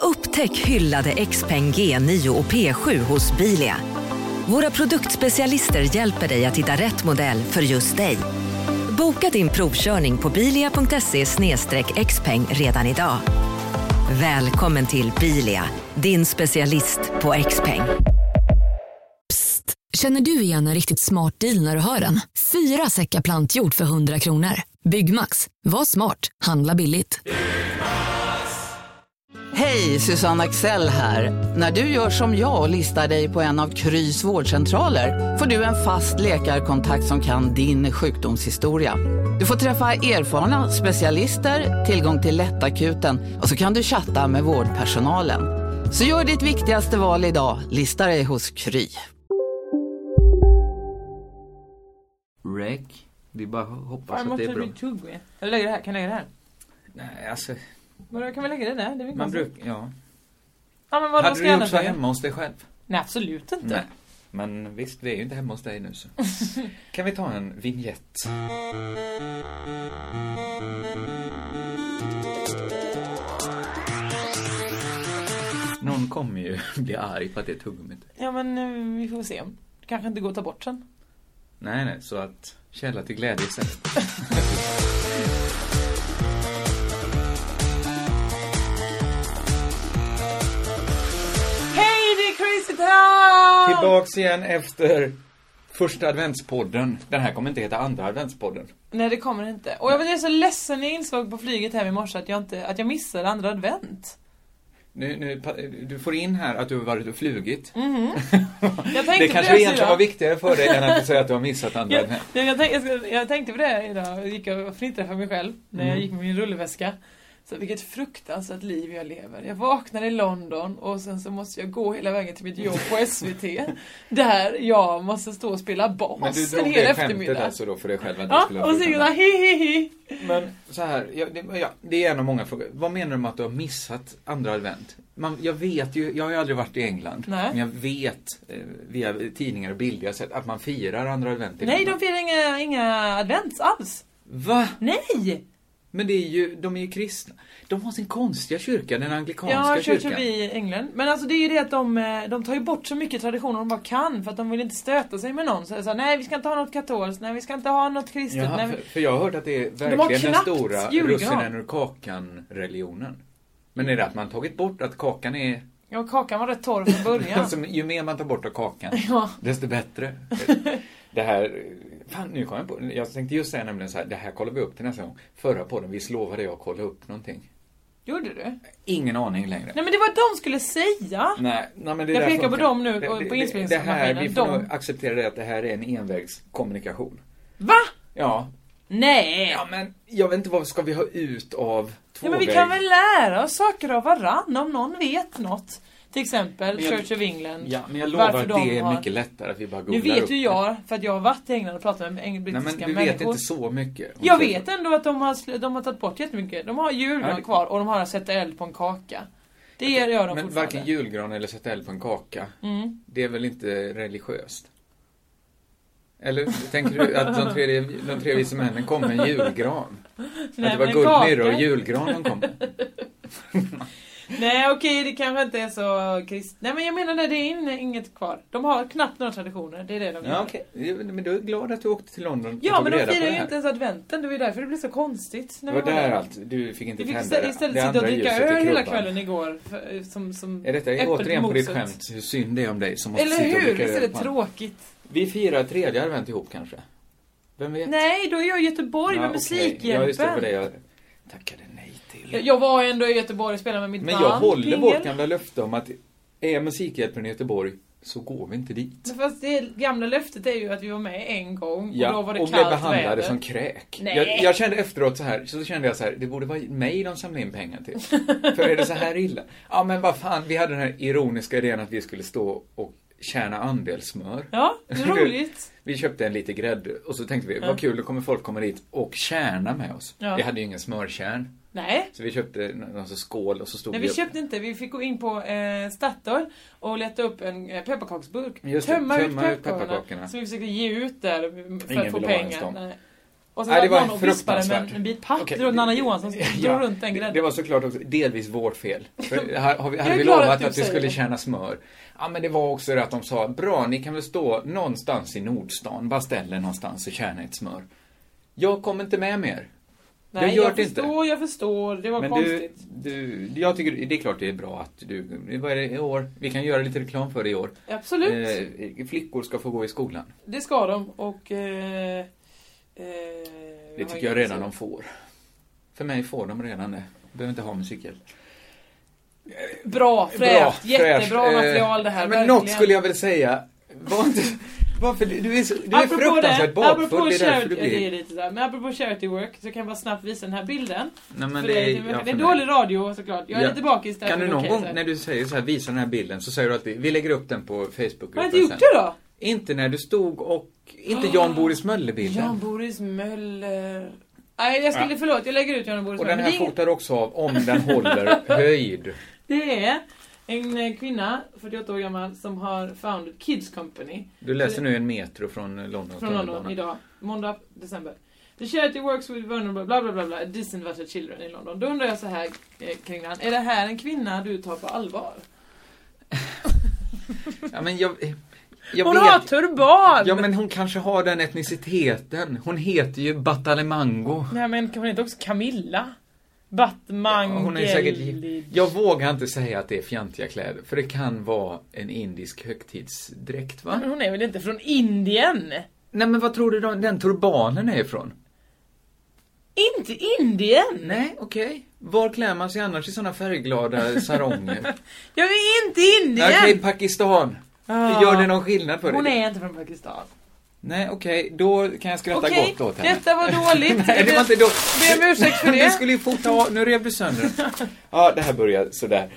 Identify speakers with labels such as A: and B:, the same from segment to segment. A: Upptäck hyllade XPeng G9 och P7 hos Bilia. Våra produktspecialister hjälper dig att hitta rätt modell för just dig. Boka din provkörning på bilia.se xpeng redan idag. Välkommen till Bilia, din specialist på XPeng.
B: Psst! Känner du igen en riktigt smart deal när du hör den? Fyra säckar plantjord för 100 kronor. Byggmax, var smart, handla billigt.
C: Hej, Susanne Axel här. När du gör som jag och listar dig på en av Krys vårdcentraler får du en fast läkarkontakt som kan din sjukdomshistoria. Du får träffa erfarna specialister, tillgång till lättakuten och så kan du chatta med vårdpersonalen. Så gör ditt viktigaste val idag, listar dig hos Kry.
D: Rec. Det är bara att hoppas
E: Fan,
D: att det är
E: måste
D: bra.
E: bli tugg med. Jag lägger det här, kan jag lägga det här?
D: Nej, alltså,
E: Vadå, kan vi lägga det där? Det är väl
D: man
E: konstigt.
D: brukar, ja.
E: Ja men vadå,
D: Hade
E: ska
D: du
E: jag
D: gjort så
E: annars göra?
D: hemma hos dig själv?
E: Nej absolut inte.
D: Nej. Men visst, vi är ju inte hemma hos dig nu så. Kan vi ta en vignett? Någon kommer ju bli arg på att det är tuggummit.
E: Ja men eh, vi får se. Det kanske inte går att ta bort sen.
D: Nej, nej, så att källa till glädje istället.
E: Hej det är Crazy Town!
D: Tillbaks igen efter första adventspodden. Den här kommer inte heta andra adventspodden.
E: Nej det kommer det inte. Och jag blev så ledsen när jag insåg på flyget hem i morse att jag, inte, att jag missade andra advent.
D: Nu, nu, pa- du får in här att du har varit och flugit.
E: Mm. Jag
D: Det
E: tänkte på
D: kanske egentligen
E: idag.
D: var viktigare för dig än att säga att du har missat andra
E: Jag,
D: advent.
E: jag, jag, tänkte, jag, skulle- jag tänkte på det idag, jag gick och fnittrade för mig själv när
D: Mm.
E: jag gick med min rullväska. Så vilket fruktansvärt liv jag lever. Jag vaknar i London och sen så måste jag gå hela vägen till mitt jobb på SVT. där jag måste stå och spela
D: Men du
E: bas Alltså, en
D: drog
E: hel
D: det skämtet
E: eftermiddag.
D: alltså då för dig själv att du
E: Ja,
D: skulle
E: och
D: ha
E: så gick jag
D: slutat.
E: såhär hi hi hi.
D: Men så här, ja, det, ja, det är en av många frågor. Vad menar du med att du har missat andra advent? Man, jag vet ju, jag har ju aldrig varit i England.
E: Nej.
D: Men jag vet eh, via tidningar och bilder jag sett att man firar andra advent i
E: Nej, de
D: England.
E: firar inga, inga advents alls.
D: Va?
E: Nej!
D: Men det är ju, de är ju kristna. De har sin konstiga kyrka, den anglikanska
E: Jag har kört
D: kyrkan.
E: förbi England. Men alltså det är ju det att de, eh, de tar ju bort så mycket traditioner de bara kan för att de vill inte stöta sig med någon. Så jag sa, nej vi ska inte ha något katolskt, nej vi ska inte ha något kristet.
D: Ja,
E: nej,
D: för,
E: vi...
D: för jag har hört att det är
E: har
D: verkligen den
E: knappt
D: stora
E: julgran.
D: russinen ur kakan-religionen. Men är det att man tagit bort att kakan är...
E: ja, kakan var rätt torr från början.
D: Alltså, ju mer man tar bort av kakan,
E: Ja.
D: desto bättre. Det här... Fan, nu kom jag på... Jag tänkte just säga nämligen så här, det här kollar vi upp till nästa gång. Förra podden, visst lovade jag att kolla upp någonting?
E: Gjorde du?
D: Ingen aning längre.
E: Nej men det var de skulle säga!
D: Nej, nej, men det
E: Jag
D: där
E: pekar på
D: funkar.
E: dem nu
D: Det-
E: på-
D: det-
E: på
D: det-
E: inspelningsmaskinen.
D: Det här, vi får
E: De.
D: nog acceptera det att det här är en envägskommunikation.
E: Va?
D: Ja,
E: Nej!
D: Ja men jag vet inte vad ska vi ha ut av två
E: Ja, men vi kan väl lära oss saker av varann om någon vet något. Till exempel
D: Men jag-
E: Church of England.
D: Ja men jag lovar
E: Varför
D: att
E: de
D: det är
E: har-
D: mycket lättare att vi bara googlar
E: Nu vet
D: upp
E: ju
D: det.
E: jag, för att jag har varit i England och pratat med eng-
D: Nej men
E: brittiska
D: du vet
E: människor.
D: inte så mycket. om
E: Jag
D: det.
E: vet ändå att de har, sl- de har tagit bort jättemycket. De har
D: Ja,
E: julgran
D: det-
E: kvar och de har att sätta eld på en kaka. Det gör de
D: Men
E: fortfarande. Mm.
D: varken julgran eller sätta eld på en kaka. Det är väl inte religiöst? Eller tänker du att de tre, de tre vise männen kom med en julgran?
E: Nej,
D: att det
E: men
D: var
E: en
D: guldmyrra
E: kaka.
D: och julgran de kom med?
E: Nej okej, det kanske inte är så krist... Nej men jag menar det, det är in- inget kvar. De har knappt några traditioner, det är det de
D: Ja okej, men du är glad att du åkte till London och
E: Ja
D: tog
E: men de
D: reda på
E: firar
D: det
E: ju
D: här.
E: inte ens adventen, det var ju därför det blev så konstigt.
D: Det
E: när
D: var
E: vi
D: där allt, du fick inte
E: Vi
D: tända
E: fick istället,
D: det. Det
E: istället sitta och
D: andra
E: dricka
D: ljuset i
E: öl hela
D: krubban.
E: kvällen igår. för- Som, som
D: Är detta
E: äpplet
D: återigen på ditt
E: moset.
D: skämt hur synd det är om dig som måste
E: Eller
D: sitta och
E: hur?
D: dricka
E: Visst är det
D: öl på andra?
E: tråkigt?
D: Vi firar tredje advent ihop kanske? Vem vet?
E: Nej, då är jag i Göteborg
D: Ja,
E: med
D: okej. Ja, just det,
E: Musikhjälpen.
D: för det jag tackade nej till.
E: Jag- Jag var ändå i Göteborg och spelade med mitt
D: Men
E: band.
D: jag håller vårt
E: Pingel.
D: gamla löfte om att är Musikhjälpen i Göteborg så går vi inte dit.
E: Men Fast det gamla löftet är ju att vi var med en gång och då var det
D: och blev
E: kallt
D: behandlade
E: väder.
D: som kräk.
E: Nej.
D: Jag, jag kände efteråt så här, så kände jag så här, det borde vara mig de samlade in pengar till. För är det så här illa? Ja men vad fan, vi hade den här ironiska idén att vi skulle stå och tjäna andelsmör.
E: Ja, det är roligt.
D: Vi köpte en lite grädde och så tänkte vi, vad kul, då kommer folk komma dit och tjäna med oss.
E: Ja.
D: Vi hade ju ingen smörkärn.
E: Nej.
D: Så vi köpte en alltså, skål och så stod
E: Nej,
D: vi
E: vi
D: upp.
E: köpte inte. Vi fick gå in på eh, Statoil och leta upp en eh, pepparkaksburk.
D: Just det,
E: tömma ut
D: tömma ut
E: pepparkakorna.
D: pepparkakorna.
E: Som vi försökte ge ut där för
D: Ingen
E: att få
D: ville ha en
E: pengar.
D: sån.
E: Nej. Och sen
D: Nej, det
E: var
D: var
E: någon och vispade med en-
D: fruktansvärt.
E: en bit papp
D: Okej.
E: runt Anna Johansson som drog runt den
D: Det
E: grädden.
D: var såklart också delvis vårt fel. För har, har vi,
E: Jag är
D: hade vi
E: glad
D: lovat
E: att
D: att,
E: du
D: vi
E: säger
D: skulle
E: det.
D: tjäna smör? Ja, men det var också det att de sa, bra, ni kan väl stå någonstans i Nordstan, bara ställ er någonstans och tjäna ett smör. Jag kommer inte med mer.
E: Nej,
D: jag gör
E: jag
D: det inte.
E: förstår, jag förstår. Det var
D: Men du,
E: konstigt.
D: du, jag tycker det är klart det är bra att du, vad är det i år? Vi kan göra lite reklam för det i år.
E: Absolut.
D: Eh, flickor ska få gå i skolan.
E: Det ska de och... Eh, eh,
D: Det tycker jag redan de får. För mig får de redan det. Behöver inte ha musikhjälp.
E: Bra,
D: Bra,
E: fräscht, jättebra
D: fräscht. Eh,
E: material det här.
D: Men något skulle jag väl säga. Var inte, varför, du är, så- du är fruktansvärt bakfull. Det är därför du
E: Det är
D: blir...
E: lite där. Men apropå charity work så kan jag bara snabbt visa den här bilden.
D: Nej, men
E: För
D: det är,
E: det,
D: ja,
E: är, det är
D: för
E: dålig
D: mig.
E: radio såklart. Jag är
D: Ja.
E: lite bakis där.
D: Kan du
E: men
D: någon
E: okej, så
D: gång
E: här.
D: när du säger så här, visa den här bilden, så säger du alltid, vi lägger upp den på Facebook.
E: Har jag inte gjort det då?
D: Inte när du stod och, inte Jan Boris Möller-bilden.
E: Jan Boris Möller. Nej, jag skulle, förlåt, jag lägger ut Jan Boris
D: och
E: Möller.
D: den
E: Men
D: här
E: det är inget-
D: fotar också av om den håller höjd.
E: Det är en eh, kvinna, 48 år gammal, som har founded Kids Company.
D: Du läser nu en metro från London.
E: Från London idag, måndag, december. The charity works with vulnerable, bla bla bla, bla disinverted children i London. Då undrar jag så här eh, kring den. Är det här en kvinna du tar på allvar?
D: Ja, men jag, jag
E: Hon
D: vet.
E: har turban!
D: Ja men hon kanske har den etniciteten. Hon heter ju Batalemango.
E: Nej men kan hon inte också Camilla? Batman
D: Hon är säkert... Jag vågar inte säga att det är fjantiga kläder, för det kan vara en indisk högtidsdräkt va?
E: Men hon är väl inte från Indien?
D: Nej men vad tror du de- den turbanen är ifrån?
E: Inte Indien!
D: Nej, okej. Var klär man sig annars i såna färgglada saronger?
E: Jag är inte
D: Nej,
E: Indien!
D: Okej, Pakistan.
E: Ah.
D: Gör det någon skillnad för
E: Hon
D: dig?
E: är inte från Pakistan.
D: Nej, okej, då kan jag skratta
E: Okej,
D: gott åt henne.
E: detta var dåligt.
D: Nej, det var inte då.
E: Be om ursäkt för
D: Men
E: det.
D: Vi skulle ju fota av, nu rev du sönder den. Ja, det här börjar sådär.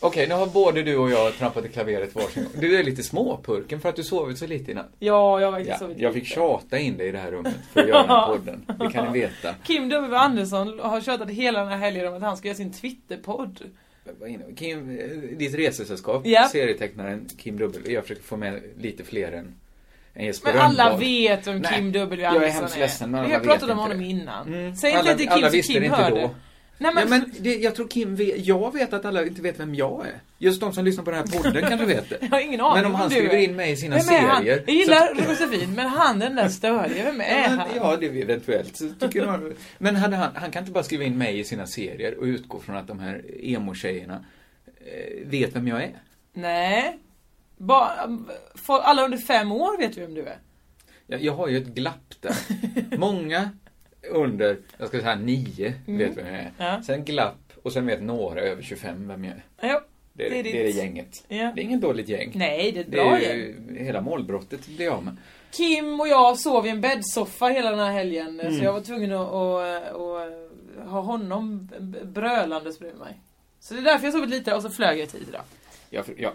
D: Okej, nu har både du och jag trampat i klaveret varsin gång. Du är lite småpurken för att du sovit så lite i natt.
E: Ja, jag har faktiskt
D: Ja,
E: sovit
D: jag fick
E: lite.
D: tjata in dig i det här rummet för att göra den här podden. Det kan ni veta.
E: Kim W Andersson har tjatat hela den här helgen om att han ska göra sin Twitterpodd.
D: Vad är det? Kim, eh, ditt resesällskap,
E: Ja.
D: serietecknaren Kim Dubbel. Jag försöker få med lite fler än, än Jesper
E: Men alla
D: Rönndahl.
E: vet vem
D: Nej,
E: Kim W
D: jag är
E: Andersson
D: hemskt ledsen, men
E: Vi
D: alla
E: har
D: vet
E: pratat om
D: inte
E: honom
D: det.
E: innan.
D: Mm.
E: Säg inte
D: Alla-
E: det till
D: alla
E: Kim så
D: visste
E: Kim
D: det inte
E: hör
D: då.
E: det. Nej,
D: Ja, men det, jag tror Kim vet, jag vet att alla inte vet vem jag är. Just de som lyssnar på den här podden kanske vet det.
E: Jag har ingen aning
D: Men om han
E: du är.
D: skriver in mig i sina
E: Vem är han?
D: serier.
E: Jag gillar Josefin, men han den där störiga, vem är
D: Ja, men,
E: han?
D: ja, det är eventuellt. Så tycker man, men hade han, han kan inte bara skriva in mig i sina serier och utgå från att de här emo-tjejerna eh, vet vem jag är.
E: Nej. Ba, för alla under fem år vet ju vem du är.
D: Jag, jag har ju ett glapp där. Många under, jag ska säga nio, vet vem jag är.
E: Mm. Ja.
D: Sen glapp och sen vet några över 25 vem jag är.
E: Ja,
D: Det är det,
E: ditt.
D: det, är det gänget.
E: Ja.
D: Det är inget dåligt gäng.
E: Nej, det är ett
D: Det
E: bra
D: är
E: gäng.
D: ju, hela målbrottet blir jag av med.
E: Kim och jag sov i en bäddsoffa hela den här helgen
D: Mm.
E: så jag var tvungen att, att, att ha honom brölandes bredvid mig. Så det är därför jag sovit lite och så flög jag tid idag.
D: Ja, för, ja.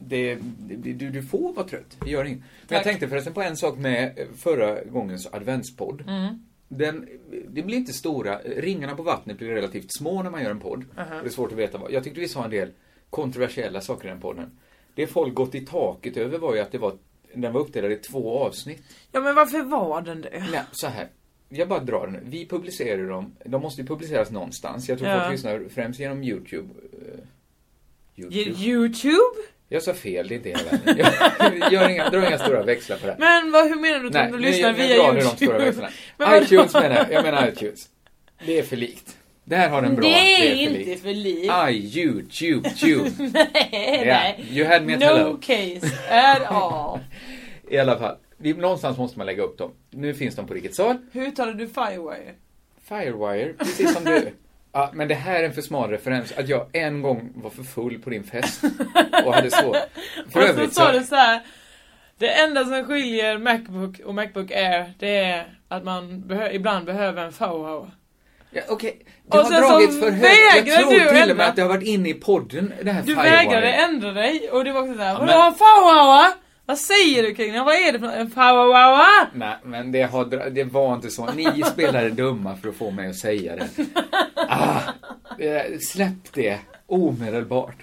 D: Det, det, du, du får vara trött, det gör inget. Men
E: Tack.
D: jag tänkte förresten på en sak med eh, förra gångens adventspodd.
E: Mm.
D: Den, det blir inte stora, ringarna på vattnet blir relativt små när man gör en podd. Och Det är svårt att veta vad. Jag tyckte vi sa en del kontroversiella saker i den podden. Det folk gått i taket över var ju att det var, den var uppdelad i två avsnitt.
E: Ja men varför var den det?
D: Nej, så här. Jag bara drar den. Vi publicerar dem. De måste ju publiceras någonstans. Jag tror
E: Ja.
D: folk lyssnar främst genom Youtube. Eh,
E: Ge- Youtube?
D: jag sa fel, det är inte hela världen. Jag gör inga, drar inga stora växlar på det här.
E: Men vad, hur menar du att
D: Nej,
E: du
D: nu-
E: lyssnar
D: nu
E: via
D: drar ni
E: Youtube?
D: de stora växlarna.
E: Men vadå?
D: iTunes menar jag, jag menar iTunes. Det är för likt. Det här har den bra,
E: Nej,
D: det är för
E: inte
D: likt.
E: för likt.
D: I, you, you, you.
E: Nej,
D: yeah.
E: nej.
D: You had me at
E: No
D: hello.
E: case at all.
D: I alla fall, vi, någonstans måste man lägga upp dem. Nu finns de på Rikets sal.
E: Hur uttalar du Firewire?
D: Firewire, precis som du. Ja, men det här är en för smal referens. Att jag en gång var för full på din fest och hade svårt. För
E: och så
D: övrigt
E: sa du
D: så...
E: så här. Det enda som skiljer Macbook och Macbook Air det är att man behö- ibland behöver en FOHO.
D: Ja, Okej,
E: Och
D: det
E: sen
D: har
E: så
D: dragits för högt.
E: vägrar
D: Jag tror
E: du
D: till och
E: ändra.
D: med att det har varit inne i podden, det här
E: Du
D: Firewire.
E: vägrade ändra dig och det var också såhär,
D: Ja,
E: vadå
D: men-
E: en FOHO? Vad säger du kring det? Vad är det för något? En FOHO?
D: Nej, men det, har, dra- det var inte så. Ni spelade dumma för att få mig att säga det. Ah, eh, släpp det omedelbart.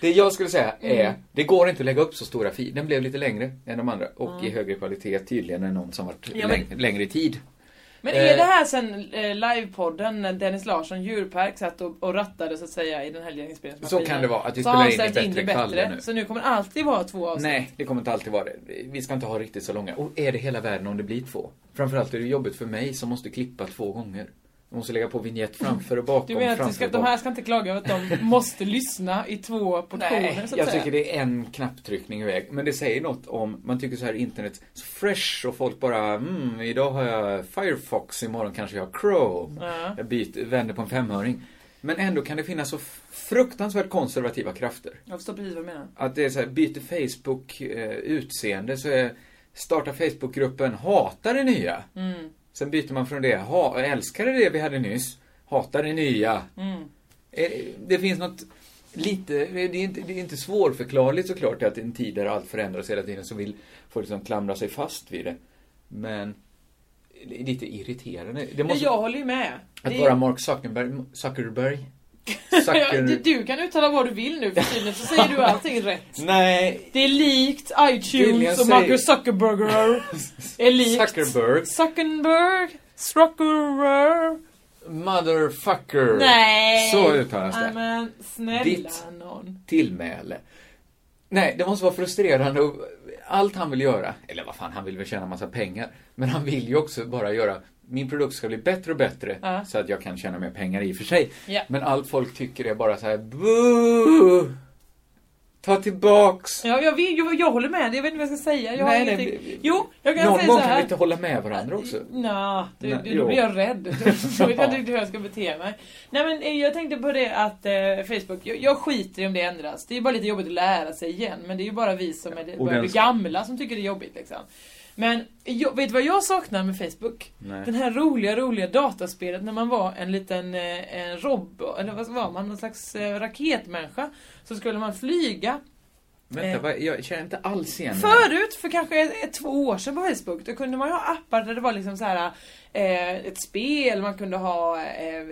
D: Det jag skulle säga är,
E: Mm.
D: det går inte att lägga upp så stora filer. Den blev lite längre än de andra och i högre kvalitet tydligen än någon som varit
E: Ja, men-
D: läng- längre i tid.
E: Men är
D: Eh,
E: det här sen eh, livepodden när Dennis Larsson, djurpark, satt och, och rattade så att säga i den här
D: Så
E: inspelningsmaskinen?
D: kan det vara, att vi
E: Så har
D: spelar
E: han
D: in i
E: ställt in det
D: bättre kvaller
E: bättre.
D: nu.
E: Så nu kommer det alltid vara två avsnitt.
D: Nej, det kommer inte alltid vara det. Vi ska inte ha riktigt så långa. Och är det hela världen om det blir två? Framförallt är det jobbigt för mig som måste klippa två gånger. Jag måste lägga på vignett framför och bakom,
E: Du menar att
D: framför
E: du ska,
D: och
E: de
D: bakom.
E: här ska inte klaga över att de måste lyssna i två portioner
D: Nej,
E: så att
D: jag
E: säga?
D: tycker det är en knapptryckning iväg. Men det säger något om, man tycker så här internet, så fresh och folk bara, mm, idag har jag Firefox, imorgon kanske jag har Chrome.
E: Ja.
D: Jag byter, vänder på en femhöring. Men ändå kan det finnas så fruktansvärt konservativa krafter.
E: Jag förstår precis vad du menar.
D: Att det är så här, byter Facebook eh, utseende så är starta Facebookgruppen hata det nya.
E: Mm.
D: Sen byter man från det, ha, älskade det vi hade nyss, hata det nya.
E: Mm.
D: Eh, Det finns något lite, det är inte, det är inte svårförklarligt såklart att i en tid där allt förändras hela tiden så vill folk liksom klamra sig fast vid det. Men det är lite irriterande. Det
E: Men
D: måste,
E: jag håller ju med.
D: att
E: Det är-
D: vara Mark Zuckerberg, Zuckerberg,
E: Ja, det-
D: Zucker...
E: Du kan uttala vad du vill nu för tydligen så säger du allting rätt.
D: Nej,
E: Det är likt
D: Viljan
E: iTunes och
D: säger-
E: Marcus Zuckerberger. Är likt
D: Zuckerberg.
E: Zuckerberg. Zuckerberg.
D: Motherfucker.
E: Nej!
D: Så uttalas
E: Nej,
D: det.
E: Men snälla
D: Ditt-
E: någon.
D: Tillmäle. Nej, det måste vara frustrerande. och Allt han vill göra, eller vad fan, han vill väl tjäna massa pengar. Men han vill ju också bara göra, min produkt ska bli bättre och bättre
E: Ja.
D: så att jag kan tjäna mer pengar i och för sig.
E: Ja.
D: Men allt folk tycker är bara så här, boo! Ta tillbaks!
E: Ja, jag, vet, jag, jag håller med, jag vet inte vad jag ska säga. Jag
D: Nej,
E: har
D: nej,
E: ingenting.
D: vi-
E: Jo, jag kan
D: Någon
E: säga
D: gång
E: så
D: kan vi
E: här.
D: inte hålla med varandra också.
E: Nja, du,
D: Nej,
E: du, då
D: jo.
E: blir jag rädd. Då vet jag inte riktigt hur jag ska bete mig. Nej men eh, jag tänkte på det att eh, Facebook, jag, jag skiter i om det ändras. Det är bara lite jobbigt att lära sig igen. Men det är ju bara vi som är,
D: och
E: börjar
D: den
E: bli
D: ska-
E: gamla som tycker det är jobbigt liksom. Men jag, vet du vad jag saknar med Facebook?
D: Nej.
E: Den här roliga, roliga dataspelet när man var en liten eh, en robot, eller vad var man? Någon slags eh, raketmänniska. Så skulle man flyga
D: Vänta,
E: Eh.
D: vad, jag känner inte alls igen det här.
E: Förut, för kanske ett, ett, två år sedan på Facebook, då kunde man ju ha appar där det var liksom så här eh, ett spel, man kunde ha eh,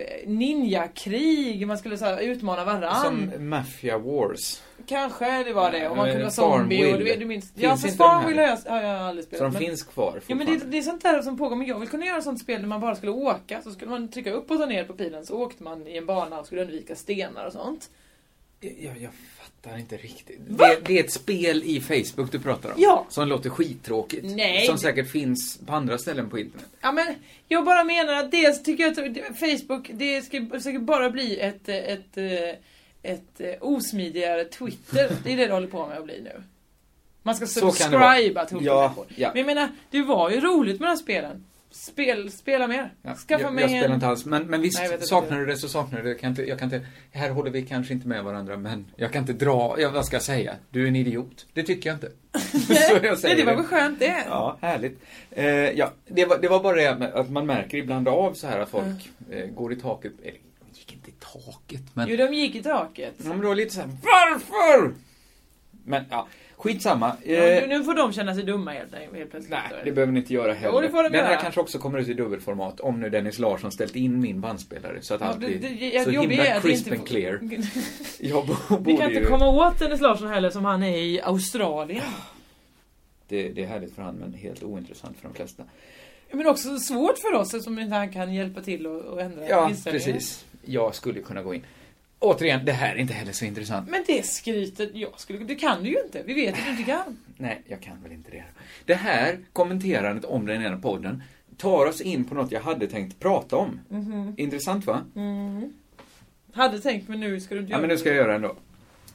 E: ninjakrig, man skulle så här, utmana varandra.
D: Som Mafia Wars.
E: Kanske det var det, och man
D: Eh,
E: kunde vara zombie och du,
D: Farmville.
E: vet- du minns...
D: Finns
E: Ja, för
D: inte de här?
E: Farmville har jag, har jag aldrig spelat.
D: Så de
E: men-
D: finns kvar
E: Ja men det, det är sånt där som pågår, men jag vill kunna göra sånt spel där man bara skulle åka, så skulle man trycka upp och ta ner på pilen så åkte man i en bana och skulle undvika stenar och sånt.
D: Jag, jag fattar inte riktigt.
E: Va?
D: Det, det är ett spel i Facebook du pratar om.
E: Ja.
D: Som låter skittråkigt.
E: Nej.
D: Som säkert finns på andra ställen på internet.
E: Ja men jag bara menar att dels tycker jag att Facebook, det ska säkert bara bli ett, eh, ett, eh, ett eh, osmidigare Twitter. Det är det det håller på med att bli nu. Man ska
D: Så kan det vara.
E: subscriba till olika
D: Ja,
E: människor.
D: ja.
E: Men jag menar, det var ju roligt med de här spelen. Spel, spela mer.
D: Ja,
E: Skaffa
D: jag,
E: mig
D: jag spelar
E: en...
D: inte alls. Men, men visst,
E: Nej, jag vet inte.
D: saknar du det så saknar du det. Jag Kan inte, jag kan inte, här håller vi kanske inte med varandra, men jag kan inte dra... Ja, vad ska jag säga? Du är en idiot. Det tycker jag inte. så jag
E: Nej,
D: säger
E: det var väl skönt det.
D: Ja, härligt. Eh, ja, det, var, det var bara det med att man märker ibland av så här att folk eh, går i taket. Eller, de gick inte i taket, men...
E: Jo, de gick i taket.
D: Ja, men då lite så här, varför? Men ja, skitsamma.
E: Ja, nu-
D: Eh,
E: nu får de känna sig dumma helt, helt plötsligt.
D: nej,
E: då.
D: det behöver ni inte göra heller.
E: Jo, det får de
D: den här
E: göra.
D: kanske också kommer ut i dubbelformat om nu Dennis Larsson ställt in min bandspelare så att
E: Ja,
D: allt
E: det-
D: blir
E: det- jag-
D: så
E: jobbiga är
D: himla
E: att
D: crisp
E: inte
D: and
E: få-
D: clear. Jag bo-
E: Vi
D: borde
E: kan inte
D: ju...
E: komma åt Dennis Larsson heller som han är i Australien.
D: det, det är härligt för han men helt ointressant för de flesta.
E: Men också svårt för oss eftersom inte han kan hjälpa till och, och ändra
D: Ja,
E: inställningen.
D: precis. Jag skulle kunna gå in. Återigen, det här är inte heller så intressant.
E: Men det skrytet, jag skulle, det kan du ju inte. Vi vet att du inte kan.
D: Nej, jag kan väl inte det. Det här kommenterandet om den ena podden tar oss in på något jag hade tänkt prata om.
E: Mhm.
D: Intressant va?
E: Hade tänkt men nu ska du inte
D: Ja, men nu ska jag göra det ändå.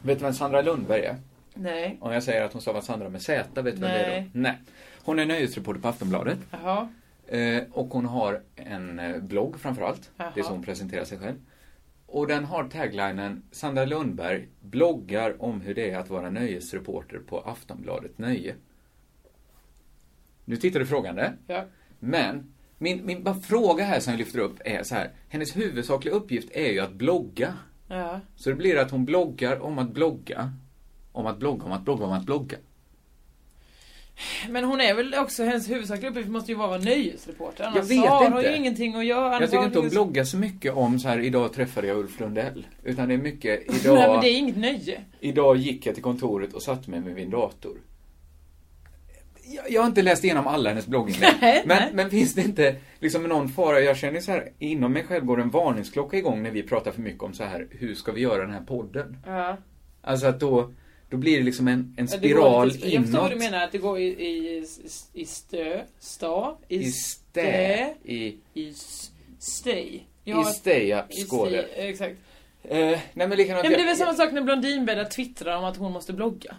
D: Vet du vem Sandra Lundberg är?
E: Nej.
D: Om jag säger att hon stavar Sandra med Z, vet du vem det är
E: Nej.
D: då? Nej. Hon är nöjesreporter på Aftonbladet.
E: Jaha.
D: eh, Och hon har en eh, blogg framförallt.
E: Jaha.
D: Det är så hon presenterar sig själv. Och den har taglinen Sandra Lundberg bloggar om hur det är att vara nöjesreporter på Aftonbladet Nöje. Nu tittar du frågande.
E: Ja.
D: Men min, min bara fråga här som jag lyfter upp är så här. Hennes huvudsakliga uppgift är ju att blogga.
E: Ja.
D: Så det blir att hon bloggar om att blogga. Om att blogga, om att blogga, om att blogga.
E: Men hon är väl också, hennes huvudsakliga uppgift måste ju vara att vara nöjesreporter. Annars
D: Jag vet
E: har hon
D: inte.
E: ju ingenting att göra.
D: Jag tycker inte hon
E: Annars-
D: bloggar så mycket om så här, idag träffade jag Ulf Lundell. Utan det är mycket,
E: Nej men
D: idag,
E: det är inget nöje.
D: idag gick jag till kontoret och satte mig vid min dator. jag, jag har inte läst igenom alla hennes blogginlägg.
E: Nej,
D: men,
E: nej.
D: men finns det inte liksom någon fara? Jag känner så här, inom mig själv går en varningsklocka igång när vi pratar för mycket om så här, hur ska vi göra den här podden?
E: Ja.
D: Alltså att då, då blir det liksom en, en
E: Ja, det går
D: spiral
E: lite- Jag förstår
D: inåt.
E: vad du menar, att det går i, i, i- i stö, sta, i,
D: I
E: stä,
D: stä, i,
E: i s- stej. Jag
D: i
E: har-
D: steja,
E: i
D: skåle.
E: stej, Exakt.
D: Eh, nej men likadant.
E: Nej, men det är väl
D: jag-
E: samma sak när Blondinbella twittrar om att hon måste blogga.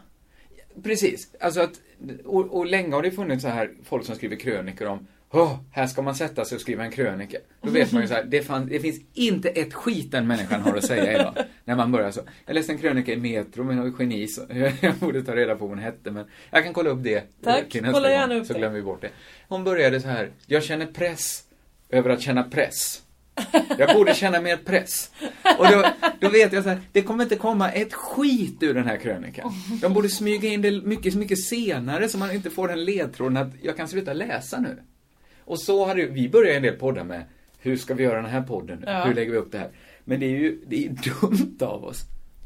D: Precis. Alltså att, och, och länge har det funnits så här folk som skriver krönikor om Åh, här ska man sätta sig och skriva en krönika. Då
E: Mm.
D: vet man ju så här, det, fann, det finns inte ett skit den människan har att säga idag. när man börjar så. Jag läste en krönika i Metro med något geni, så jag borde ta reda på vad hon hette, men jag kan kolla upp det. eh,
E: Tack,
D: till nästa
E: kolla
D: gång,
E: gärna upp
D: Så
E: det.
D: glömmer vi bort det. Hon började så här, jag känner press över att känna press. Jag borde känna mer press. Och då, då vet jag så här, det kommer inte komma ett skit ur den här krönikan. De borde smyga in det mycket, mycket senare så man inte får den ledtråden att jag kan sluta läsa nu. Och så hade ju- vi börjat en del poddar med, hur ska vi göra den här podden nu?
E: Ja.
D: Hur lägger vi upp det här? Men det är ju det är ju dumt av oss.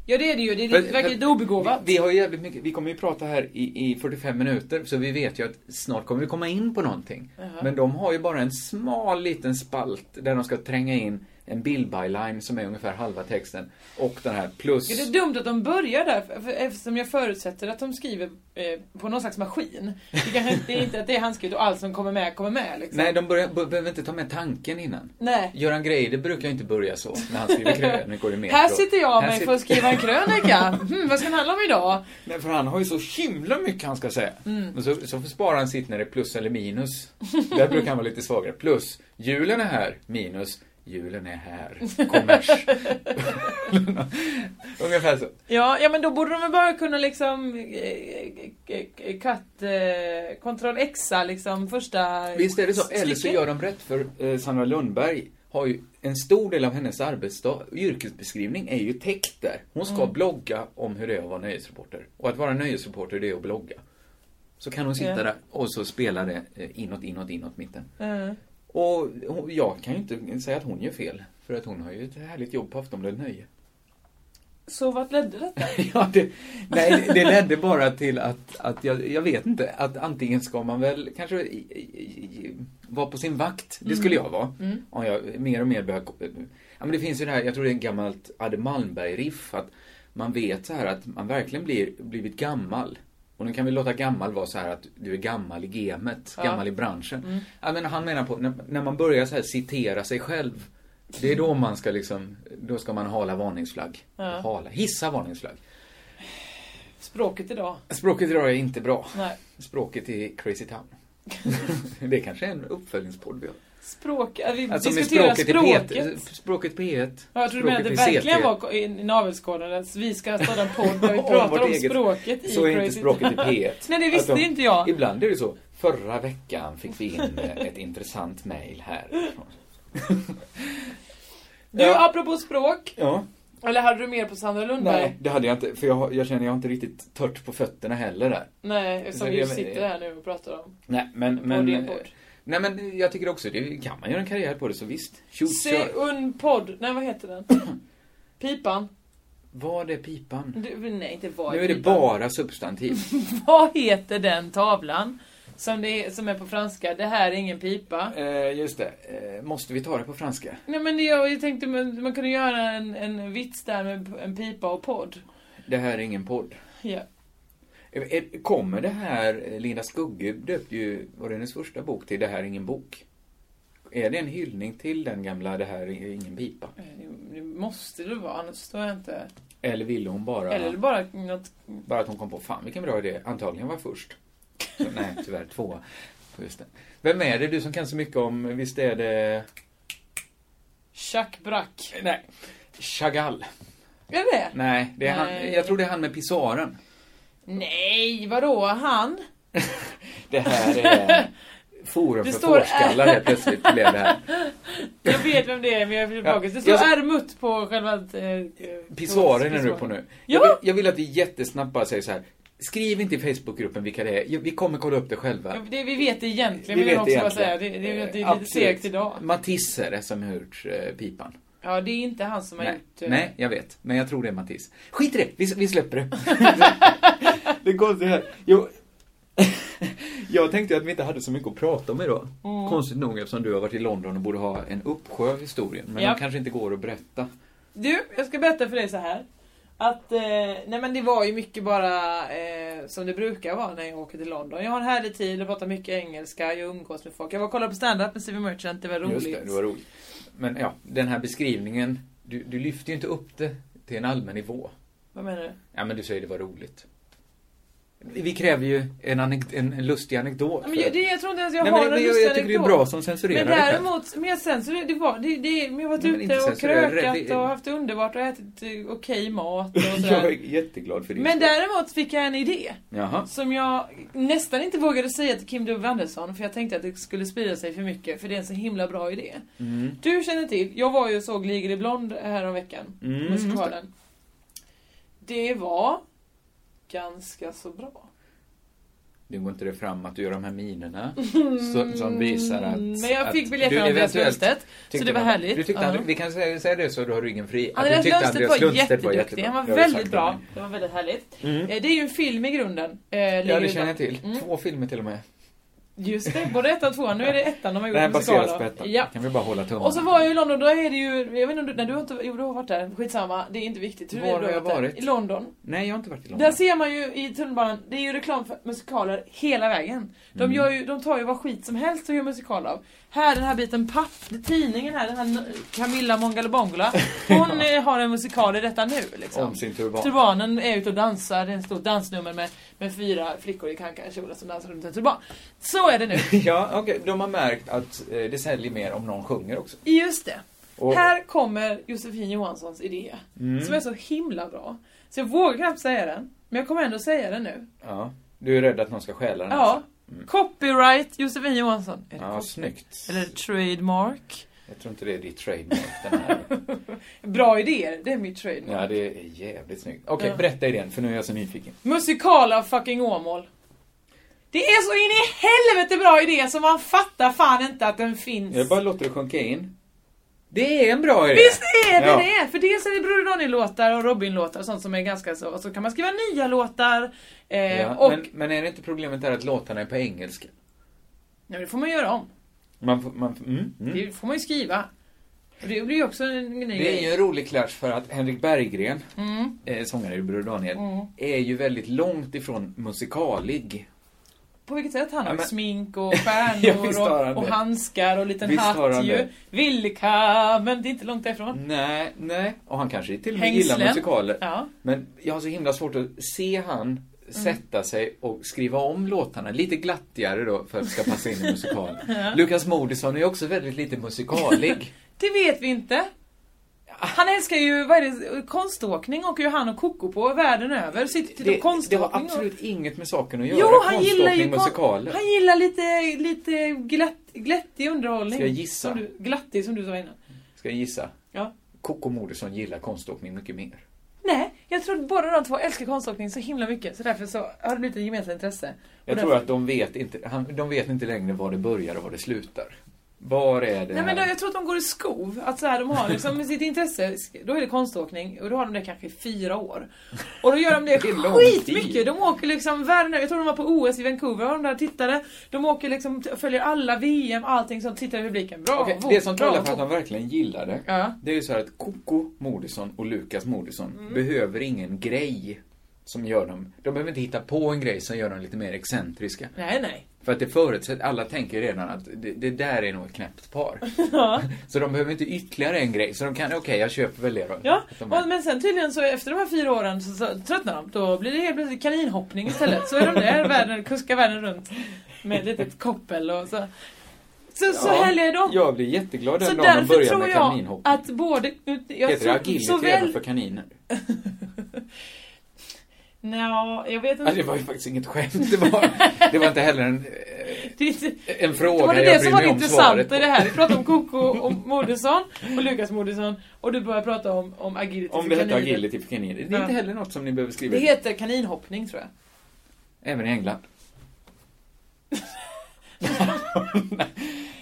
E: Ja det är det ju, det, är,
D: Men-
E: det verkar
D: men-
E: lite obegåvat.
D: Vi, vi har ju jävligt mycket, vi kommer ju prata här i, i 45 minuter, så vi vet ju att snart kommer vi komma in på någonting. Men de har ju bara en smal liten spalt där de ska tränga in en bildbyline som är ungefär halva texten och den här plus...
E: Ja, Det är dumt att de börjar där, för- för- eftersom jag förutsätter att de skriver eh, på någon slags maskin. Det kanske inte det är inte att det är handskrivet och allt som kommer med kommer med liksom.
D: Nej, de börjar, be- behöver inte ta med tanken innan.
E: Nej.
D: Göran Greider brukar ju inte börja så när han skriver krönikor i Metro.
E: Här sitter jag
D: Här
E: med
D: sit-
E: för att skriva en krönika. Hmm, vad ska den handla om idag?
D: Nej, för han har ju så himla mycket han ska säga. Men så, så sparar han sitt när det är plus eller minus. Där brukar han vara lite svagare. Plus, julen är här. Minus, julen är här. Kommers. Ungefär så.
E: Ja, ja men då borde de väl bara kunna liksom eh, eh, eh, cut, eh, kontroll xa liksom första
D: Visst är det så. Eller så
E: stycket.
D: gör de rätt för eh, Sandra Lundberg har ju en stor del av hennes arbetsdag, yrkesbeskrivning, är ju täckt där. Hon ska blogga om hur det är att vara nöjesreporter. Och att vara nöjesreporter, det är att blogga. Så kan hon sitta
E: Ja.
D: där och så spela det eh, inåt, inåt, inåt, mitten.
E: Mm.
D: Och hon- jag kan ju inte säga att hon gör fel. För att hon har ju ett härligt jobb på Aftonbladet Nöje.
E: Så vart ledde detta?
D: ja, det, nej, det ledde bara till att, att jag, jag vet inte, att antingen ska man väl kanske i- i- i- vara på sin vakt. Det skulle jag vara. Om jag mer och mer börjar... Ja, men det finns ju det här, jag tror det är en gammalt Adde Malmberg-riff att man vet så här att man verkligen blir, blivit gammal. Och nu kan vi låta gammal vara så här att du är gammal i gamet, gammal i branschen. Ja, men han menar på, när, när man börjar så här citera sig själv, det är då man ska liksom, då ska man hala varningsflagg. Hala, hissa varningsflagg.
E: Språket idag?
D: Språket idag är inte bra.
E: Nej.
D: Språket i Crazy Town. det kanske är en uppföljningspodd vi har.
E: Språk, äh, vi
D: Alltså med
E: diskuterar
D: språket,
E: språket.
D: i P1. Språket P1.
E: Ja, jag tror du menar att det
D: språket i
E: verkligen
D: CT.
E: var i i navelskåden, att vi ska starta en podd där vi
D: Om
E: pratar
D: vårt
E: om
D: eget.
E: språket i
D: Så är inte
E: Crazy
D: språket i
E: Town.
D: P1.
E: Nej, det
D: Att
E: visste
D: de-
E: inte jag.
D: Ibland är det så. Förra veckan fick vi in eh, ett intressant mejl här.
E: Du,
D: Ja.
E: apropå språk.
D: Ja,
E: Eller hade du mer på Sandra Lundberg?
D: nej,
E: Nej.
D: det hade jag inte. För jag, jag känner jag har inte riktigt tört på fötterna heller där.
E: Nej, som
D: Men
E: vi ju
D: det-
E: sitter här nu och pratar om.
D: Nej, men... men
E: din podd.
D: nej, men jag tycker också det. Kan man göra en karriär på det så visst. Shoot,
E: Se
D: kör.
E: un podd. Nej, vad heter den? Pipan?
D: Var det pipan?
E: Du, nej, inte vad
D: Nu är det
E: pipan.
D: bara substantiv.
E: Vad heter den tavlan? Som, det är, som är på franska, det här är ingen pipa.
D: Eh, just det. Eh, måste vi ta det på franska?
E: Nej men jag, jag tänkte man, man kunde göra en, en vits där med en pipa och podd.
D: Det här är ingen podd.
E: Ja.
D: Eh, eh, Kommer det här, eh, Linda Skugge döpte ju, var det hennes första bok till Det här är ingen bok? Är det en hyllning till den gamla Det här är ingen pipa?
E: Det, det måste det vara, annars förstår jag inte.
D: Eller ville hon bara,
E: Eller bara något...
D: bara att hon kom på, fan vilken bra idé, antagligen var jag först. Så, nej, tyvärr tvåa. Just det. Vem är det du som kan så mycket om, visst är det,
E: Chuck Brack.
D: nej, Chagall?
E: Är det det?
D: Nej, det är han,
E: Nej.
D: jag tror det är han med pissoaren.
E: Nej, vadå? Han?
D: Det här är forum
E: Det
D: för
E: står-
D: fårskallar helt plötsligt blev det här.
E: Jag vet vem det är, men jag vill
D: Ja.
E: tillbaka. Det står
D: Jag-
E: ärmut på själva... Eh,
D: Pissoaren är du på nu. Jag,
E: Ja!
D: vill, jag vill att vi jättesnabbt säger så här. Skriv inte i Facebookgruppen vilka det är. Vi kommer kolla upp det själva.
E: Ja, Det, vi vet det egentligen,
D: Vi
E: vill jag
D: vet
E: också bara
D: egentligen.
E: säga. Det, det, det, det är
D: Absolut.
E: lite segt idag.
D: Matisse är det som har gjort eh, pipan.
E: Ja, det är inte han som har
D: Nej,
E: gjort... eh,
D: nej, jag vet. Men jag tror det är Matisse. Skit i det! Vi, vi släpper det. det går så här. Jo. Jag tänkte att vi inte hade så mycket att prata om idag.
E: Mm.
D: Konstigt nog eftersom du har varit i London och borde ha en uppsjö av historier. Men
E: Ja.
D: de kanske inte går att berätta.
E: Du, jag ska berätta för dig så här. Att, eh, nej men det var ju mycket bara eh, som det brukar vara när jag åker till London. Jag har en härlig tid, jag pratar mycket engelska, jag umgås med folk. Jag var och kollade på stand-up med Steven Merchant, det var roligt.
D: Just det, det var roligt. Men ja, den här beskrivningen. Du, du lyfte ju inte upp det till en allmän nivå.
E: Vad menar du?
D: Ja, men du säger det var roligt. Vi kräver ju en, anek- en, en lustig anekdot.
E: Ja, Men
D: för-
E: jag, det, jag tror inte ens jag
D: Nej,
E: har
D: men det-
E: en
D: jag- jag
E: lustig
D: tycker det är
E: anekdot.
D: bra som censurerar
E: Men
D: det här.
E: däremot, men sen så det, det var, det, det, men jag har varit
D: Nej, men inte
E: ute och
D: censurerar, det-
E: krökat
D: det-
E: och haft det underbart och ätit eh, okej mat och
D: Jag är
E: sådär.
D: jätteglad för det.
E: Men däremot fick jag en idé.
D: Jaha.
E: Som jag nästan inte vågade säga till Kim W Andersson för jag tänkte att det skulle sprida sig för mycket för det är en så himla bra idé. Du känner till, jag var ju och såg Ligger i blond häromveckan.
D: Mm, just
E: musikalen. Det var ganska så bra.
D: Nu går inte det fram att du gör de här minerna så, som visar att...
E: Mm, Men jag fick
D: att
E: biljett
D: du
E: från Andreas
D: eventuellt
E: Lundstedt. Så
D: tyckte
E: det var
D: man-
E: härligt.
D: Du tyckte
E: Ja.
D: Andre- vi kan säga, säga det så du har ryggen fri. att du
E: Andreas
D: tyckte
E: Lundstedt var
D: Andreas Lundstedt
E: jätteduktig.
D: var
E: Han var
D: Jag har ju
E: väldigt
D: sagt
E: bra.
D: det. Mm.
E: Det var väldigt härligt. Eh, Det är ju en film i grunden. eh, Ligger Mm.
D: Ja,
E: i
D: det känner jag
E: blond.
D: till. Två filmer till och med.
E: Just det, både ettan och tvåan. Nu är det ettan de har gjort
D: Det här
E: musikal
D: baseras
E: av.
D: på ettan.
E: Ja.
D: Kan vi bara hålla tummarna.
E: Och så var jag i London, då är det ju, jag vet inte om du, nej, du har inte, jo du har varit där, skitsamma, det är inte viktigt.
D: Var har
E: du
D: jag
E: där.
D: varit?
E: I London.
D: Nej, jag har inte varit i
E: Där
D: London.
E: ser man ju i tunnelbanan, det är ju reklam för musikaler hela vägen. De,
D: Mm.
E: gör ju, de tar ju vad skit som helst och gör musikal av. Här, den här biten papp, tidningen här, den här n- Camilla Mongalobongola, hon eh, har en musikal i detta nu liksom.
D: Om sin turban.
E: Turbanen är ute och dansar, det är en stor dansnummer med, med fyra flickor i kankankjolar som dansar runt en turban. Så är det nu.
D: Ja, okej. De har märkt att eh, det säljer mer om någon sjunger också.
E: Just det.
D: Och- Mm.
E: Här kommer Josefin Johanssons idé. Som är så himla bra. Så jag vågar knappt säga den. Men jag kommer ändå säga den nu.
D: Ja. Du är rädd att någon ska stjäla den?
E: Ja. Copyright Josefin Johansson. Är det
D: Alltså, mm. Ja,
E: copy-
D: snyggt.
E: Eller trademark.
D: Jag tror inte det är ditt trademark den här.
E: Bra idéer, det är mitt trademark.
D: Ja, det är jävligt snyggt. Okej, berätta idén, för nu är jag så nyfiken.
E: Musikal av fucking Åmål. Det är så in i helvete bra idé som man fattar fan inte att den finns.
D: Jag bara låter det sjunka in. Det är en bra idé!
E: Visst är det
D: Ja.
E: det! För dels är det Broder Ronny-låtar och Robin-låtar och sånt som är ganska så. Och så kan man skriva nya låtar. Eh,
D: Ja,
E: och...
D: men, men är det inte problemet där att låtarna är på engelska?
E: Nej, det får man göra om.
D: Man, får- man, får- mm, mm.
E: Det får man ju skriva. Och det blir ju också en ny
D: Det är ju
E: grej.
D: en rolig clash för att Henrik Berggren, eh, sångare i Broder Daniel, är ju väldigt långt ifrån musikalig.
E: På vilket sätt? Han har
D: Ja, men-
E: smink och
D: Ja,
E: stjärnor
D: visst har han
E: och, och
D: det.
E: handskar och liten
D: Visst har
E: hatt
D: han
E: ju.
D: det. Mm.
E: Vilka, men det är inte långt därifrån.
D: Nej, nej. Och han kanske till och med
E: Hängslen.
D: gillar musikaler.
E: Ja.
D: Men jag har så himla svårt att se han
E: Mm.
D: sätta sig och skriva om låtarna lite glattigare då för att det ska passa in i musikal. Lukas Moodysson är ju också väldigt lite musikalig.
E: Det vet vi inte. Han älskar ju, vad är det, konståkning åker ju han och Koko på världen över. Sitter till
D: Det,
E: och
D: det
E: konståkning
D: har
E: och-
D: absolut inget med saken att göra.
E: Jo, han gillar ju
D: Konståkning, musikaler.
E: Han gillar lite, lite glatt, glättig underhållning.
D: Ska jag gissa?
E: Som du, glattig som du sa innan.
D: Ska jag gissa?
E: Ja.
D: Koko Moodysson gillar konståkning mycket mer.
E: Nej, jag tror att båda de två älskar konståkning så himla mycket så därför så har det blivit ett gemensamt intresse.
D: Jag
E: Och
D: tror
E: därför-
D: att de vet, inte, han, de vet inte längre var det börjar och var det slutar. Var är det
E: Nej men då,
D: här?
E: jag tror att de går i skov. Att så här, de har liksom sitt intresse, då är det konståkning och då har de det kanske i fyra år. Och då gör de det,
D: Det är lång
E: skitmycket.
D: tid.
E: De åker liksom världen över. Jag tror de var på OS i Vancouver och de där tittade. De åker liksom, t- följer alla VM, allting som tittar i publiken. Bra,
D: Okej,
E: våg,
D: det som
E: bra,
D: talar för att
E: våg.
D: de verkligen gillar det,
E: Ja. Mm.
D: det är ju så här att Koko Moodysson och Lukas Moodysson behöver ingen grej som gör dem... De behöver inte hitta på en grej som gör dem lite mer excentriska.
E: Nej nej.
D: För att det förutsätter, alla tänker redan att det, det där är nog ett knäppt par. så de behöver inte ytterligare en grej, så de kan, okej jag köper väl det då.
E: Ja,
D: Att de är-
E: och, men sen tydligen så efter de här fyra åren så, så tröttnar de. Då blir det helt plötsligt kaninhoppning istället. Så är de där, världen, kuskar världen runt med ett litet koppel och så. Så, så
D: Ja,
E: härliga är de.
D: Jag blir jätteglad
E: så
D: den dagen de
E: därför
D: börjar
E: tror
D: med
E: jag
D: kaninhoppning.
E: att både... Jag
D: Heter det
E: tror,
D: agility även
E: såväl,
D: för kaniner?
E: Nja, jag vet
D: Ja, det
E: inte.
D: var ju faktiskt inget skämt. Det var, det var inte heller en, eh,
E: Det, är inte-
D: en fråga
E: det var det,
D: jag
E: det
D: bryr
E: som var
D: mig
E: det
D: om svaret
E: intressanta
D: på.
E: i det här. Vi pratade om Koko och Moodysson och Lukas Moodysson och du börjar prata om, om agility
D: Om
E: för
D: det hette
E: kaniner.
D: agility för kaniner. Det är
E: Ja.
D: inte heller något som ni behöver skriva
E: Det
D: ut.
E: heter kaninhoppning tror jag.
D: Även i England.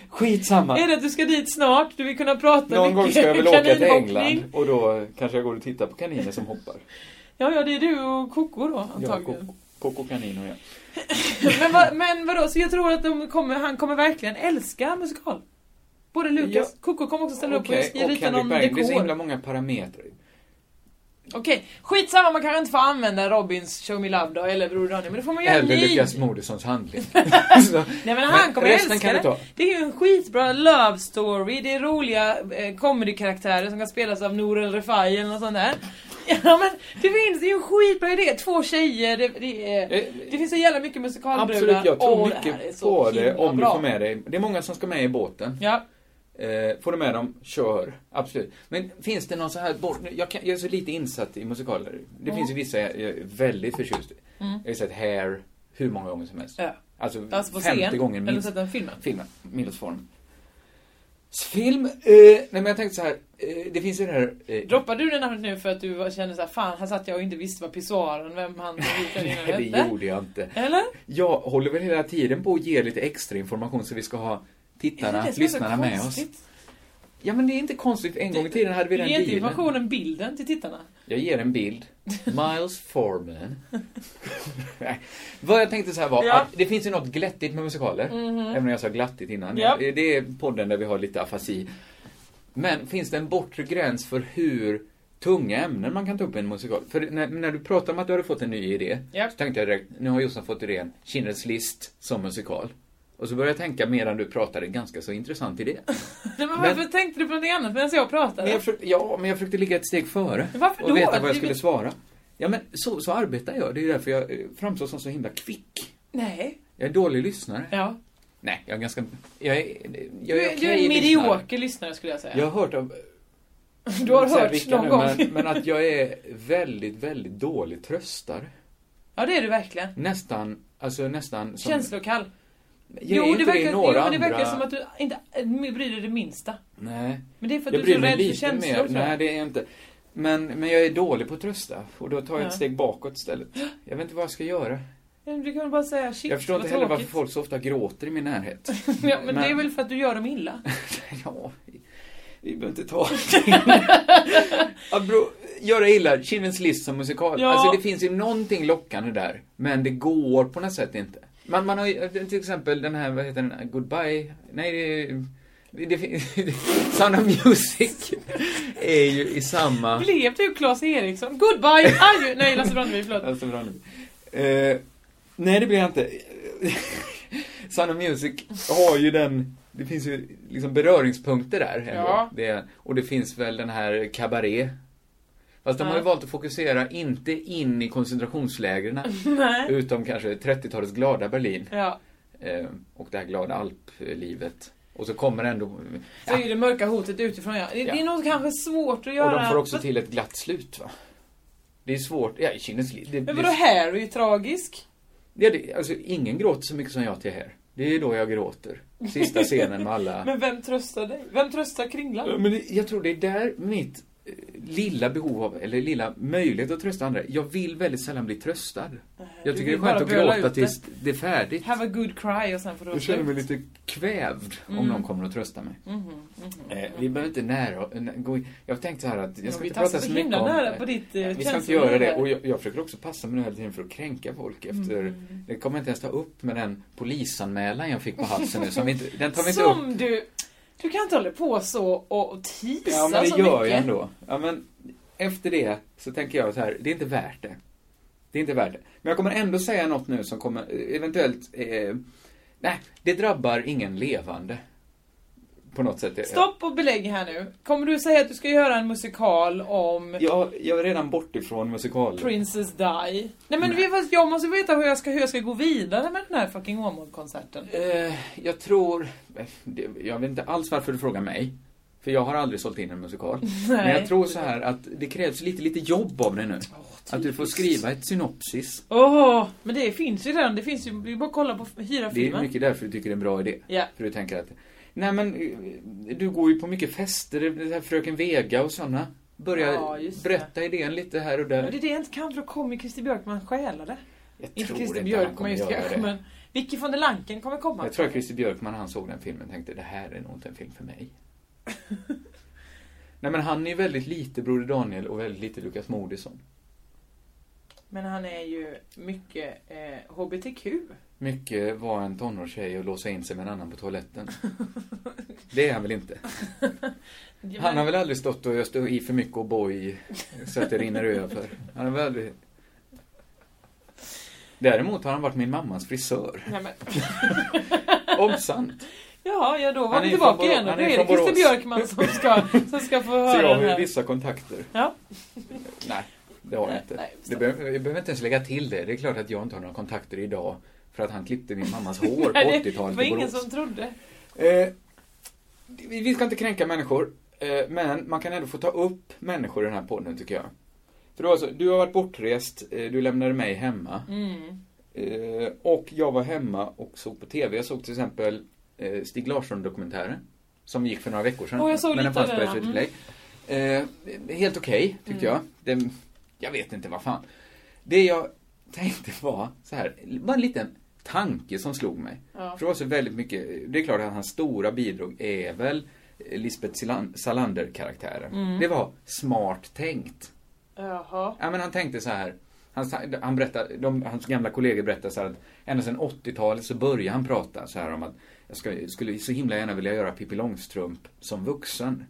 D: Skitsamma.
E: Är det att du ska dit snart? Du vill kunna prata
D: Någon gång ska jag väl åka till
E: kaninhoppning?
D: England och då kanske jag går och tittar på kaniner som hoppar.
E: Ja, ja, det är du och Koko då
D: Jag
E: antagligen.
D: och- Coco Kanin och jag.
E: Men, vad, men vadå, så jag tror att de kommer, han kommer verkligen älska musikal? Både Lukas,
D: Ja.
E: Coco kommer också ställa
D: Okej,
E: upp och
D: och
E: rita
D: Henrik
E: någon
D: Berg. Det är så himla
E: dekor.
D: många parametrar.
E: Okej, skitsamma man kanske inte får använda Robins Show Me Love då, eller Broder Ronny, men då får man göra en
D: Eller
E: ny.
D: Lukas Moodyssons handling. Så-
E: Nej men han
D: Men
E: kommer
D: resten
E: älska
D: kan du
E: det.
D: ta.
E: Det är ju en skitbra love story, det är roliga eh, comedy-karaktärer som kan spelas av Nour El Refai eller något sånt där. Ja men det finns, det är ju en skitbra idé. Två tjejer, det, det, är,
D: Eh,
E: det finns så jävla mycket musikalbrudar.
D: Absolut, jag tror
E: Åh, det här är
D: mycket
E: så
D: på det
E: himla
D: om du
E: bra.
D: får med dig. Det är många som ska med i båten.
E: Ja.
D: Eh, får du med dem, kör. Absolut. Men finns det någon så här bort... Jag, kan, jag är så lite insatt i musikaler. Det finns ju vissa jag jag är väldigt förtjust i. Jag har sett Hair hur många gånger som helst.
E: Mm. Ja.
D: Alltså,
E: Alltså på
D: 50
E: scen,
D: gånger
E: eller
D: minst.
E: sett den filmen.
D: Filmen, Middlesform. Film? Eh, nej men jag tänkte så här. Eh, det finns ju det här... Eh,
E: Droppade du det namnet nu för att du var- kände såhär, fan här satt jag och inte visste vad pissoaren, vem han som
D: Nej,
E: hette?
D: det gjorde jag inte.
E: Eller?
D: Jag håller väl hela tiden på att ge lite extra information så vi ska ha tittarna,
E: Det är så
D: lyssnarna med oss.
E: konstigt.
D: Ja men det är inte konstigt, en gång i tiden hade vi
E: Du
D: den
E: ger inte
D: dealen.
E: informationen bilden till tittarna.
D: Jag ger en bild. Miles Forman. Nej. Vad jag tänkte så här var
E: Ja. Mhm.
D: att det finns ju något glättigt med musikaler. Även om jag sa glattigt innan.
E: Ja.
D: Det det är podden där vi har lite afasi. Men finns det en bortre gräns för hur tunga ämnen man kan ta upp i en musikal? För när, när du pratade om att du hade fått en ny idé,
E: Ja.
D: så tänkte jag direkt, nu har Jossan fått idén Kindreds list som musikal. Och så började jag tänka medan du pratade, ganska så intressant idé.
E: Nej, men varför tänkte du på något annat medan jag pratade?
D: Men jag försökte, ja, men jag försökte ligga ett steg före.
E: Men varför
D: och
E: då?
D: veta vad jag
E: Du
D: skulle
E: vet-
D: svara. Ja, men så, så arbetar jag. Det är ju därför jag eh, framstår som så himla kvick.
E: Nej.
D: Jag är dålig lyssnare.
E: Ja.
D: Nej, jag är ganska... Jag är, jag är,
E: Du, du är
D: okej
E: en
D: lyssnare.
E: medioker lyssnare skulle jag säga.
D: Jag har hört av...
E: Du
D: jag vill
E: har
D: inte säga
E: hört
D: vilka
E: någon
D: nu,
E: gång.
D: Men, men att jag är väldigt, väldigt dålig tröstare.
E: Ja det är du verkligen.
D: Nästan, alltså nästan som...
E: Känslokall.
D: jag är
E: Jo,
D: inte
E: det
D: det
E: verkar,
D: i några
E: jo men det verkar
D: andra...
E: som att du inte äh, bryr dig det minsta.
D: Nej.
E: Men det är för
D: Jag
E: att du är
D: bryr
E: så
D: mig
E: rädd för
D: lite
E: känslor.
D: mer.
E: tror jag.
D: Nej, det är jag inte. Men, men jag är dålig på att trösta. Och då tar jag
E: Ja.
D: ett steg bakåt istället. Jag vet inte vad jag ska göra.
E: Men Du kan väl bara säga shit
D: Jag förstår
E: vad
D: inte heller varför
E: tråkigt.
D: folk så ofta gråter i min närhet.
E: ja, men, det är
D: men-
E: väl för att du gör dem illa.
D: ja, vi, vi behöver inte ta ja, bro, Göra illa, Kindreds list som musikal.
E: Ja.
D: Alltså det finns ju någonting lockande där. Men det går på något sätt inte. Man, man har ju till exempel den här, vad heter den, Goodbye? Nej, det är... Det, finns- Sound of Music är ju i samma...
E: Blev du Claes Eriksson? Goodbye! Adjö! Nej Lasse Brandeby, förlåt.
D: Alltså bra nu. Eh, nej, det blir jag inte. Sound of Music har ju den, det finns ju liksom beröringspunkter där. ändå.
E: Ja.
D: Det, och det finns väl den här Cabaret. Fast de har ju
E: Ja.
D: valt att fokusera inte in i koncentrationslägren,
E: Nej.
D: utom kanske 30-talets glada Berlin.
E: Ja.
D: Eh, och det här glada alplivet. Och så kommer ändå...
E: Så är ju det mörka hotet utifrån ja. Det, det är
D: Ja.
E: nog kanske svårt att
D: Och
E: göra...
D: de får också till ett glatt slut, va? Det är svårt. Ja, i Kindreds liv. Det-
E: Men
D: det-
E: vadå här är ju tragisk?
D: Ja, det, alltså ingen gråter så mycket som jag till här. Det är då jag gråter. Sista scenen med alla.
E: Men vem tröstar dig? Vem tröstar Kringlan?
D: Men det- jag tror det är där mitt eh, lilla behov av, eller lilla möjlighet att trösta andra. Jag vill väldigt sällan bli tröstad. Jag
E: du
D: tycker det är
E: vill bara
D: skönt att
E: böla
D: gråta
E: ut det.
D: tills det är färdigt.
E: Have a good cry och sen får du
D: Jag
E: åka
D: känner mig
E: ut.
D: lite kvävd
E: Mm.
D: om någon kommer att trösta mig.
E: Mm-hmm,
D: Eh, Vi behöver inte nära, nä- gå in. Jag tänkte så här att jag
E: Men
D: ska
E: vi
D: inte
E: tassar
D: prata
E: så
D: så mycket
E: himla
D: om...
E: nära på ditt, eh,
D: Nej, vi ska inte
E: känsloliv
D: göra det.
E: här.
D: Och jag, jag försöker också passa mig nu hela tiden för att kränka folk efter...
E: Mm.
D: Det kommer jag inte ens ta upp med den polisanmälan jag fick på halsen nu. Som vi inte, den tar vi inte upp.
E: Som du... Du kan inte hålla på så och och tisa
D: Ja, men det
E: så
D: gör
E: mycket.
D: jag ändå. Ja, men efter det så tänker jag så här, det är inte värt det. Det är inte värt det. Men jag kommer ändå säga något nu som kommer eh, eventuellt... Eh, nej, det drabbar ingen levande. På något sätt.
E: Stopp och belägg här nu. Kommer du säga att du ska göra en musikal om
D: Jag, jag är redan bortifrån musikal.
E: Princess Die? Nej men vet du vad, jag måste veta hur jag ska, hur jag ska gå vidare med den här fucking Åmål-konserten.
D: Eh, jag tror... eh, det- Jag vet inte alls varför du frågar mig. För jag har aldrig sålt in en musikal. Men jag tror så här att det krävs lite, lite jobb av dig nu. att du får skriva ett synopsis.
E: Åh, men det finns ju redan. Det finns ju, vi bara att kolla på hyra
D: Det är
E: filmen.
D: mycket därför du tycker det är en bra idé.
E: Ja.
D: För du tänker att... Nej men, eh, du går ju på mycket fester, det här Fröken Vega och sådana. Börja
E: Ja, just det.
D: berätta idén lite här och där.
E: Men det är det jag inte kan för då kommer ju Christer Björkman stjäla det.
D: jag
E: Inte
D: tror
E: Christer
D: han
E: Björkman
D: kommer
E: just
D: göra
E: kanske
D: det.
E: men Vicky von der Lanken kommer komma.
D: Jag tror att Christer Björkman, han såg den filmen, tänkte det här är nog inte en film för mig. Nej men han är ju väldigt lite Broder Daniel och väldigt lite Lukas Moodysson.
E: Men han är ju mycket eh, HBTQ.
D: Mycket var en tonårstjej och låsa in sig med en annan på toaletten. Det är han väl inte?
E: Ja,
D: Han har
E: men-
D: väl aldrig stått och öst i för mycket och boj så att det rinner över. Han har väl aldrig... Däremot har han varit min mammas frisör.
E: Nej, men...
D: Om sant.
E: Ja, ja, då var
D: Han
E: vi
D: är ju
E: tillbaka
D: från Borå-
E: igen. Då är
D: han är ju
E: det
D: från
E: Christer
D: Borås.
E: Björkman som ska, som ska få
D: Så jag
E: höra
D: har
E: den
D: ju
E: här.
D: vissa kontakter.
E: Ja.
D: Nej, det har jag
E: Nej,
D: inte.
E: nej,
D: det behöver, jag behöver inte ens lägga till det. Det är klart att jag inte har några kontakter idag för att han klippte min mammas hår på
E: Nej, det
D: 80-talet
E: var
D: i
E: ingen
D: Borås.
E: som trodde.
D: Eh, vi vi ska inte kränka människor, eh, men man kan ändå få ta upp människor i den här podden tycker jag. För då alltså, du har varit bortrest, eh, du lämnade mig hemma.
E: Mm.
D: Eh, och jag var hemma och såg på TV. Jag såg till exempel eh, Stig Larsson-dokumentären. Som gick för några veckor sedan.
E: Åh, jag såg
D: men den
E: lite
D: fanns
E: av
D: på
E: den,
D: SVT Play. Eh, helt okej, tyckte
E: Mm.
D: jag. Den, jag vet inte vad fan. Det jag tänkte var så här, bara en liten tanke som slog mig.
E: Ja.
D: För det var så väldigt mycket, det är klart att hans stora bidrag är väl Lisbeth Silan- Salander-karaktären.
E: Mm.
D: Det var smart tänkt.
E: Jaha.
D: Ja, men han tänkte så här. Han, han berättar, de, hans gamla kollegor berättar så här att ända sedan 80-talet så började han prata så här om att jag ska, skulle så himla gärna vilja göra Pippi Långstrump som vuxen.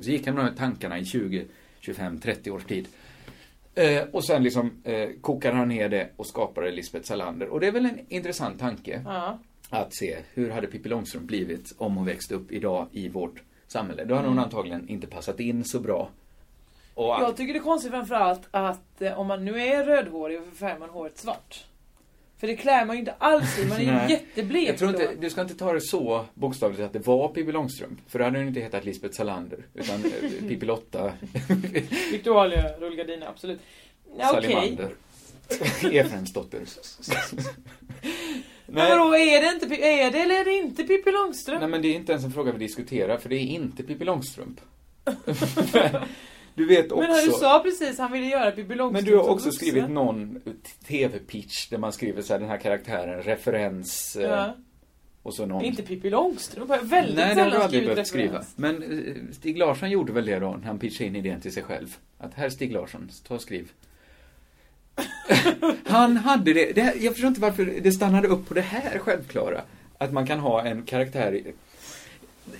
D: Så gick han med de här tankarna i 20, 25, 30 års tid. Eh, och sen liksom eh, kokade han ner det och skapade Lisbeth Salander. Och det är väl en intressant tanke
E: Ja.
D: att se hur hade Pippi Långstrump blivit om hon växte upp idag i vårt samhälle. Då hade hon antagligen inte passat in så bra. Och
E: Jag tycker det är konstigt framförallt att eh, om man nu är rödhårig, varför färgar man håret svart? För det klär man ju inte alls i, man är ju
D: Nej.
E: jätteblek
D: Jag tror
E: då.
D: inte, du ska inte ta det så bokstavligt att det var Pippi Långstrump. För då hade hon inte hetat Lisbeth Salander. Utan eh, Pippi Lotta
E: Victoria rullgardina, absolut. Ja, Okej.
D: Salimander. Efraimsdotter.
E: Men
D: Nej,
E: vadå, är det, inte, Pi- är det eller är det inte Pippi Långstrump?
D: nej, men det är inte ens en fråga vi diskuterar. För det är inte Pippi Långstrump. du vet också.
E: men han du sa precis, han ville göra Pippi
D: Men
E: Långstrump
D: du har
E: som
D: också
E: vuxen.
D: skrivit någon TV-pitch där man skriver så här, den här karaktären, referens eh,
E: Ja.
D: och så någon...
E: Inte Pippi Långstrump, jag har väldigt
D: Nej, det har
E: sällan
D: du aldrig
E: skrivit
D: behövt skriva. Men
E: referens.
D: eh, Stig Larsson gjorde väl det då, när han pitchade in idén till sig själv. Att här Stig Larsson, ta och skriv. han hade det, det här, jag förstår inte varför det stannade upp på det här självklara. Att man kan ha en karaktär i...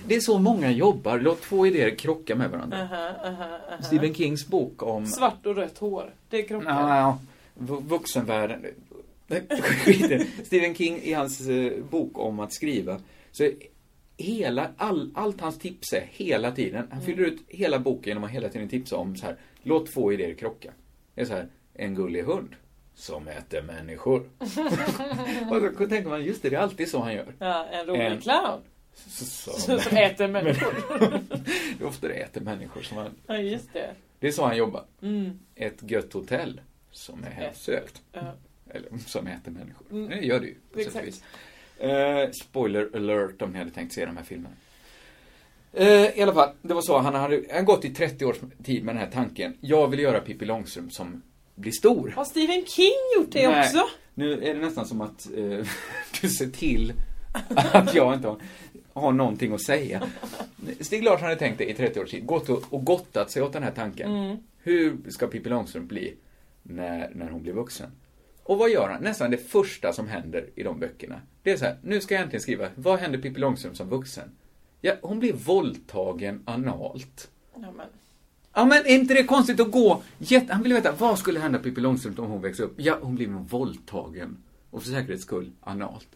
D: Det är så många jobbar, låt två idéer krocka med varandra.
E: Aha, aha, aha.
D: Stephen Kings bok om...
E: Svart och rött hår, det är kroppen.
D: Mm. Ja, vu- vuxenvärlden. Nej, skit i det. Stephen King i hans eh, bok om att skriva. Så är hela, all, allt hans tips är hela tiden. Han fyller ut hela boken genom att hela tiden tipsa om så här. Låt två idéer krocka. Det är så här. En gullig hund. Som äter människor. och då tänker man, just det, det är alltid så han gör.
E: Ja, en rolig
D: En-
E: clown
D: Som,
E: som äter människor.
D: det är ofta det äter människor som han...
E: Ja, just det.
D: Det är så han jobbar.
E: Mm.
D: Ett gött hotell. Som är hemsökt.
E: Ja.
D: Eller som äter människor.
E: Mm.
D: Det gör det ju. på sätt och
E: Exakt.
D: vis. Eh, spoiler alert om ni hade tänkt se de här filmerna. Eh, I alla fall, det var så. Han hade han gått i 30 års tid med den här tanken. Jag vill göra Pippi Långstrump som blir stor.
E: Har Stephen King gjort det
D: Nej.
E: också?
D: Nu är det nästan som att eh, du ser till att jag inte har, har någonting att säga. Stig Larsson hade tänkt det i 30 års tid. Gått och, och gottat sig åt den här tanken.
E: Mm.
D: Hur ska Pippi Långstrump bli när, när hon blir vuxen? Och vad gör han? Nästan det första som händer i de böckerna. Det är så här, nu ska jag äntligen skriva, vad händer Pippi Långstrump som vuxen? Ja, hon blir våldtagen analt.
E: Ja, men.
D: Ja men är inte det konstigt att gå? Jätte... Han ville veta, vad skulle hända Pippi Långstrump om hon växte upp? Ja, hon blev nog våldtagen. Och för säkerhets skull, analt.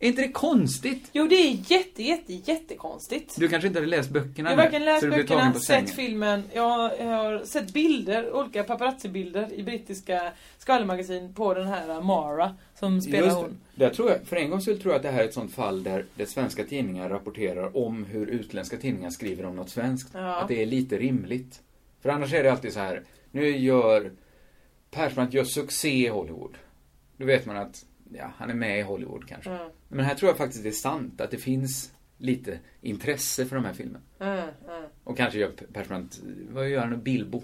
D: Är inte det konstigt?
E: Jo, det är jätte, jätte, jättekonstigt.
D: Du kanske inte hade läst böckerna
E: Jag har
D: nu,
E: varken läst
D: så du blev tagen
E: böckerna,
D: på
E: sett
D: sängen.
E: filmen, jag har sett bilder, olika paparazzi-bilder i brittiska skvallermagasin på den här Mara som spelar
D: Just det.
E: hon.
D: Där tror jag, för en gång skulle tror jag att det här är ett sånt fall där det svenska tidningar rapporterar om hur utländska tidningar skriver om något svenskt.
E: Ja.
D: Att det är lite rimligt. För annars är det alltid så här, nu gör Persbrandt gör succé i Hollywood. Då vet man att, ja, han är med i Hollywood kanske.
E: Mm.
D: Men här tror jag faktiskt det är sant, att det finns lite intresse för de här filmerna.
E: Mm, mm.
D: Och kanske gör Persbrandt, vad gör han nu, Bilbo?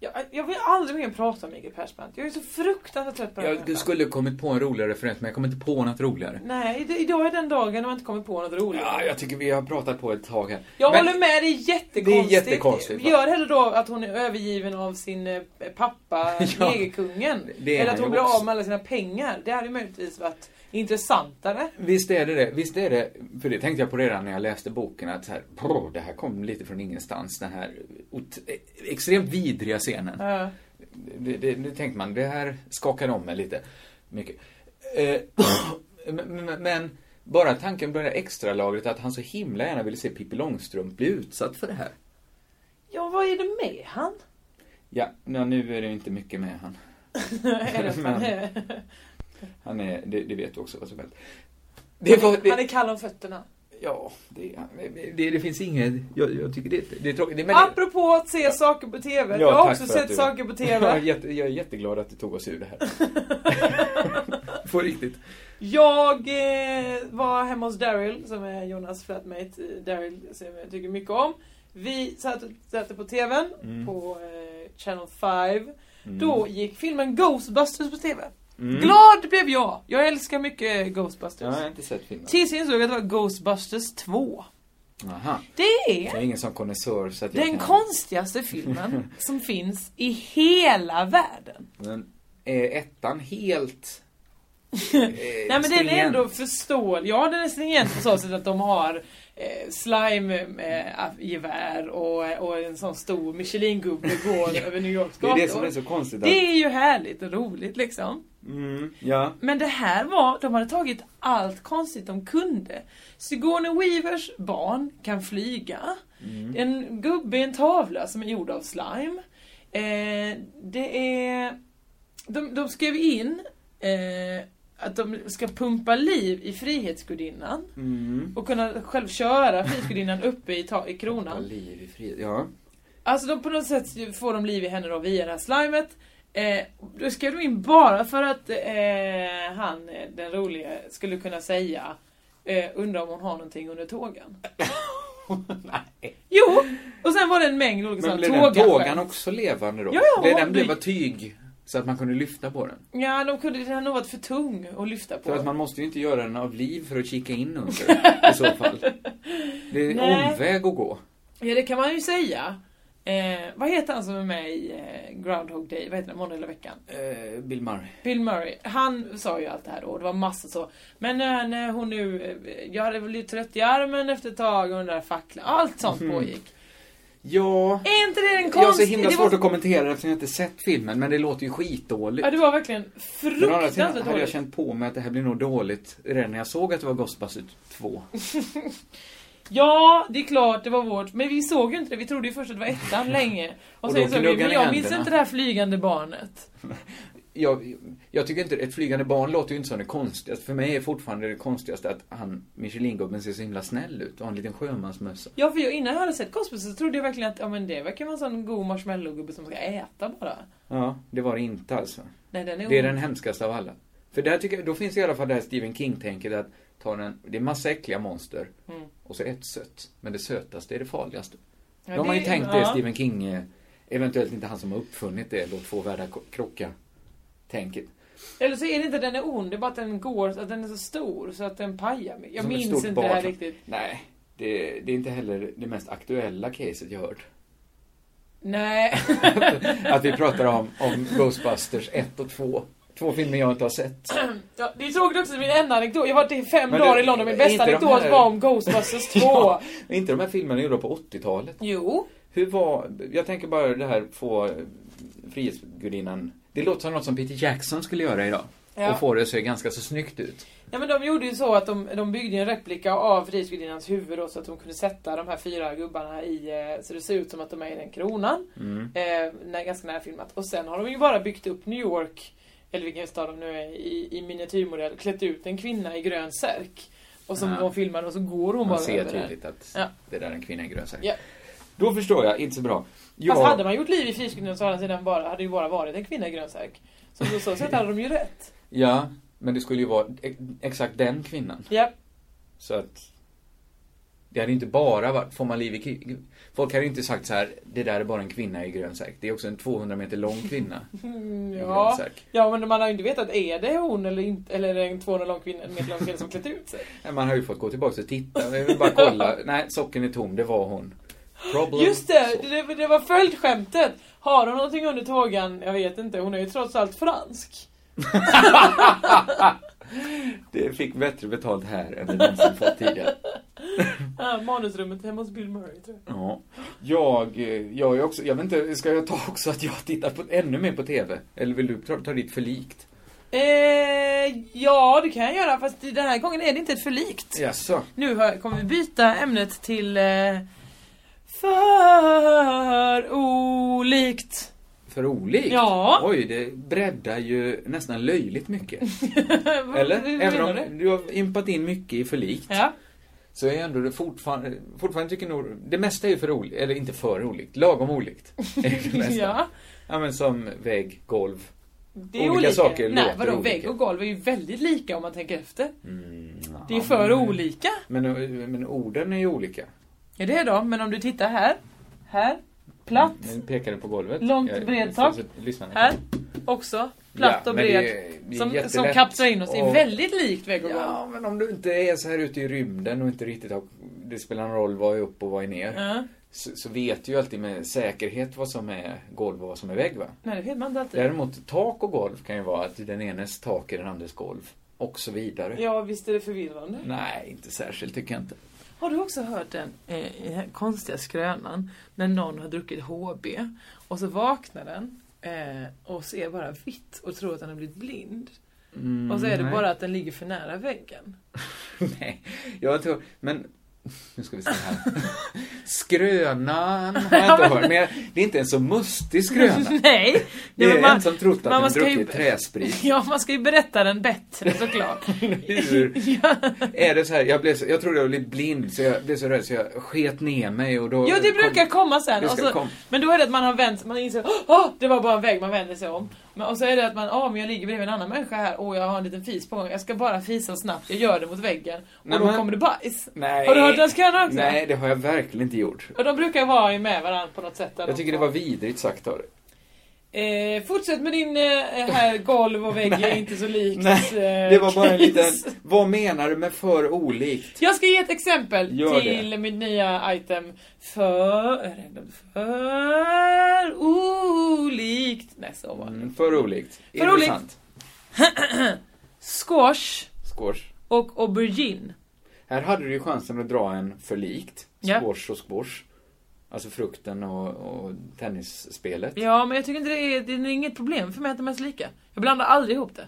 E: Jag, jag vill aldrig mer prata om Mikael Persbrandt. Jag är så fruktansvärt trött på den
D: Jag
E: människan.
D: skulle kommit på en roligare referens, men jag kommer inte på något roligare.
E: Nej, id- idag är den dagen när man inte kommer på något roligt.
D: Ja, jag tycker vi har pratat på ett tag här.
E: Jag
D: Men-
E: håller med, det är jättekonstigt.
D: Det är jättekonstigt, va?
E: Gör hellre då att hon är övergiven av sin eh, pappa,
D: Ja,
E: negerkungen.
D: det är
E: Eller att
D: han
E: hon
D: ju
E: blir
D: också.
E: av med alla sina pengar. Det hade möjligtvis varit intressantare.
D: Visst är det det. Visst är det. För det tänkte jag på redan när jag läste boken att så här, brr, det här kom lite från ingenstans. Den här ot- eh, extremt vidriga scenen.
E: Ja.
D: Det, det, det tänkte man, det här skakade om mig lite. Mycket. Eh, men, men- men bara tanken på det här extra lagret att han så himla gärna ville se Pippi Långstrump bli utsatt för det här.
E: Ja, vad är det med han?
D: Ja, ja, nu är det inte mycket med han.
E: är det att han, är,
D: Han är, det, det vet du också vad som helst. Det var, det,
E: han är kall om fötterna.
D: ja, det, det, det finns inget, jag, jag tycker det, det är tråkigt. Det, men det,
E: Apropå att se saker på TV.
D: Ja,
E: jag har
D: tack
E: också
D: för att
E: sett
D: du-
E: saker på
D: Jag är,
E: TV.
D: jätte, jag är jätteglad att du tog oss ur det här. På riktigt.
E: Jag eh, var hemma hos Daryl, som är Jonas flatmate. eh, Daryl som jag tycker mycket om. Vi satt, satt på TVn, på eh, Channel 5. Då gick filmen Ghostbusters på TV. Glad blev jag! Jag älskar mycket
D: Jag
E: Ghostbusters.
D: har inte sett filmen.
E: Tills jag insåg att det var Ghostbusters 2.
D: Aha.
E: Det
D: Jag
E: är
D: är ingen sån konnässör så att jag
E: den
D: kan...
E: konstigaste filmen som finns i hela världen.
D: Men är ettan helt... eh, Nej
E: Nej men den är ändå förståelig. Ja den är stringent på så sätt att de har eh, slime-gevär och, och en sån stor Michelin-gubbe går över New Yorks
D: Det
E: gator.
D: är det som är så konstigt. Att...
E: Det är ju härligt och roligt liksom.
D: Mm, ja.
E: Men det här var, de hade tagit allt konstigt de kunde. Sigourney Weavers barn kan flyga. En gubbe i en tavla som är gjord av slime. Eh, det är... De, de skrev in eh, att de ska pumpa liv i Frihetsgudinnan. Och kunna själv köra Frihetsgudinnan uppe i, ta- i
D: Ja,
E: kronan.
D: Liv i fred. Ja.
E: Alltså de på något sätt får de liv i henne då via det här slimet. Eh, då skrev de in bara för att eh, han, eh, den roliga, skulle kunna säga eh, undrar om hon har någonting under tågan.
D: Nej.
E: Jo! Och sen var det en mängd olika
D: Men
E: sådana
D: blev den tågan
E: tågan.
D: också levande då?
E: Ja, ja,
D: det,
E: du-
D: den blev av tyg så att man kunde lyfta på den.
E: Ja, de kunde, den hade nog varit för tung att lyfta på.
D: För att man måste ju inte göra den av liv för att kika in under i så fall. Det är en
E: Nej.
D: omväg att gå.
E: Ja, det kan man ju säga. Eh, vad heter han som är med i eh, Groundhog Day? Vad heter den? Måndag hela veckan?
D: Eh, Bill Murray.
E: Bill Murray, han sa ju allt det här då och det var massor så. Men när, när hon nu, eh, jag hade väl blivit trött i armen efter ett tag och den där facklan, allt sånt pågick.
D: Ja...
E: Är inte det en
D: Mhm. Jag har så
E: konstig...
D: himla
E: Eh, det
D: svårt
E: var,
D: att kommentera eftersom jag inte sett filmen, men det låter ju skitdåligt.
E: ja, det var verkligen
D: Men å andra sidan
E: fruktansvärt
D: hade jag
E: dåligt.
D: känt på mig att det här blir nog dåligt redan när jag såg att det var Ghostbusters 2.
E: Ja, det är klart, det var vårt. Men vi såg ju inte det, vi trodde ju först att det var ettan länge. Och,
D: Och
E: sen
D: då
E: såg vi,
D: gnuggade
E: men jag
D: händerna.
E: minns inte det här flygande barnet.
D: Jag, jag tycker inte, ett flygande barn låter ju inte som det konstigaste. För mig är fortfarande det konstigaste att han, Michelin-gubben ser så himla snäll ut och har en liten sjömansmössa.
E: Ja, för jag, innan jag hade sett Cosby så trodde jag verkligen att ja, men det verkar vara en sån god marshmallowgubbe som ska äta bara.
D: Ja, det var det inte alltså.
E: Nej, den är,
D: Det är den hemskaste av alla. För där tycker jag, då finns i alla fall det här Stephen King-tänket att ta den, det är massa äckliga monster
E: Mm.
D: och så ett sött. Men det sötaste är det farligaste.
E: Ja,
D: Då har man ju
E: det-
D: tänkt det,
E: ja.
D: Stephen King, eh, eventuellt inte han som har uppfunnit det, låt två världar ko- krocka, tänket.
E: Eller så är det inte att den är ond, det är bara att den går, att den är så stor så att den pajar mig. Jag
D: Som ett
E: minns
D: stort
E: inte
D: barn.
E: det här riktigt.
D: Nej, det, det är inte heller det mest aktuella caset jag hört.
E: Nej.
D: Att vi pratar om, om Ghostbusters 1 och 2. Två filmer jag inte har sett.
E: ja, det är tråkigt också, min enda anekdot. Jag har varit i fem
D: Men du,
E: dagar i London, min
D: är
E: bästa
D: inte de
E: anekdot
D: här-
E: var om Ghostbusters 2.
D: Ja, inte de här filmerna gjorda på 80-talet.
E: Jo.
D: Hur var, jag tänker bara det här få Frihetsgudinnan. Det låter som något som Peter Jackson skulle göra idag.
E: Ja.
D: Och få det att se ganska så snyggt ut.
E: Ja men de gjorde ju så att de, de byggde ju en replika av Risgudinnans huvud då, så att de kunde sätta de här fyra gubbarna i, eh, så det ser ut som att de är i den kronan.
D: Mm.
E: Eh, när, ganska nära filmat. Och sen har de ju bara byggt upp New York, eller vilken stad de nu är i, i miniatyrmodell, klätt ut en kvinna i grön särk. Och som
D: Ja.
E: de filmar och så går hon
D: Man
E: bara
D: ser
E: över där.
D: tydligt att
E: Ja.
D: det där är en kvinna i grön särk.
E: Ja.
D: Då förstår jag, inte så bra.
E: Fast
D: Jag-
E: hade man gjort liv i Frihetsgudinnan så hade, den bara, hade ju bara varit en kvinna i grön särk. Så på så sätt hade de ju rätt.
D: Ja, men det skulle ju vara e- exakt den kvinnan.
E: Ja.
D: Så att... Det hade inte bara varit, får man liv i krig? Folk hade inte sagt så här, det där är bara en kvinna i grön säck. Det är också en 200 meter lång kvinna. i grön
E: Ja.
D: säck.
E: ja, men man har ju inte vetat, är det hon eller inte? Eller är det en 200 lång kvinna, en meter lång kvinna som klätt ut sig?
D: Nej, Man har ju fått gå tillbaka och titta. Vi vill bara kolla. Nej, socken är tom. Det var hon. Problem.
E: Just det,
D: solved.
E: det, det- det var följdskämtet. Har hon någonting under tågan? Jag vet inte, hon är ju trots allt fransk.
D: Det fick bättre betalt här än det någonsin fått tidigare.
E: Ah, manusrummet hemma hos Bill Murray tror jag.
D: Ja. Jag, eh, jag är också, jag vet inte, ska jag ta också att jag tittar på, ännu mer på TV? Eller vill du ta, ta ditt förlikt?
E: Eh, ja, det kan jag göra fast den här gången är det inte ett förlikt.
D: Jaså?
E: Nu har- kommer vi byta ämnet till eh, för olikt.
D: För olikt?
E: Ja.
D: Oj, det breddar ju nästan löjligt mycket. Eller?
E: Hur
D: Även
E: menar
D: om du har impat in mycket i förlikt.
E: Ja.
D: Så är jag ändå det fortfarande, fortfarande tycker nog, det mesta är ju för olikt, eller inte för olikt, lagom olikt. Är det mesta.
E: ja.
D: ja men som vägg, golv.
E: Det är
D: Olika
E: olika.
D: saker
E: Nej,
D: låter
E: vadå,
D: olika.
E: vägg och golv är ju väldigt lika om man tänker efter.
D: Mm,
E: Det är
D: ja,
E: för
D: men-
E: olika.
D: Men, men orden är ju olika.
E: Ja, det är de, men om du tittar här, här, platt,
D: Nu pekar du på golvet.
E: Långt
D: Jag-
E: bredtak.
D: så- så- lyssna nu.
E: här, också, platt
D: Ja,
E: och
D: men
E: bred.
D: det är- det är
E: som, som
D: jättelätt
E: kapslar in oss. Det är
D: och-
E: väldigt likt vägg och golv.
D: Ja, men om du inte är så här ute i rymden och inte riktigt har... Det spelar någon roll vad är upp och vad är ner.
E: Ja.
D: Så, så vet du ju alltid med säkerhet vad som är golv och vad som är vägg, va?
E: Nej, det vet man inte alltid.
D: Däremot tak och golv kan ju vara att den enes tak är den andres golv. Och så vidare.
E: Ja, visst är det förvirrande.
D: Nej, inte särskilt tycker jag inte.
E: Har du också hört den eh, konstiga skrönan när någon har druckit HB och så vaknar den eh, och ser bara vitt och tror att den har blivit blind.
D: Mm,
E: och så är det
D: nej.
E: bara att den ligger för nära väggen.
D: Nej, jag tror... Men... Nu ska vi se här. Skrönan har jag inte hört. Men jag, det är inte en så mustig skröna.
E: Nej!
D: Det
E: men
D: är
E: man-
D: en som trott att
E: man
D: den
E: ska ju-
D: druckit träsprit.
E: Ja, man ska ju berätta den bättre såklart.
D: Hur är det så här, jag, blev så, jag trodde jag blev blind så jag blev så rädd så jag sket ner mig och då...
E: Jo, det brukar komma sen.
D: Det
E: Och
D: ska
E: så,
D: komma.
E: men då är det att man har vänt man inser åh, det var bara en vägg man vänder sig om. Men, och så är det att man, åh, men jag ligger bredvid en annan människa här och jag har en liten fis på gång. Jag ska bara fisa snabbt, jag gör det mot väggen. Och
D: Nej,
E: då
D: men-
E: kommer det bajs.
D: Nej.
E: Har du hört den skrönan också?
D: Nej, det har jag verkligen inte gjort.
E: Och de brukar vara med varandra på något sätt. där
D: Jag
E: de
D: tycker det
E: får-
D: var vidrigt sagt av dig.
E: Eh, fortsätt med din eh, här golv och vägg är inte så likt.
D: Nej,
E: eh,
D: det var bara en liten...
E: case.
D: Vad menar du med för olikt?
E: Jag ska ge ett exempel
D: Gör det.
E: till min nya item. För... För olikt. Nej, så var det.
D: Mm, för olikt.
E: För olikt.
D: Intressant.
E: Squash
D: Skårs.
E: och aubergine.
D: Här hade du ju chansen att dra en för likt.
E: Ja.
D: Skårs och skårs. Alltså frukten och, och tennisspelet.
E: Ja, men jag tycker inte det är, det är inget problem för mig att de är så lika. Jag blandar aldrig ihop det.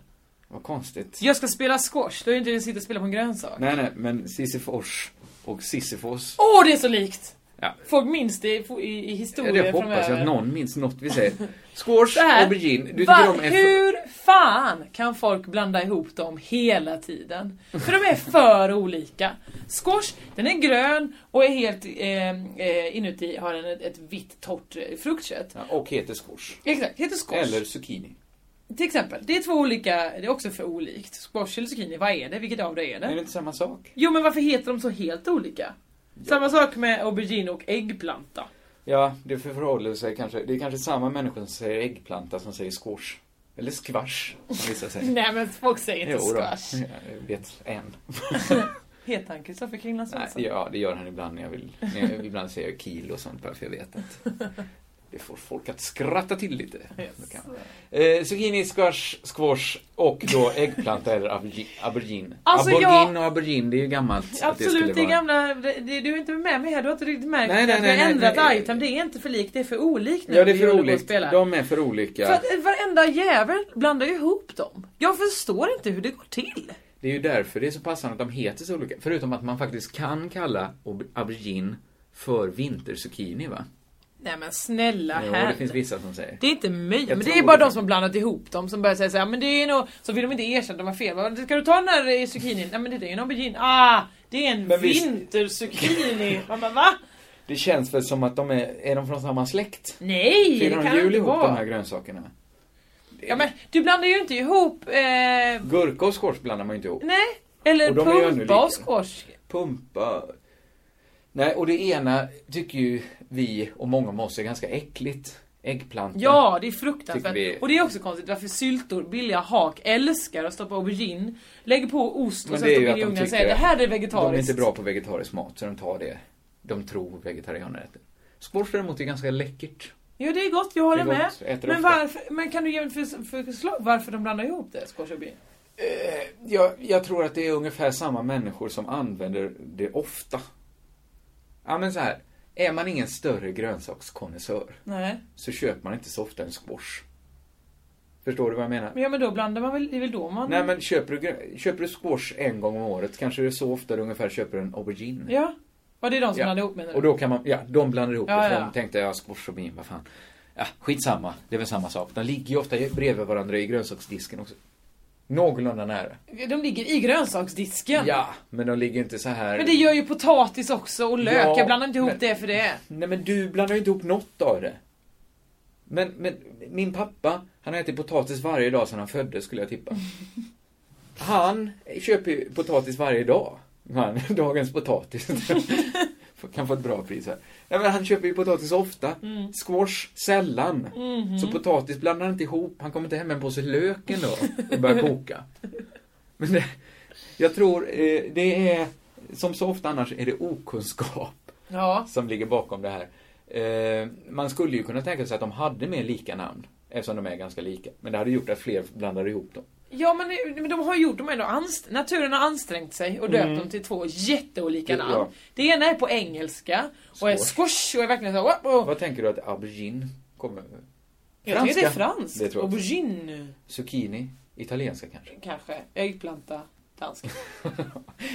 D: Vad konstigt.
E: Jag ska spela squash, då är det inte jag sitter och spelar på en grönsak.
D: Nej, nej, men Sisyfors och Sisyfos.
E: Åh, det är så likt!
D: Ja.
E: Folk minns det i, i, i
D: Ja,
E: historien
D: det hoppas jag att någon minns något vi säger. Squash,
E: Så här,
D: aubergine. Du
E: Äh, va-
D: tycker om en för...
E: Hur fan kan folk blanda ihop dem hela tiden? För de är för olika. Squash, den är grön och är helt eh, eh, inuti har den ett, ett vitt torrt eh, fruktkött.
D: Ja, Och heter squash.
E: Exakt, heter squash.
D: Eller zucchini.
E: Till exempel, det är två olika, det är också för olikt. Squash eller zucchini, vad är det? Vilket av det är
D: Är det
E: det?
D: inte samma sak?
E: Jo men varför heter de så helt olika? Samma sak med aubergine och äggplanta.
D: Ja, det förhåller sig kanske. Det är kanske samma människor som säger äggplanta som säger squash. Eller squash, som vissa säger.
E: Nej men folk säger inte
D: Jo då.
E: squash.
D: Jag vet en.
E: Heter han Kristoffer Kringland
D: Nej,
E: Svensson?
D: ja, det gör han ibland när jag vill. När jag, ibland säger jag kilo och sånt bara för jag vet att det får folk att skratta till lite. Då kan man. Eh, zucchini, squash, squash och då äggplanta eller aubergi- aubergine.
E: Alltså, jag-
D: aubergine och aubergine, det är ju gammalt. att skulle
E: Absolut, det är
D: vara-
E: gamla, det, det, du är inte med mig här, du har inte riktigt märkt
D: Nej, nej,
E: att vi
D: nej,
E: har
D: nej,
E: ändrat
D: nej.
E: item, det är inte för likt, det är för olikt nu.
D: Ja, det är
E: vi
D: för
E: håller på att
D: olika.
E: spela.
D: De är för
E: För
D: olika.
E: att eh, varenda jävel blandar ju ihop dem. Jag förstår inte hur det går till.
D: Det är ju därför det är så passande att de heter så olika. Förutom att man faktiskt kan kalla ob- aubergine för vinterzucchini, va?
E: Nej men snälla
D: Jo,
E: herre.
D: det finns vissa som säger.
E: Det är inte
D: Jag
E: möjligt. Men det
D: tror
E: är bara
D: det.
E: de som har blandat ihop dem som börjar säga såhär, men det är nog... Så vill de inte erkänna att de har fel. Bara, Ska du ta den här eh, zucchinin? Nej men det är ju en aubergine. Ah! Det är en
D: Men visst-
E: vinterzucchini. Man bara, va?
D: Det känns väl som att de är, är de från samma släkt?
E: Nej! Det
D: Firar de
E: kan
D: jul
E: inte
D: ihop de
E: vara.
D: här grönsakerna?
E: Ja men du blandar ju inte ihop... Eh,
D: Gurka och squash blandar man ju inte ihop.
E: Nej, eller
D: Och de är ju ännu
E: pumpa och
D: lika.
E: squash.
D: Pumpa... Nej, och det ena tycker ju vi och många av oss är ganska äckligt. Äggplanta.
E: Ja, det är
D: Tycker
E: fruktansvärt.
D: vi-
E: Och det är också konstigt varför syltor, billiga hak, älskar att stoppa aubergine, lägger på ost och
D: Men
E: sen
D: det är ju
E: stoppar
D: att
E: in i
D: de
E: ugnen och
D: tycker
E: säger det här är
D: de är
E: vegetariskt.
D: inte bra på vegetarisk mat, så de tar det. De tror vegetarianer äter. Squash däremot är ganska läckert.
E: Jo det är gott, jag håller
D: Det är
E: med.
D: gott, äter
E: Men,
D: ofta.
E: varför, men kan du ge mig för, för förslag varför de blandar ihop det, squash och aubergine?
D: Jag, jag tror att det är ungefär samma människor som använder det ofta. Ja, men så här. Är man ingen större grönsakskonnässör
E: Nej.
D: så köper man inte så ofta en squash. Förstår du vad jag menar?
E: Men ja men då blandar man väl, det är väl då man...
D: Nej men köper du, grö- köper du squash en gång om året kanske det är så ofta du ungefär köper en aubergine.
E: Ja. Ja det är de som
D: Ja.
E: blandar ihop menar du?
D: Och då kan man, ja, de blandar ihop
E: Ja,
D: det. För
E: ja.
D: de tänkte, ja, squash och bin, vad fan. Ja, skitsamma. Det är väl samma sak. De ligger ju ofta bredvid varandra i grönsaksdisken också. Någorlunda nära.
E: De ligger i grönsaksdisken.
D: Ja, men de ligger inte så här.
E: Men det gör ju potatis också och lök,
D: Ja,
E: jag blandar inte ihop
D: men-
E: det för det.
D: Nej, men du blandar ju inte ihop något av det. Men, men min pappa, han har ätit potatis varje dag sedan han föddes, skulle jag tippa. Han köper ju potatis varje dag. Han, dagens potatis. kan få ett bra pris här. Nej, men han köper ju potatis ofta. Squash sällan. Så potatis blandar han inte ihop. Han kommer inte hem med en påse lök en dag och börjar koka. Men det, jag tror eh, det är, som så ofta annars, är det okunskap
E: Ja.
D: som ligger bakom det här. Eh, man skulle ju kunna tänka sig att de hade mer lika namn, eftersom de är ganska lika. Men det hade gjort att fler blandade ihop dem.
E: Ja men, men de har gjort, de har ändå anst- naturen har ansträngt sig och döpt dem till två jätteolika
D: Mm. Ja.
E: namn. Det ena är på engelska och är
D: Squash.
E: squash och är verkligen så här, wow, wow.
D: Vad tänker du att aubergine kommer...
E: Jag tycker det är
D: franska?
E: franskt.
D: Det tror jag.
E: Aubergine
D: Zucchini? Italienska kanske?
E: kanske, äggplanta, dansk.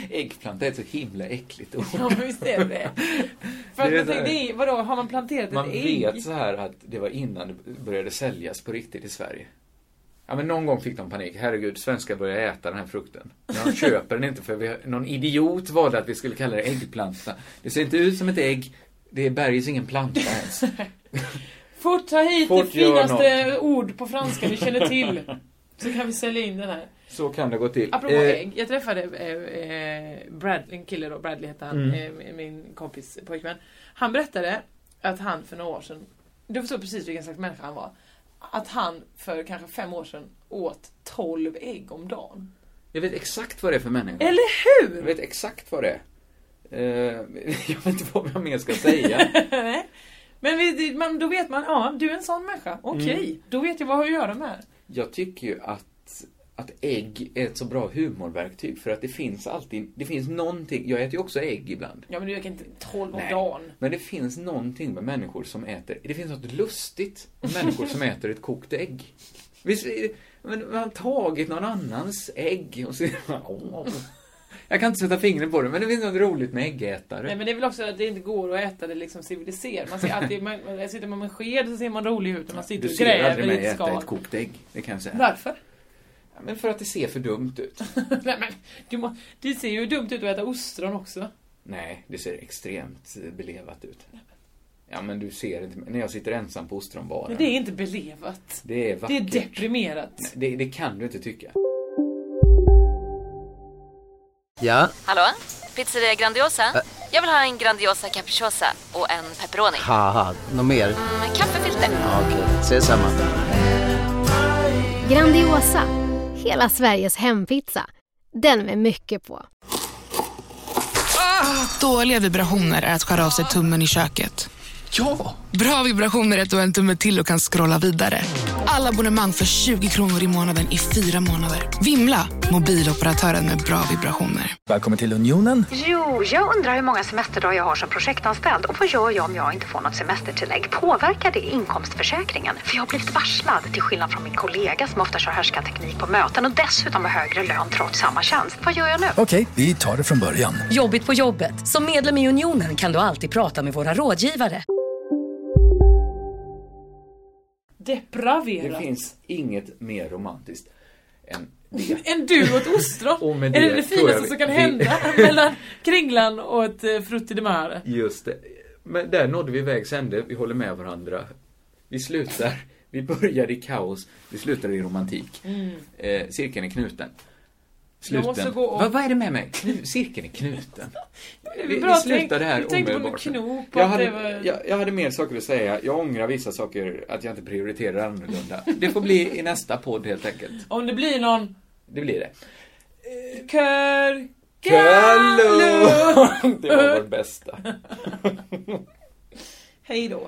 D: Äggplanta är ett så himla äckligt ord.
E: Ja men visst är det För att
D: Det är
E: man
D: så här-
E: tänker, det är, vadå, har man planterat
D: Man
E: ett ägg?
D: vet så här att det var innan det började säljas på riktigt i Sverige. Ja men någon gång fick de panik. Herregud, svenskar börjar äta den här frukten. Men de köper den inte för vi, någon idiot valde att vi skulle kalla det äggplanta. Det ser inte ut som ett ägg. Det är bergis ingen planta ens.
E: Fort ta hit
D: Fort
E: det
D: gör
E: finaste ord på franska du känner till. Så kan vi sälja in den här.
D: Så kan det gå till.
E: Apropå
D: Eh,
E: ägg, jag träffade eh, eh, Bradley, en kille då, Bradley hette han,
D: Mm.
E: eh, min kompis pojkvän. Han berättade att han för några år sedan, du förstår precis vilken slags människa han var. Att han för kanske fem år sedan åt 12 ägg om dagen.
D: Jag vet exakt vad det är för människa.
E: Eller
D: Jag
E: hur?
D: vet exakt vad det är. Eh, jag vet inte vad jag mer ska säga.
E: Nej. Men vi, det- man, då vet man, ja du är en sån människa, okej.
D: Mm.
E: Då vet jag vad jag gör med.
D: Jag tycker ju att, att ägg är ett så bra humorverktyg för att det finns alltid, det finns någonting, jag äter ju också ägg ibland.
E: Ja men du kan inte 12 om
D: Nej.
E: dagen.
D: Men det finns någonting med människor som äter, det finns något lustigt med människor som äter ett kokt ägg. Visst, är det- men man har tagit någon annans ägg och så Åh. Jag kan inte sätta fingret på det, men det finns något roligt med äggätare.
E: Nej men det är väl också att det inte går att äta det liksom civiliserat. Man ser alltid, man, man, sitter man med en sked så ser man rolig ut och man sitter
D: Du
E: och
D: ser
E: gräver
D: aldrig mig
E: i ett
D: äta ett
E: skal.
D: kokt ägg, det kan jag säga.
E: Varför?
D: Ja, Men för att det ser för dumt ut.
E: Nej men, du, må, det ser ju dumt ut att äta ostron också.
D: Nej, det ser extremt belevat ut. Ja, men du ser inte. När jag sitter ensam på ostronbaren.
E: Men det är inte belevat.
D: det är
E: Det är
D: vackert.
E: deprimerat.
D: det, det kan du inte tycka.
F: Ja,
G: Hallå? Pizzeria Grandiosa? Jag vill ha en Grandiosa capriciosa och en pepperoni.
F: haha, något mer?
G: Med kaffefilter.
F: Ja, Okej, ses samma.
H: Grandiosa, hela Sveriges hempizza. Den med mycket på.
I: Dåliga vibrationer är att skära av sig tummen i köket.
F: Ja!
I: Bra vibrationer är att du har en tumme till och kan scrolla vidare. Alla abonnemang för 20 kronor i månaden i fyra månader. Vimla! Mobiloperatören med bra vibrationer.
J: Välkommen till Unionen.
K: Jo, jag undrar hur många semesterdagar jag har som projektanställd och vad gör jag om jag inte får något semestertillägg? Påverkar det inkomstförsäkringen? För jag har blivit varslad, till skillnad från min kollega som ofta kör härskarteknik på möten och dessutom har högre lön trots samma tjänst. Vad gör jag nu?
J: Okej, vi tar det från början.
A: Jobbigt på jobbet. Som medlem i Unionen kan du alltid prata med våra rådgivare.
E: Depraverat.
D: Det finns inget mer romantiskt än det.
E: En du åt ostron.
D: Och med
E: är det
D: det
E: det
D: tror
E: finaste
D: jag
E: som
D: vi-
E: kan hända mellan Kringlan och ett eh, Frutti di Mare?
D: Just det. Men där nådde vi vägs ände. Vi håller med varandra. Vi slutar. Vi började i kaos. Vi slutar i romantik. Eh, cirkeln är knuten. Sluten.
E: Mm. måste gå och-
D: Vad, vad är det med mig? Knu, cirkeln är knuten.
E: är
D: Vi,
E: bra
D: vi
E: att
D: slutar
E: tänk-
D: det här
E: du tänkte på
D: omedelbart.
E: knop och
D: jag,
E: att
D: hade,
E: det var-
D: jag, jag hade mer saker att säga. Jag ångrar vissa saker att jag inte prioriterar annorlunda. Det får bli i nästa podd helt enkelt.
E: Om det blir någon
D: Det blir det.
E: kör...
D: Kallo! Det var vårt bästa.
E: Hej då.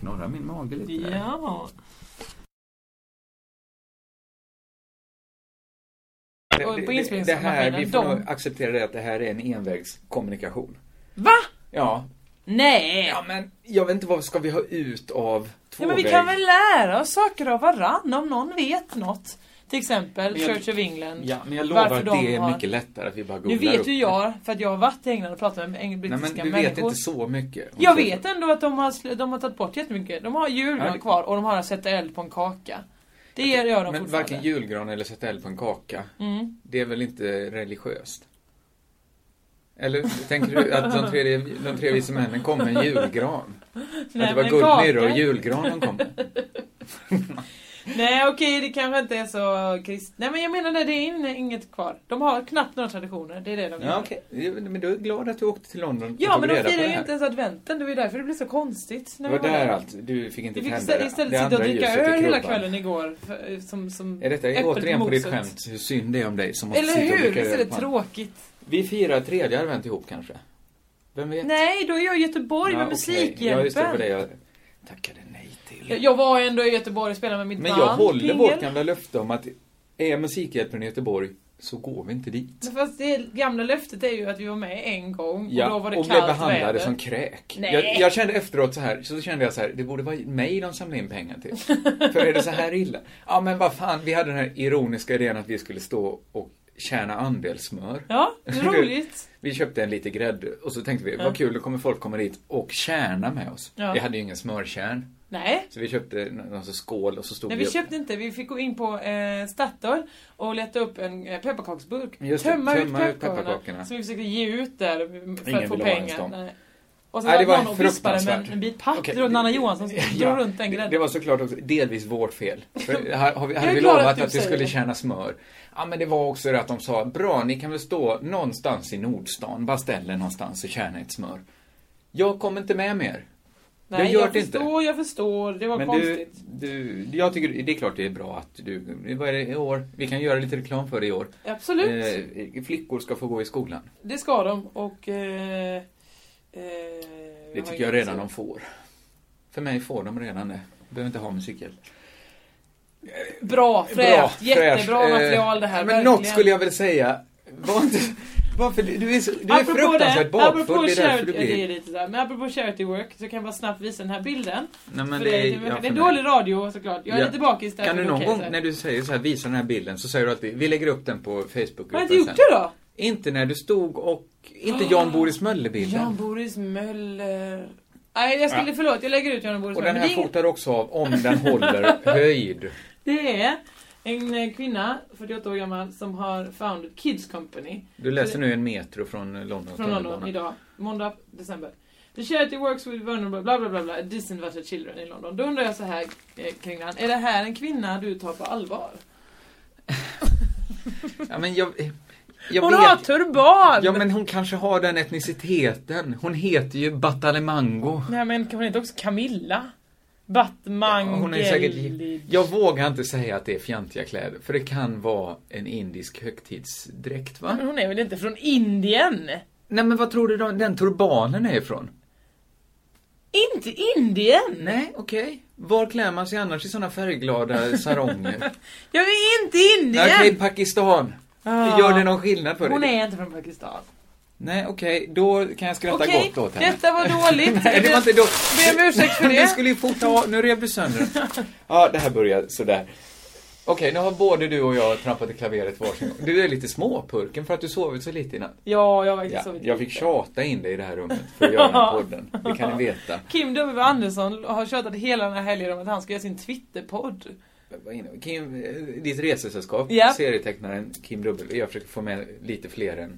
D: Knorrar min mage lite.
E: Ja.
D: Det-
E: Och på
D: det- Det
E: inspelningsmaskinen,
D: här, vi får
E: de-
D: nog acceptera det att det här är en envägskommunikation.
E: Va?
D: Ja.
E: Nej!
D: Ja men, jag vet inte vad ska vi ha ut av
E: Ja,
D: tvåväg?
E: men vi kan väl lära oss saker av varann om någon vet något. Till exempel
D: Men jag-
E: Church of England.
D: Ja, men jag lovar
E: varför
D: att
E: de
D: det är
E: har-
D: mycket lättare att vi bara
E: Nu
D: googlar
E: vet
D: upp
E: ju
D: det.
E: jag, för att jag har varit i England och pratat med eng-
D: Nej men
E: brittiska
D: du vet
E: människor.
D: inte så mycket. om
E: Jag
D: så.
E: vet ändå att de har, sl- de har tagit bort jättemycket. De har
D: Ja,
E: julgran
D: det-
E: kvar och de har sett eld på en kaka. Det gör de
D: Men
E: fortfarande.
D: varken julgran eller sätta eld på en kaka.
E: Mm.
D: Det är väl inte religiöst? Eller tänker du att de tre, de tre vise männen kom med en julgran?
E: Nej,
D: att det var
E: men
D: guld, myrra
E: kaka.
D: och julgran de kom med?
E: Nej okej, det kanske inte är så krist... Nej men jag menar det, det är in- inget kvar. De har knappt några traditioner, det är det de
D: Ja, okej. Men du är glad att du åkte till London och
E: Ja
D: tog
E: men de
D: reda på
E: firar
D: det
E: ju
D: här.
E: inte ens adventen, det var ju därför det blev så konstigt.
D: Det
E: när
D: var
E: vi
D: där allt. Du fick inte
E: Vi fick
D: tända
E: istället,
D: det. Det
E: istället sitta och
D: andra
E: dricka
D: ljuset i
E: öl hela
D: krubban.
E: kvällen igår. för- eh, Som, som
D: Är detta
E: äpplet
D: är återigen på ditt
E: moset.
D: skämt hur synd det är om dig som måste
E: Eller
D: sitta och
E: hur?
D: dricka
E: Visst är
D: öl
E: det
D: på andra.
E: tråkigt?
D: Vi firar tredje advent ihop kanske? Vem vet?
E: Nej, då är jag i Göteborg
D: Ja,
E: med
D: okej. Ja, just det, det var det
E: Musikhjälpen.
D: jag tackade nej
E: Jag,
D: till.
E: jag var ändå i Göteborg och spelade med mitt
D: Men
E: band.
D: jag håller
E: Pingel.
D: vårt gamla löfte om att är Musikhjälpen i Göteborg så går vi inte dit.
E: Men Fast det gamla löftet är ju att vi var med en gång och då var det
D: och blev
E: kallt
D: behandlade
E: väder.
D: som kräk.
E: Nej.
D: Jag, jag kände efteråt så här, så kände jag så här, det borde vara mig de samlade in pengar till. För är det så här illa? Ja men vad fan, vi hade den här ironiska idén att vi skulle stå och tjäna andelsmör.
E: Ja, det är roligt.
D: vi köpte en lite grädde och så tänkte vi,
E: Ja.
D: vad kul, då kommer folk komma dit och tjäna med oss.
E: Ja.
D: Vi hade ju ingen smörkärn.
E: Nej.
D: Så vi köpte någon sån skål och så stod
E: Nej,
D: vi
E: vi
D: upp.
E: köpte inte. Vi fick gå in på eh, Statoil och leta upp en eh, pepparkaksburk.
D: Just det,
E: tömma
D: tömma ut
E: ut pepparkakorna.
D: pepparkakorna.
E: Som vi försökte ge ut där för
D: Ingen
E: att få
D: ville ha ens
E: pengar.
D: dem.
E: Nej. Och så
D: Nej,
E: satt
D: det var
E: någon och vispade med en,
D: fruktansvärt.
E: en bit papper
D: Okej,
E: runt
D: det-
E: Anna Johansson som drog runt en
D: det
E: grädde.
D: var såklart också delvis vårt fel. För här har vi,
E: Jag
D: hade
E: är
D: vi
E: glad att
D: lovat att,
E: du
D: vi
E: säger
D: skulle
E: det.
D: tjäna smör. Ja, men det var också det att de sa, bra, ni kan väl stå någonstans i Nordstan, bara ställ er någonstans och tjäna ett smör. Jag kommer inte med mer.
E: Nej,
D: jag gör
E: jag
D: det inte.
E: förstår, jag förstår. Det var
D: Men du,
E: konstigt.
D: du, jag tycker det är klart det är bra att du, vad är det i år? Vi kan göra lite reklam för det i år.
E: Absolut.
D: Eh, flickor ska få gå i skolan.
E: Det ska de och... Eh, eh,
D: Det
E: har
D: tycker jag
E: inget
D: redan
E: så-
D: de får. För mig får de redan det. Behöver inte ha musikhjälp.
E: Bra, fräscht, jättebra
D: fräscht. Eh,
E: material det här.
D: Men
E: verkligen.
D: något skulle jag väl säga. Var inte, varför, du är, så, du är
E: Apropå
D: fruktansvärt
E: det, apropå
D: bakfull. Det är därför
E: charity,
D: du
E: ja, det är
D: blir...
E: lite där. Men apropå charity work så kan jag bara snabbt visa den här bilden.
D: Nej, men
E: För
D: det är-
E: det,
D: ja, för
E: det är
D: mig.
E: dålig radio såklart. Jag är
D: Ja.
E: lite bakis där.
D: Kan
E: så
D: du
E: då
D: någon
E: jag
D: gång
E: säga.
D: när du säger så här, visa den här bilden, så säger du att vi- vi lägger upp den på Facebookgruppen
E: Har jag inte gjort det då?
D: Inte när du stod och... Inte Jan Boris Möller-bilden.
E: Jan Boris Möller. Nej, jag skulle,
D: Ja.
E: förlåt, jag lägger ut Jan Boris
D: och
E: Möller.
D: den här
E: Men det är inget-
D: fotar också av om den håller höjd.
E: Det är en eh, kvinna, 48 år gammal, som har founded Kids Company.
D: Du läser nu en metro från London
E: Från London idag, måndag, december. The charity works with vulnerable, bla bla bla, bla disinverted children i London. Då undrar jag så här eh, kring den. Är det här en kvinna du tar på allvar?
D: Ja, men jag, jag
E: Hon
D: vet-
E: har turban!
D: Ja men hon kanske har den etniciteten. Hon heter ju Batalemango.
E: Nej men kan hon inte också Camilla? Batmangelli.
D: Hon är säkert... Jag vågar inte säga att det är fjantiga kläder, för det kan vara en indisk högtidsdräkt va?
E: Men hon är väl inte från Indien?
D: Nej men vad tror du då den turbanen är ifrån?
E: Inte Indien!
D: Nej, okej. Var klär man sig annars i såna färgglada saronger?
E: Jag är inte
D: Nej,
E: Indien!
D: Okej, Pakistan.
E: Ah.
D: Gör det någon skillnad för
E: Hon
D: dig?
E: är inte från Pakistan.
D: Nej, okej, då kan jag skratta
E: Okej,
D: gott åt henne.
E: detta var dåligt.
D: Nej, det var inte då.
E: Ber om ursäkt för
D: Men
E: det.
D: Du skulle ju få ta, nu rev du sönder den. Ja, det här börjar sådär. Okej, nu har både du och jag trampat i klaveret varsin gång. Du är lite småpurken för att du sovit så lite i natt.
E: Ja, jag har faktiskt
D: Ja,
E: sovit
D: jag fick tjata in dig i det här rummet för att göra den här podden. Det kan ni veta.
E: Kim W Andersson har tjatat hela den här helgen om att han ska göra sin Twitterpodd.
D: vad är det? Kim, eh, ditt resesällskap,
E: Ja.
D: serietecknaren Kim Dubbel. Jag försöker få med lite fler än,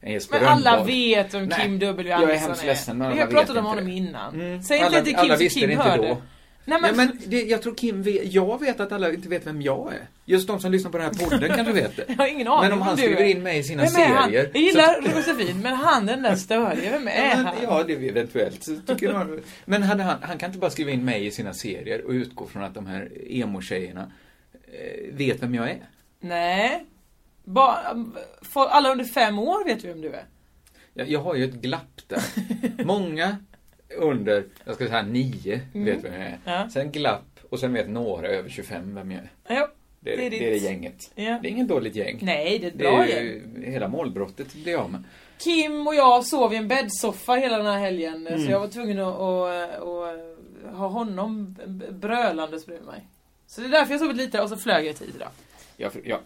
D: än Jesper
E: Men alla
D: Rönndahl.
E: vet vem Kim W
D: jag är
E: Andersson
D: hemskt ledsen, men
E: Vi
D: alla
E: har
D: vet
E: pratat om
D: inte
E: honom
D: det.
E: innan.
D: Mm.
E: Säg inte
D: alla,
E: det till
D: alla
E: Kim så
D: visste
E: Kim
D: det
E: hör
D: inte
E: det.
D: då. Nej, men, det, jag tror Kim vet, jag vet att alla inte vet vem jag är. Just de som lyssnar på den här podden kanske vet det.
E: Jag har ingen aning
D: Men om han
E: vem du
D: skriver
E: är.
D: in mig i sina
E: Vem är han?
D: serier,
E: Jag gillar Äh. Josefin, men han den där störiga, vem är
D: Ja,
E: han?
D: men, ja, det är eventuellt. Så tycker man, men hade han, han kan inte bara skriva in mig i sina serier och utgå från att de här emo-tjejerna eh, vet vem jag är.
E: Nej. Bara, för alla under fem år vet ju vem du är.
D: Jag, jag har ju ett glapp där. Många under, jag ska säga nio,
E: Mm.
D: vet vem jag är.
E: Ja.
D: Sen glapp och sen vet några över 25 vem jag är.
E: Ja,
D: Det är
E: Det
D: det,
E: är
D: det, är det
E: ditt.
D: gänget.
E: Ja.
D: Det är inget dåligt gäng.
E: Nej, det är ett
D: Det
E: bra
D: är
E: gäng.
D: ju, hela målbrottet blir jag av med.
E: Kim och jag sov i en bäddsoffa hela den här helgen så
D: Mm.
E: jag var tvungen att, att, att ha honom brölandes bredvid mig. Så det är därför jag sovit lite och så flög jag tid idag.
D: Jag, jag,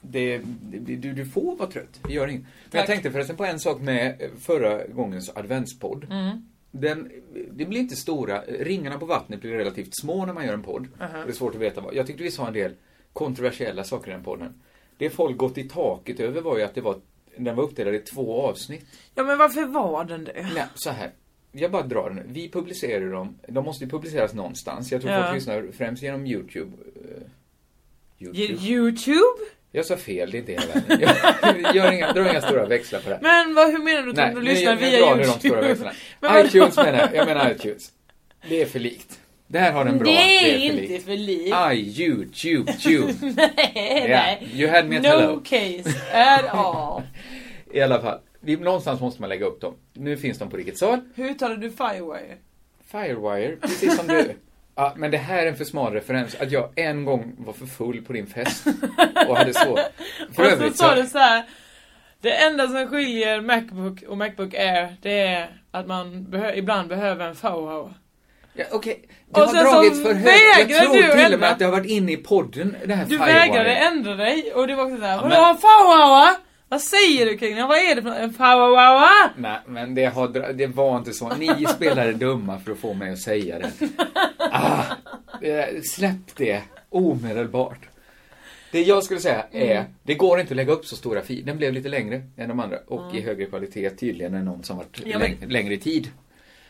D: det, det, du, du får vara trött, det gör inget. Men
E: Tack.
D: jag tänkte förresten på en sak med eh, förra gångens adventspodd.
E: Mm.
D: Den, det blir inte stora, ringarna på vattnet blir relativt små när man gör en podd.
E: Aha.
D: Det är svårt att veta vad. Jag tyckte vi sa en del kontroversiella saker i den podden. Det folk gått i taket över var ju att det var, den var uppdelad i två avsnitt.
E: Ja men varför var den det?
D: Nej, så här. Jag bara drar den. Vi publicerar ju dem. De måste ju publiceras någonstans. Jag tror
E: Ja.
D: folk lyssnar främst genom Youtube. Eh,
E: Ge- Youtube?
D: Jag sa fel, det är inte hela världen. Jag gör inga, drar inga stora växlar på det här.
E: Men vad, hur menar du? att
D: Nej,
E: de
D: nu-
E: lyssnar
D: nu
E: via
D: drar
E: Youtube?
D: ni de stora växlarna.
E: Men vadå?
D: iTunes menar jag. Jag menar iTunes. Det är för likt. Det här har den bra.
E: det är
D: för likt.
E: inte för likt.
D: I, YouTube, Tube.
E: nej,
D: yeah.
E: nej.
D: You had me at
E: no
D: hello.
E: case at all.
D: I alla fall. Vi, någonstans måste man lägga upp dem. Nu finns de på Rikets Sal.
E: Hur talar du Firewire?
D: Firewire, precis som du. Ja, men det här är en för smal referens. Att jag en gång var för full på din fest och hade svårt. För
E: och så
D: övrigt
E: sa du
D: så...
E: så här. Det enda som skiljer Macbook och Macbook Air det är att man behö- ibland behöver en FOHO.
D: Ja, Okej,
E: Och
D: det
E: sen
D: har
E: så
D: dragits för högt. Jag
E: vägrar du
D: tror till och
E: ändra.
D: med att det har varit inne i podden, det här
E: Du
D: Firewire.
E: vägrade ändra dig och det var också såhär,
D: Ja,
E: vadå
D: men-
E: en FOHO? Vad säger du kring det? Vad är det för något? En FOHO?
D: Nej, men det, har, dra- det var inte så. Ni spelade dumma för att få mig att säga det. Ah, eh, släpp det omedelbart. Det jag skulle säga är,
E: Mm.
D: det går inte att lägga upp så stora filer. Den blev lite längre än de andra och i högre kvalitet tydligen än någon som varit
E: Ja, men-
D: läng- längre i tid.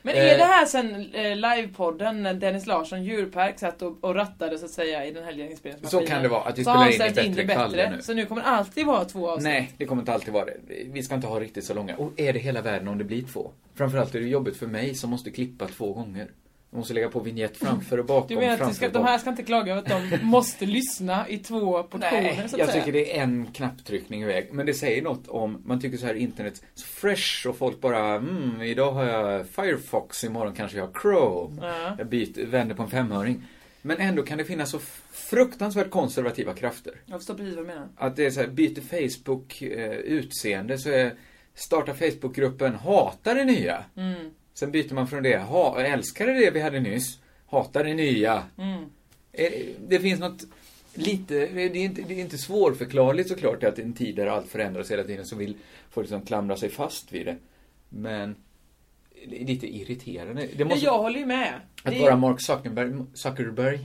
E: Men är
D: Eh.
E: det här sen eh, livepodden när Dennis Larsson djurpark satt och, och rattade så att säga i den här lilla inspelningsmaskinen?
D: Så kan det vara, att vi
E: Så har han
D: spelar in i
E: ställt
D: bättre kvaller nu.
E: Så nu kommer det alltid vara två avsnitt.
D: Nej, det kommer inte alltid vara det. Vi ska inte ha riktigt så långa. Och är det hela världen om det blir två? Framförallt är det jobbigt för mig som måste klippa två gånger. Jag måste lägga på vignett framför och bakom,
E: Du menar att
D: framför
E: du ska,
D: och
E: de
D: bakom.
E: här ska inte klaga över att de måste lyssna i två portioner
D: Nej,
E: så att
D: jag
E: säga?
D: tycker det är en knapptryckning iväg. Men det säger något om, man tycker så här internet, så fresh och folk bara, mm, idag har jag Firefox, imorgon kanske jag har Chrome.
E: Ja.
D: Jag byter, vänder på en femhöring. Men ändå kan det finnas så fruktansvärt konservativa krafter.
E: Jag förstår precis vad du menar.
D: Att det är så här, byter Facebook eh, utseende så är, startar Facebookgruppen hatar det nya.
E: Mm.
D: Sen byter man från det, ha, älskade det vi hade nyss, hatar det nya.
E: Mm.
D: Eh, Det finns något lite, det är inte, det är inte svårförklarligt såklart att i en tid där allt förändras hela tiden så vill folk liksom klamra sig fast vid det. Men det är lite irriterande. Det
E: Men
D: måste,
E: jag håller ju med.
D: att
E: Det är-
D: vara Mark Zuckerberg, Zuckerberg,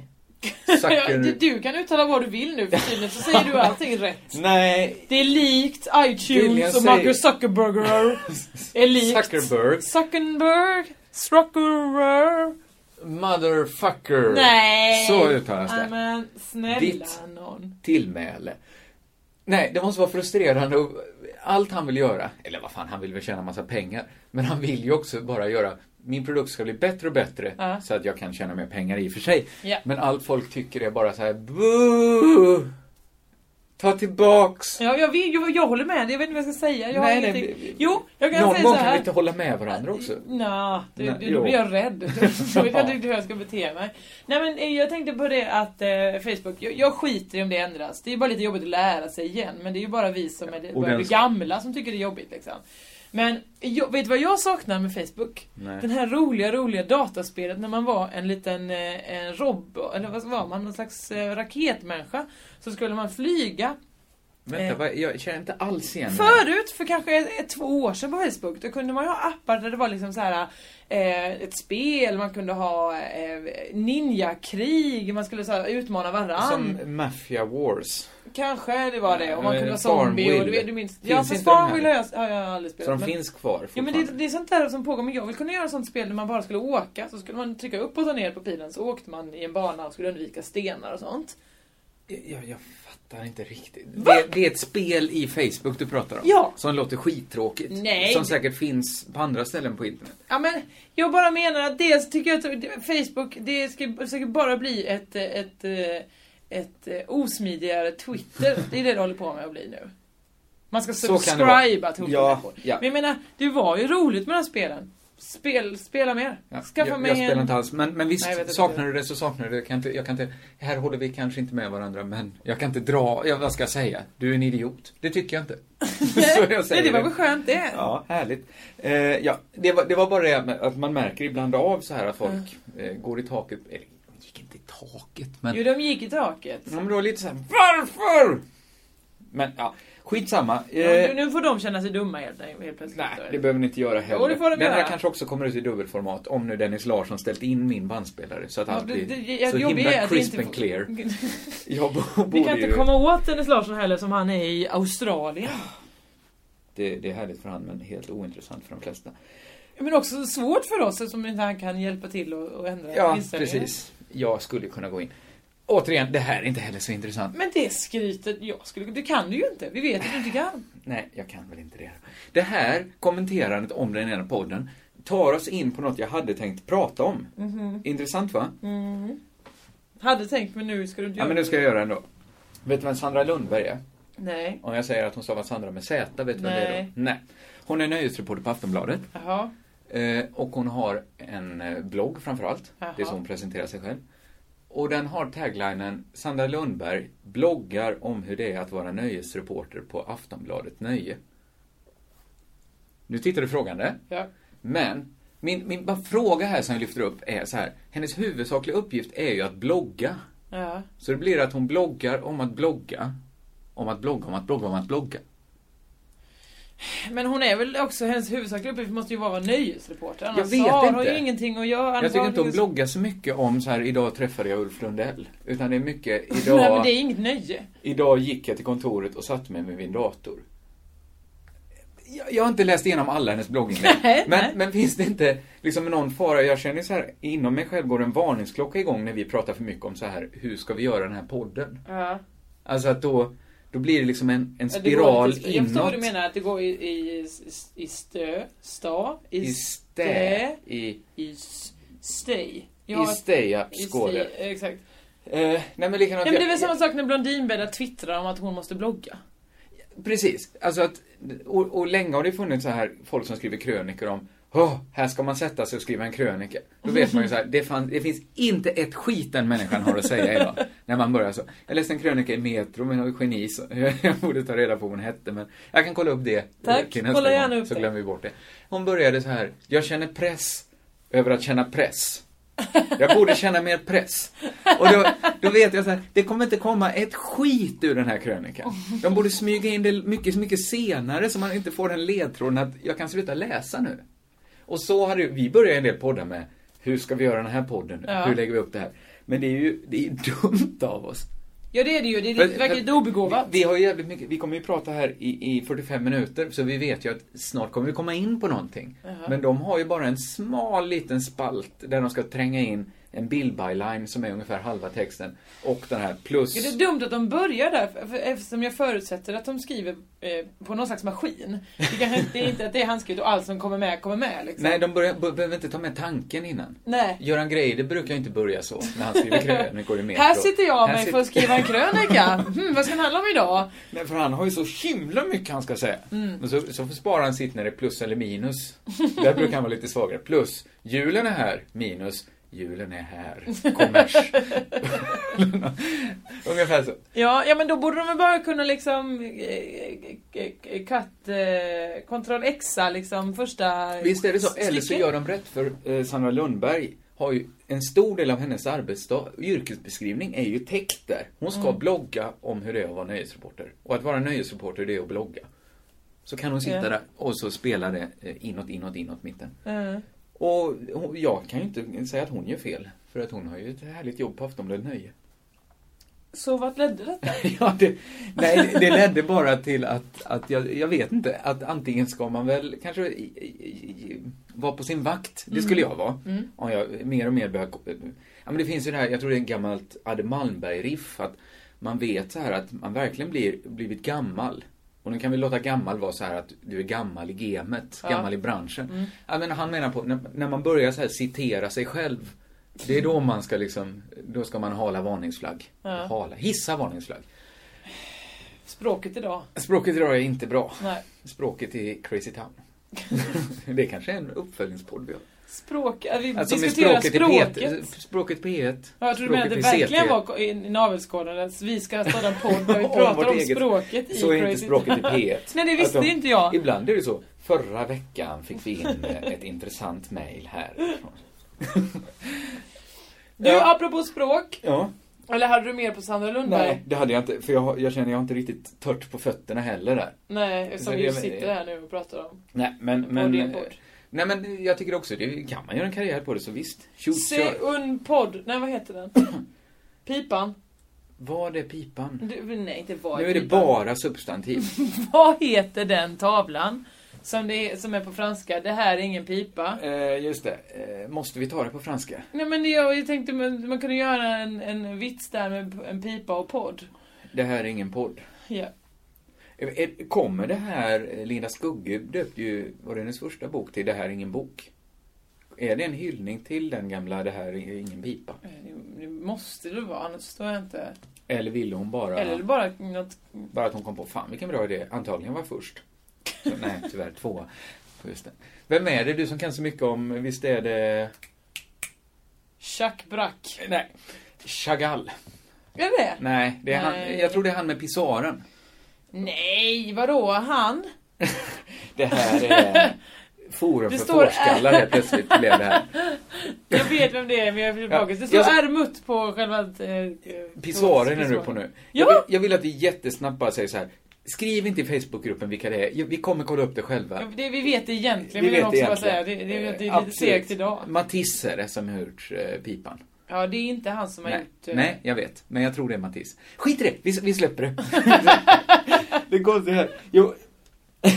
E: Ja, det-
D: Zucker...
E: du kan uttala vad du vill nu för tydligen så säger du allting rätt.
D: Nej,
E: Det är likt
D: Viljan
E: iTunes och
D: säger-
E: Marcus Zuckerberger. är likt
D: Zuckerberg,
E: Zuckerberg. Zuckerberg.
D: motherfucker.
E: Nej!
D: Så uttalas
E: Nej,
D: det.
E: Men snälla
D: Ditt-
E: någon.
D: Tillmäle. Nej, det måste vara frustrerande och allt han vill göra, eller vad fan, han vill väl tjäna massa pengar. Men han vill ju också bara göra, min produkt ska bli bättre och bättre
E: Ja.
D: så att jag kan tjäna mer pengar i och för sig.
E: Ja.
D: Men allt folk tycker är bara så här, boo! Ta tillbaks!
E: Ja, jag, vet, jag, jag håller med dig, jag vet inte vad jag ska säga. Jag har
D: Nej, nej,
E: ingenting.
D: vi-
E: Jo, jag kan
D: Någon
E: säga så
D: gång kan vi
E: här.
D: inte hålla med varandra också.
E: Nå, du,
D: Nej,
E: du, då blir
D: jo.
E: jag rädd. Då vet jag inte riktigt hur jag ska bete mig. Nej men eh, jag tänkte på det att eh, Facebook, jag, jag skiter i om det ändras. Det är bara lite jobbigt att lära sig igen. Men det är ju bara vi som är,
D: och
E: börjar
D: den-
E: bli gamla som tycker det är jobbigt liksom. Men jag, vet du vad jag saknar med Facebook?
D: Nej.
E: Den här roliga, roliga dataspelet när man var en liten eh, en robot, eller vad var man? Någon slags eh, raketmänniska. Så skulle man flyga
D: Vänta, vad, jag känner inte alls igen det här.
E: Förut, för kanske ett, ett, två år sedan på Facebook, då kunde man ju ha appar där det var liksom så här eh, ett spel, man kunde ha eh, ninjakrig, man skulle så här, utmana varann.
D: Som Mafia Wars.
E: Kanske det var det, och man
D: Eh,
E: kunde ha zombie och du,
D: Farmville.
E: vet, du minns.
D: Finns
E: Ja fast
D: inte de här?
E: Farmville har jag, har jag aldrig spelat.
D: Så de
E: men-
D: finns kvar
E: Ja men det, det är sånt där som pågår, men jag vill kunna göra sånt spel där man bara skulle åka, så skulle man trycka upp och ta ner på pilen så åkte man i en bana och skulle undvika stenar och sånt.
D: Jag, jag fattar inte riktigt. Det, det är ett spel i Facebook du pratar om.
E: Ja.
D: Som låter skittråkigt.
E: Nej.
D: Som säkert finns på andra ställen på internet.
E: Ja men jag bara menar att dels tycker jag att Facebook, det ska säkert bara bli ett, eh, ett, eh, ett, eh, osmidigare Twitter. Det är det det håller på med att bli nu. Man ska
D: Så kan det vara.
E: subscriba till olika
D: Ja,
E: människor.
D: ja.
E: Men jag menar, det var ju roligt med de här spelen. Spel, spela mer.
D: Ja,
E: Skaffa
D: jag,
E: mig
D: jag spelar
E: en...
D: inte alls. Men, men visst,
E: Nej, jag vet inte.
D: saknar du det så saknar du det. Jag kan inte, jag kan inte, här håller vi kanske inte med varandra, men jag kan inte dra... Jag, vad ska jag säga? Du är en idiot. Det tycker jag inte. så jag
E: Nej,
D: säger
E: det var väl skönt det.
D: Ja, härligt. Eh, ja, det, var, det var bara det med att man märker ibland av så här att folk eh, går i taket. Eller, de gick inte i taket, men...
E: Jo, de gick i taket.
D: Ja, men då är det lite så här, varför? Men ja, skitsamma. Eh,
E: Ja, nu, nu får de känna sig dumma helt, helt plötsligt.
D: Nej, det behöver ni inte göra heller.
E: Jo, det får de
D: den här
E: göra.
D: kanske också kommer ut i dubbelformat om nu Dennis Larsson ställt in min bandspelare så att allt
E: det- det-
D: blir
E: jag-
D: så
E: jag vet
D: himla
E: inte
D: crisp
E: vad-
D: and clear. Jag bo- borde
E: Vi kan inte
D: ju...
E: komma åt Dennis Larsson heller som han är i Australien.
D: det, det är härligt för han men helt ointressant för de flesta.
E: Men också svårt för oss eftersom inte han kan hjälpa till och, och ändra
D: Ja,
E: inställningen.
D: precis. Jag skulle kunna gå in. Återigen, det här är inte heller så intressant.
E: Men det skrytet, jag skulle, det kan du ju inte. Vi vet att du inte kan.
D: Nej, jag kan väl inte det. Det här kommenterandet om den ena podden tar oss in på något jag hade tänkt prata om.
E: Mhm.
D: Intressant va?
E: Mhm. Hade tänkt men nu ska du inte
D: Ja, men nu ska jag göra det ändå. Vet du vem Sandra Lundberg är?
E: det. Nej.
D: Om jag säger att hon stavar Sandra med Z, vet du vem det är
E: Nej.
D: då? Nej. Hon är nöjesreporter på Aftonbladet.
E: Jaha.
D: Eh, Och hon har en eh, blogg framförallt.
E: Jaha.
D: Det är så hon presenterar sig själv. Och den har taglinen Sandra Lundberg bloggar om hur det är att vara nöjesreporter på Aftonbladet Nöje. Nu tittar du frågande.
E: Ja.
D: Men min, min bara fråga här som jag lyfter upp är så här. Hennes huvudsakliga uppgift är ju att blogga.
E: Ja.
D: Så det blir att hon bloggar om att blogga. Om att blogga, om att blogga, om att blogga.
E: Men hon är väl också, hennes huvudsakliga uppgift måste ju vara att vara nöjesreporter. Annars
D: Jag vet
E: har hon
D: inte.
E: ju ingenting att göra.
D: Jag tycker inte hon
E: Annars-
D: bloggar så mycket om så här, idag träffade jag Ulf Lundell. Utan det är mycket,
E: Nej men
D: idag,
E: det är inget nöje.
D: idag gick jag till kontoret och satte mig med min dator. Jag, jag har inte läst igenom alla hennes blogginlägg.
E: Nej,
D: men, men finns det inte liksom någon fara? Jag känner så här, inom mig själv går en varningsklocka igång när vi pratar för mycket om så här, hur ska vi göra den här podden?
E: Ja.
D: Alltså att då, då blir det liksom en, en
E: Ja, det går
D: spiral
E: inte- Jag förstår
D: inåt.
E: vad du menar, att det går i, i, i stö, sta, i,
D: I
E: stä,
D: stä, i,
E: i s- stej. Jag
D: i
E: har-
D: steja,
E: i
D: skåde.
E: stej, Exakt.
D: Eh, nej men likadant.
E: Nej, men det är väl
D: jag-
E: samma sak när Blondinbella twittrar om att hon måste blogga.
D: Precis. Alltså att, och, och länge har det funnits så här folk som skriver krönikor om Åh, här ska man sätta sig och skriva en krönika. Då
E: Mm.
D: vet man ju så här, det, fann, det finns inte ett skit den människan har att säga idag. När man börjar så. Jag läste en krönika i Metro med något geni, så jag borde ta reda på vad hon hette, men jag kan kolla upp det. eh,
E: Tack,
D: till nästa
E: kolla
D: gång,
E: gärna upp
D: Så
E: det.
D: glömmer vi bort det. Hon började så här, jag känner press över att känna press. Jag borde känna mer press. Och då, då vet jag så här, det kommer inte komma ett skit ur den här krönikan. De borde smyga in det mycket, mycket senare så man inte får den ledtråden att jag kan sluta läsa nu. Och så hade ju- vi börjat en del poddar med, hur ska vi göra den här podden nu?
E: Ja.
D: Hur lägger vi upp det här? Men det är ju det är ju dumt av oss.
E: Ja det är det ju, det, är-
D: Men-
E: det verkar lite obegåvat.
D: Vi, vi har ju jävligt mycket, vi kommer ju prata här i, i 45 minuter, så vi vet ju att snart kommer vi komma in på någonting.
E: Jaha.
D: Men de har ju bara en smal liten spalt där de ska tränga in en bildbyline som är ungefär halva texten och den här plus...
E: Ja, det är dumt att de börjar där för- för- eftersom jag förutsätter att de skriver eh, på någon slags maskin. Det kanske inte det är inte att det är handskrivet och allt som kommer med kommer med liksom.
D: Nej, de börjar, be- behöver inte ta med tanken innan.
E: Nej.
D: Göran Greider brukar ju inte börja så när han skriver krönikor i Metro.
E: Här sitter jag
D: Här
E: med
D: sit-
E: för att skriva en krönika. Hmm, vad ska den handla om idag?
D: Nej, för han har ju så himla mycket han ska säga.
E: Mm.
D: Men så, så sparar han sitt när det är plus eller minus. Där brukar han vara lite svagare. Plus, julen är här, minus, julen är här, kommers. Ungefär så.
E: Ja, ja men då borde de väl bara kunna liksom eh, eh, eh, cut, eh, Ctrl Xa liksom första
D: Visst är det så? Eller så
E: stycket.
D: gör de rätt för eh, Sandra Lundberg har ju en stor del av hennes arbetsdag, yrkesbeskrivning, är ju täckt där. Hon ska
E: Mm.
D: blogga om hur det är att vara nöjesreporter. Och att vara nöjesreporter, det är att blogga. Så kan hon sitta
E: Ja.
D: där och så spela det eh, inåt, inåt, inåt, mitten.
E: Mm.
D: Och hon- jag kan ju inte säga att hon gör fel. För att hon har ju ett härligt jobb på Aftonbladet Nöje.
E: Så vart ledde detta?
D: Ja, det, nej, det ledde bara till att, att jag, jag vet inte, att antingen ska man väl kanske i- i- i- vara på sin vakt. Det skulle
E: Mm.
D: jag vara.
E: Mm.
D: Om jag mer och mer börjar... Ja, men det finns ju det här, jag tror det är en gammalt Adde Malmberg-riff, att man vet så här att man verkligen blir, blivit gammal. Och nu kan vi låta gammal vara så här att du är gammal i gamet,
E: Ja.
D: gammal i branschen.
E: Mm.
D: Ja, men han menar på, när, när man börjar så här citera sig själv, det är då man ska liksom, då ska man hala varningsflagg.
E: Ja.
D: Hala, hissa varningsflagg.
E: Språket idag?
D: Språket idag är inte bra.
E: Nej.
D: Språket är crazy town. det kanske är en uppföljningspodd vi har.
E: Språk, äh, vi
D: Alltså med
E: diskuterar
D: språket i P1.
E: språket.
D: Språket P1.
E: Ja, jag tror du menar att det
D: språket i
E: verkligen
D: CT.
E: var i i navelskådan att vi ska starta en podd där vi
D: Om
E: pratar
D: vårt
E: om
D: eget.
E: språket
D: Så
E: i
D: är inte
E: Crazy
D: språket i
E: Town.
D: P1.
E: Nej, det
D: Att
E: visste
D: de-
E: inte jag.
D: Ibland är det så. Förra veckan fick vi in eh, ett intressant mejl här.
E: Du,
D: Ja.
E: apropå språk.
D: Ja.
E: Eller hade du mer på Sandra Lundberg?
D: Nej, det hade jag inte. För jag, jag känner jag har inte riktigt tört på fötterna heller där.
E: Nej, som
D: Så
E: vi ju
D: det-
E: sitter här nu och pratar om.
D: Nej, men...
E: På
D: men
E: din podd.
D: nej, men jag tycker också det. Kan man göra en karriär på det så visst. Shoot,
E: Se
D: kör.
E: un podd. Nej, vad heter den? Pipan.
D: Var det pipan?
E: Du, nej, inte var
D: Nu är det
E: pipan.
D: bara substantiv.
E: Vad heter den tavlan? Som, det är, som är på franska. Det här är ingen pipa.
D: Eh, just det. Eh, måste vi ta det på franska?
E: Nej men det- jag, jag tänkte man, man kunde göra en, en vits där med en pipa och podd.
D: Det här är ingen podd.
E: Ja.
D: Eh, eh, Kommer det här, eh, Linda Skugge döpte ju, var det hennes första bok till Det här är ingen bok? Är det en hyllning till den gamla Det här är ingen pipa?
E: Det, det måste det vara, annars förstår jag inte.
D: Eller ville hon bara,
E: Eller bara något...
D: bara att hon kom på, fan vilken bra idé, antagligen var jag först. Så, nej, tyvärr tvåa. Just det. Vem är det du som kan så mycket om, visst är det...
E: Chuck Brack.
D: Nej. Chagall?
E: Är det det?
D: Nej, det är han,
E: Nej.
D: jag tror det är han med pissoaren.
E: Nej, vadå? Han?
D: Det här är forum
E: Det
D: för
E: står-
D: fårskallar helt plötsligt blev det här.
E: Jag vet vem det är, men jag blir
D: Ja,
E: bakis. Det står
D: jag-
E: ärmutt på själva... eh,
D: Pissoaren är du på nu. Jag vill, jag vill att vi jättesnabbt bara säger så här. Skriv inte i Facebookgruppen vilka det är. Vi kommer kolla upp det själva.
E: Ja, Det vi vet egentligen,
D: Vi
E: vill jag
D: vet
E: också bara säga.
D: egentligen.
E: Det, det, det, det är lite
D: Absolut.
E: segt idag.
D: Matisse är det som har gjort eh, pipan.
E: Ja, det är inte han som har
D: Nej.
E: gjort... eh,
D: Nej, jag vet. Men jag tror det är Matisse. Skit i det! Vi, vi släpper det. det konstiga här. Jo.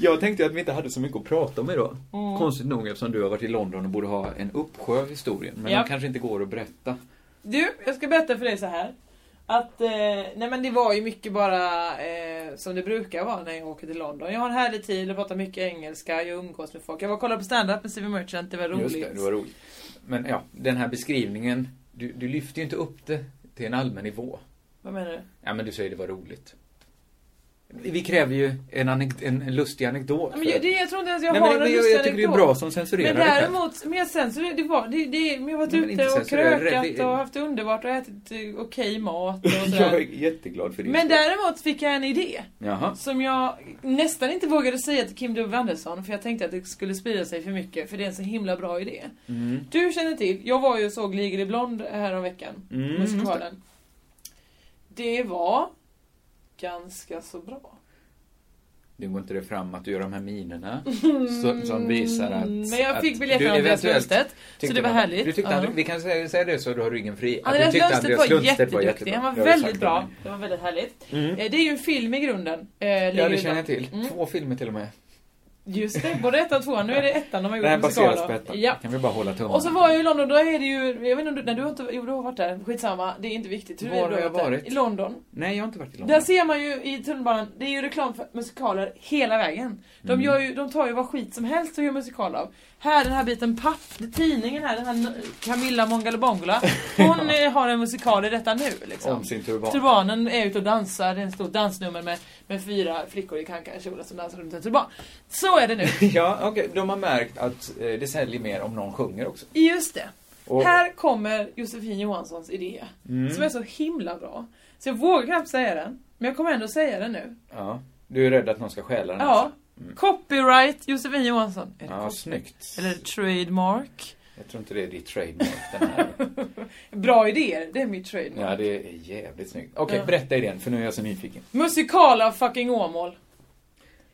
D: jag tänkte att vi inte hade så mycket att prata om idag.
E: Mm.
D: Konstigt nog eftersom du har varit i London och borde ha en uppsjö av historien. Men
E: Ja.
D: de kanske inte går att berätta.
E: Du, jag ska berätta för dig så här. Att, eh, nej men det var ju mycket bara eh, som det brukar vara när jag åker till London. Jag har en härlig tid, jag pratar mycket engelska, jag umgås med folk. Jag var och kollade på stand-up med Steven Merchant, det var roligt.
D: Just det, det var roligt. Men ja, den här beskrivningen, du, du lyfte ju inte upp det till en allmän nivå.
E: Vad menar du?
D: Ja, men du säger det var roligt. Vi kräver ju en, anek- en, en lustig anekdot.
E: Ja, Men jag, det, jag tror inte ens jag
D: Nej,
E: har
D: men
E: en
D: jag- jag
E: lustig
D: tycker det är
E: anekdot.
D: bra som censurerar
E: Men
D: det själv.
E: däremot, men jag censurerar, det var, det, det, men jag har varit
D: Nej, men inte
E: ute och
D: censurerar,
E: krökat
D: det-
E: och haft det underbart och ätit eh, okej mat och
D: jag är
E: sådär.
D: jätteglad för din
E: Men
D: skull.
E: däremot fick jag en idé.
D: Jaha.
E: Som jag nästan inte vågade säga till Kim W Andersson för jag tänkte att det skulle sprida sig för mycket för det är en så himla bra idé.
D: Mm.
E: Du känner till, jag var ju och såg Ligger i blond häromveckan.
D: Mm, just
E: musikalen. Det var ganska så bra.
D: Nu går inte det fram att du gör de här minerna så, som visar att...
E: Mm, Men jag fick
D: att
E: biljetter
D: du
E: av Andreas
D: eventuellt
E: Lundstedt, så
D: tyckte
E: det var
D: man-
E: härligt.
D: Du tyckte
E: Ja.
D: Andreas- vi kan säga, säga det så du har ryggen fri. att du
E: Andreas
D: tyckte
E: Lundstedt var jätteduktig, han var
D: Jag har ju
E: väldigt
D: sagt det.
E: bra. Det var väldigt härligt.
D: Mm.
E: Eh, Det är ju en film i grunden. eh,
D: Ja,
E: Ligger Mm.
D: det
E: i
D: känner jag
E: blond.
D: till. Två filmer till och med.
E: Just det, både ettan och tvåan. Nu är det ettan de har gjort
D: Det här
E: musikal
D: baseras
E: av.
D: på ettan.
E: Ja.
D: Kan vi bara hålla tummarna.
E: Och så var jag i London, då är det ju, jag vet inte om du, nej, du har inte, jo du har varit där, skitsamma, det är inte viktigt.
D: Var
E: är
D: har
E: du
D: jag
E: där?
D: varit?
E: I London.
D: Nej, jag har inte varit i
E: Där
D: London.
E: ser man ju i tunnelbanan, det är ju reklam för musikaler hela vägen. De,
D: Mm.
E: gör ju, de tar ju vad skit som helst och gör musikal av. Här, den här biten papp, tidningen här, den här Camilla Mongalobongola, hon eh, har en musikal i detta nu liksom.
D: Om sin turban.
E: Turbanen är ute och dansar, det är en stor dansnummer med, med fyra flickor i kankankjolar som dansar runt en turban. Så är det nu.
D: Ja, okej. De har märkt att eh, det säljer mer om någon sjunger också.
E: Just det.
D: Och-
E: Här kommer Josefin Johanssons idé.
D: Mm.
E: Som är så himla bra. Så jag vågar knappt säga den. Men jag kommer ändå säga den nu.
D: Ja. Du är rädd att någon ska stjäla den?
E: Ja. Copyright Josefin Johansson. Är det
D: Alltså. Mm. Ja,
E: copy?
D: snyggt.
E: Eller trademark.
D: Jag tror inte det är ditt trademark den här.
E: Bra idéer, det är mitt trademark.
D: Ja, det är jävligt snyggt. Okej,
E: Ja.
D: berätta idén för nu är jag så nyfiken.
E: Musikal av fucking Åmål.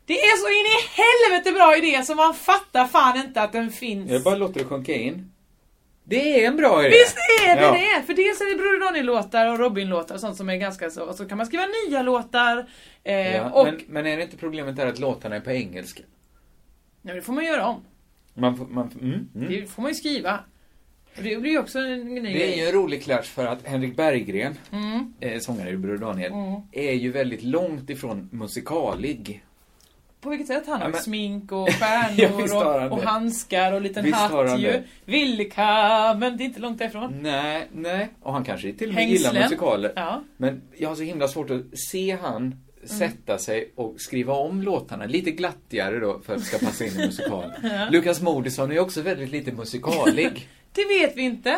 E: Det är så in i helvete bra idé som man fattar fan inte att den finns.
D: Jag bara låter det sjunka in. Det är en bra idé!
E: Visst är det
D: Ja.
E: det! För dels är det Broder Ronny-låtar och Robin-låtar och sånt som är ganska så. Och så kan man skriva nya låtar. Eh,
D: Ja,
E: och...
D: men, men är det inte problemet där att låtarna är på engelska?
E: Nej, det får man göra om.
D: Man, får- man, får- mm, mm.
E: Det får man ju skriva. Och det blir ju också en ny
D: Det är ju en rolig clash för att Henrik Berggren,
E: Mm.
D: eh, sångare i Broder Daniel,
E: Mm.
D: är ju väldigt långt ifrån musikalig.
E: På vilket sätt? Han har
D: Ja, men-
E: smink och
D: Ja,
E: stjärnor
D: visst har han
E: och, och
D: det.
E: handskar och liten
D: Visst har
E: hatt
D: han
E: ju.
D: det. Mm.
E: Vilka, men det är inte långt därifrån.
D: Nej, nej. Och han kanske till och med
E: Hängslen.
D: gillar musikaler.
E: Ja. Mm.
D: Men jag har så himla svårt att se han sätta sig och skriva om låtarna lite glattigare då för att det ska passa in i musikal.
E: Ja.
D: Lukas Moodysson är ju också väldigt lite musikalig.
E: Det vet vi inte.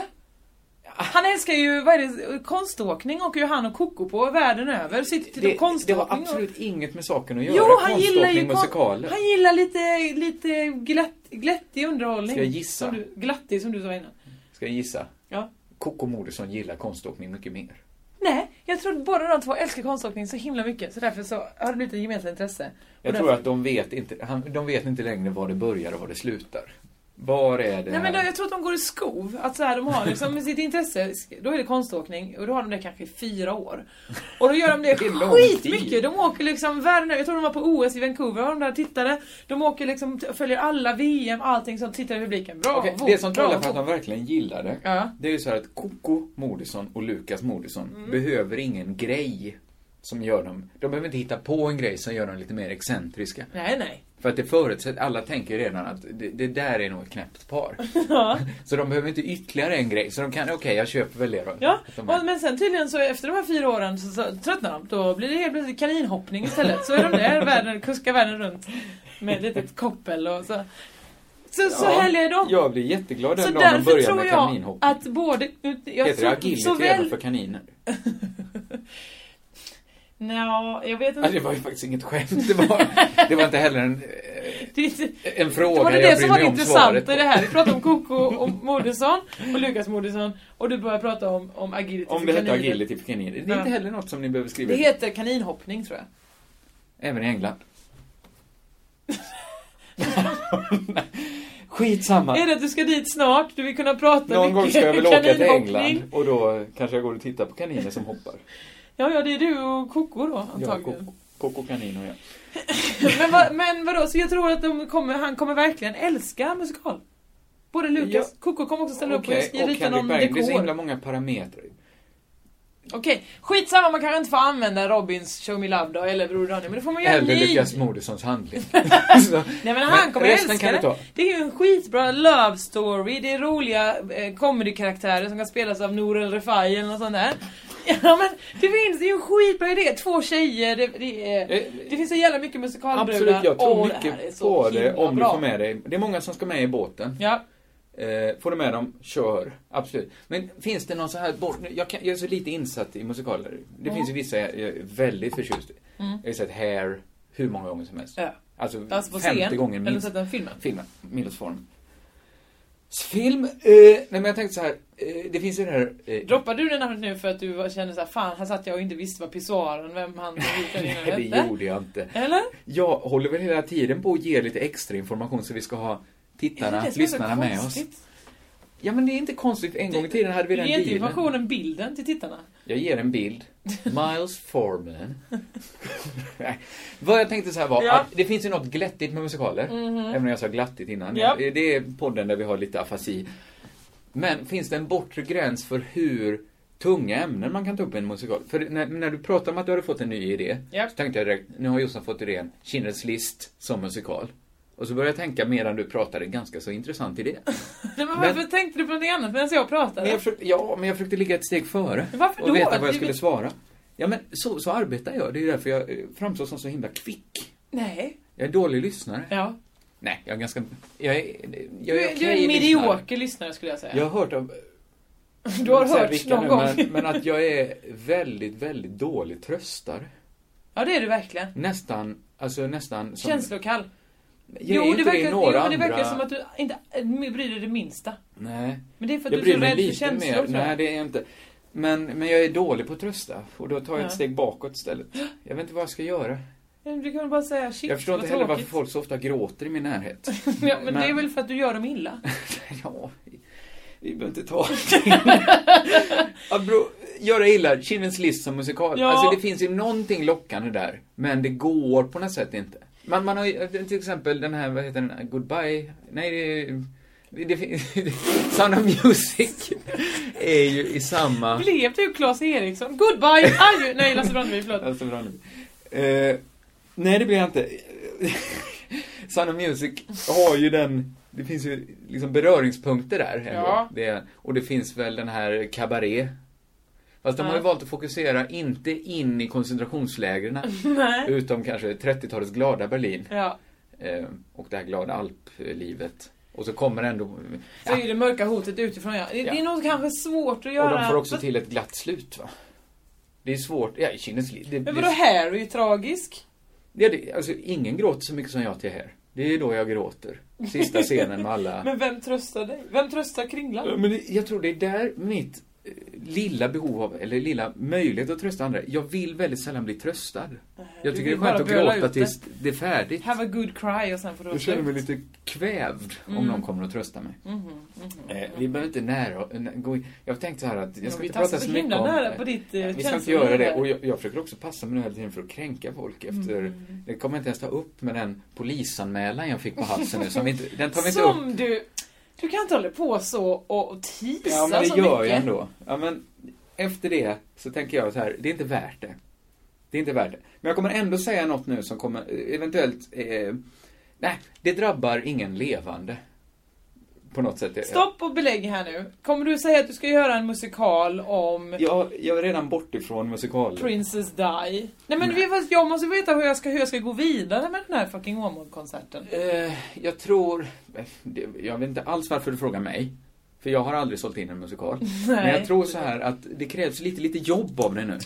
E: Han älskar ju, vad är det, konståkning åker ju han och Koko på världen över. Sitter det,
D: Det,
E: och konståkning
D: det har
E: och-
D: absolut inget med saken att göra.
E: Jo, han gillar ju
D: Konståkning, musikaler.
E: Han gillar lite, lite glatt, glättig underhållning.
D: Ska jag gissa?
E: Som du, glattig som du sa innan.
D: Ska jag gissa?
E: Ja.
D: Koko Moodysson gillar konståkning mycket mer.
E: Nej, jag tror att båda de två älskar konståkning så himla mycket så därför så har det blivit ett gemensamt intresse.
D: Jag
E: Och
D: tror
E: därför-
D: att de vet, inte, han, de vet inte längre var det börjar och var det slutar. Var är det
E: Nej men
D: här?
E: då, jag tror att de går i skov. Att så här, de har liksom sitt intresse, då är det konståkning och då har de det kanske i fyra år. Och då gör de det,
D: Det är lång
E: skitmycket.
D: tid.
E: De åker liksom världen över. Jag tror de var på OS i Vancouver och de där tittade. De åker liksom, t- följer alla VM, allting som tittar i publiken. Bra,
D: Okej,
E: vårt,
D: det som talar
E: bra,
D: för att
E: vårt.
D: han verkligen gillar det,
E: Ja. Mm.
D: det är ju så här att Koko Moodysson och Lukas Moodysson behöver ingen grej som gör dem... De behöver inte hitta på en grej som gör dem lite mer excentriska.
E: Nej nej.
D: För att det förutsätter, alla tänker redan att det, det där är nog ett knäppt par.
E: Ja.
D: så de behöver inte ytterligare en grej, så de kan, okej jag köper väl det då.
E: Ja,
D: Att de
E: och- men sen tydligen så efter de här fyra åren så, så tröttnar de. Då blir det helt plötsligt kaninhoppning istället. Så är de där världen, kuskar världen runt med ett litet koppel och så. Så, så
D: Ja,
E: helger de.
D: Jag blir jätteglad
E: Så
D: den dagen de
E: därför
D: börjar
E: tror
D: med
E: jag
D: kaninhopp.
E: att både... Jag
D: Heter det agility
E: så
D: även
E: väl,
D: för kaniner?
E: Nja, jag vet
D: Ja, det
E: inte.
D: var ju faktiskt inget skämt. Det var, det var inte heller en,
E: Det, är inte-
D: en
E: det
D: fråga
E: var det,
D: jag
E: det
D: bryr
E: som var
D: mig
E: det
D: om svaret
E: intressanta i
D: på.
E: det här. Vi pratade om Koko och Moodysson och Lukas Moodysson och du börjar prata om, om agility
D: Om
E: för
D: det hette
E: kaniner.
D: agility för kaniner. Det är
E: Ja.
D: inte heller något som ni behöver skriva
E: Det
D: ut.
E: heter kaninhoppning tror jag.
D: Även i England. Skitsamma.
E: Är det att du ska dit snart? Du vill kunna prata
D: Någon
E: mycket
D: gång ska jag väl åka till
E: kaninhoppning.
D: England och då kanske jag går och tittar på kaniner som hoppar.
E: Ja, ja, det är du och Koko då
D: Jag,
E: antagligen.
D: Koko- Koko kanin och jag.
E: men, vad, men vadå, så jag tror att de kommer, han kommer verkligen älska musikal. Både Lukas, Koko kommer också ställa
D: Okej,
E: upp och
D: och
E: rita
D: Henrik
E: någon
D: Berg. Det är så himla
E: dekor.
D: många parametrar.
E: Okej, skitsamma man kanske inte får använda Robins Show Me Love då, eller Broder Ronny, men då får man göra en
D: Eller
E: ny.
D: Lukas Moodyssons handling.
E: Nej men han
D: Men
E: kommer
D: resten
E: älska
D: kan vi
E: det.
D: ta.
E: Det är ju en skitbra love story, det är roliga eh, comedy-karaktärer som kan spelas av Nour El Refai eller något sånt där. Ja men det finns, det är ju en skitbra idé. Två tjejer, det, det, är,
D: Eh,
E: det finns så jävla mycket musikalbrudar.
D: Absolut, jag tror
E: Åh, det här är
D: mycket
E: så
D: på det
E: himla
D: om du
E: bra.
D: får med dig. Det är många som ska med i båten.
E: Ja.
D: Eh, får du med dem, kör. Absolut. Men finns det någon så här bort... Jag, kan, jag är så lite insatt i musikaler. Det
E: Mm.
D: finns ju vissa jag är väldigt förtjust i.
E: Mm.
D: Jag har sett Hair hur många gånger som helst.
E: Ja.
D: Alltså,
E: Alltså på
D: 50
E: scen?
D: gånger
E: Eller
D: minst.
E: sett den filmen?
D: Filmen, Milos form. S- Film? Eh, nej men jag tänkte så här. Eh, det finns ju det här... Eh,
E: Droppade du det namnet nu för att du var- kände såhär, fan här satt jag och inte visste vad pissoaren, vem han
D: nej,
E: vilka
D: det
E: hette?
D: gjorde jag inte.
E: Eller?
D: Jag håller väl hela tiden på att ge lite extra information så vi ska ha tittarna,
E: det som är så
D: lyssnarna med oss.
E: konstigt?
D: Ja men det är inte konstigt, en gång i tiden hade vi
E: Du
D: den
E: ger inte
D: dealen.
E: informationen bilden till tittarna.
D: Jag ger en bild. Miles Forman. Nej. Vad jag tänkte så här var
E: Ja.
D: att det finns ju något glättigt med musikaler.
E: Mhm.
D: Även om jag sa glattigt innan. Eh,
E: Ja.
D: Det är podden där vi har lite afasi. Men finns det en bortre gräns för hur tunga ämnen man kan ta upp i en musikal? För när, när du pratade om att du hade fått en ny idé.
E: Ja.
D: Så tänkte jag direkt, nu har Jossan fått idén Kindreds list som musikal. Och så började jag tänka medan du pratade, en ganska så intressant idé.
E: Nej, men
D: Men-
E: varför tänkte du på något annat medan jag
D: Men
E: pratade?
D: jag försökte, ja, men jag försökte ligga ett steg före.
E: Men varför
D: och
E: då?
D: veta vad
E: Det-
D: jag skulle svara. Ja, men så, så arbetar jag. Det är ju därför jag eh, framstår som så himla kvick.
E: Nej.
D: Jag är dålig lyssnare.
E: Ja.
D: Nej, jag är ganska... Jag är... Jag
E: Du,
D: är,
E: är-
D: okej
E: du är en
D: lyssnare.
E: medioker lyssnare skulle jag säga.
D: Jag har hört av...
E: du har
D: jag säger
E: hört
D: vilka
E: någon
D: nu,
E: gång.
D: Men, men att jag är väldigt, väldigt dålig tröstare.
E: Ja det är du verkligen.
D: Nästan, alltså nästan som...
E: Känslokall.
D: Ger inte det
E: verkar,
D: några
E: jo, det verkar
D: andra-
E: som att du inte äh, bryr dig det minsta.
D: Nej.
E: Men det är för att
D: jag
E: du
D: bryr
E: är så
D: mig
E: rädd för
D: lite
E: känslor,
D: mer.
E: tror jag.
D: Nej, det är jag inte. Men, men jag är dålig på att trösta och då tar jag
E: Ja.
D: ett steg bakåt istället. Jag vet inte vad jag ska göra.
E: Men Du kan bara säga shit,
D: jag förstår
E: vad
D: inte heller varför
E: tråkigt.
D: folk så ofta gråter i min närhet.
E: ja, men, det är
D: Men-
E: väl för att du gör dem illa.
D: ja, vi- vi behöver inte ta att bro, Göra illa, Kindrens list som musikal.
E: Ja.
D: Alltså det finns ju någonting lockande där, men det går på något sätt inte. Man, man har ju till exempel den här, vad heter den, Goodbye? Nej, det är... Det, det, fin- Sound of Music är ju i samma...
E: Blev du typ Claes Eriksson? Goodbye! Adjö! Nej, Lasse Brandeby, förlåt.
D: Alltså, bra nu. Eh, nej, det blir jag inte. Sound of Music har ju den, det finns ju liksom beröringspunkter där. ändå.
E: Ja.
D: Det, och det finns väl den här Cabaret. Fast de
E: Ja.
D: har ju valt att fokusera inte in i koncentrationslägren.
E: Nej.
D: utom kanske 30-talets glada Berlin.
E: Ja.
D: Eh, och det här glada alplivet. Och så kommer ändå...
E: Så är ju det mörka hotet utifrån ja. Det, det är
D: Ja.
E: nog kanske svårt att
D: Och
E: göra.
D: de får också till ett glatt slut va? Det är svårt, ja i Kindrens liv. Det,
E: Men
D: det-
E: vadå Harry är tragisk?
D: Ja, det, alltså ingen gråter så mycket som jag till här. Det är då jag gråter. Sista scenen med alla...
E: Men vem tröstar dig? Vem tröstar Kringlan?
D: Ja, Men det, jag tror det är där mitt eh, lilla behov av, eller lilla möjlighet att trösta andra. Jag vill väldigt sällan bli tröstad.
E: du
D: Jag tycker det
E: vill
D: är skönt
E: bara
D: att
E: böla ut
D: gråta
E: det.
D: tills det är färdigt.
E: Have a good cry och sen får du
D: Jag känner mig lite kvävd
E: Mm.
D: om någon kommer att trösta mig.
E: Mhm, mhm.
D: Eh, vi behöver inte nära, nä- gå in. Jag tänkte så här att
E: Ja,
D: jag ska
E: vi
D: inte prata
E: tassar
D: så
E: så
D: mycket
E: himla
D: om...
E: nära
D: eh,
E: på ditt, eh,
D: nej, Vi ska inte
E: känsloliv
D: göra det.
E: där.
D: Och jag, jag försöker också passa mig nu hela tiden för att kränka folk efter...
E: Mm.
D: Det kommer jag inte ens ta upp med den polisanmälan jag fick på halsen nu. Som vi inte, den tar vi inte upp.
E: Som du... Du kan inte hålla på så och och tisa
D: Ja, men
E: så
D: det gör
E: mycket.
D: jag ändå. Ja, men efter det så tänker jag så här, det är inte värt det. Det är inte värt det. Men jag kommer ändå säga något nu som kommer, eh, eventuellt, eh, nej, det drabbar ingen levande. På något sätt.
E: Stopp och belägg här nu. Kommer du säga att du ska göra en musikal om
D: Jag, jag är redan bortifrån musikal.
E: Princess Die? Nej
D: Mm.
E: men vi, fast jag måste veta hur jag ska, hur jag ska gå vidare med den här fucking Åmål-konserten.
D: Eh, jag tror... eh, det- Jag vet inte alls varför du frågar mig. För jag har aldrig sålt in en musikal. Men jag tror så här att det krävs lite, lite jobb av dig nu.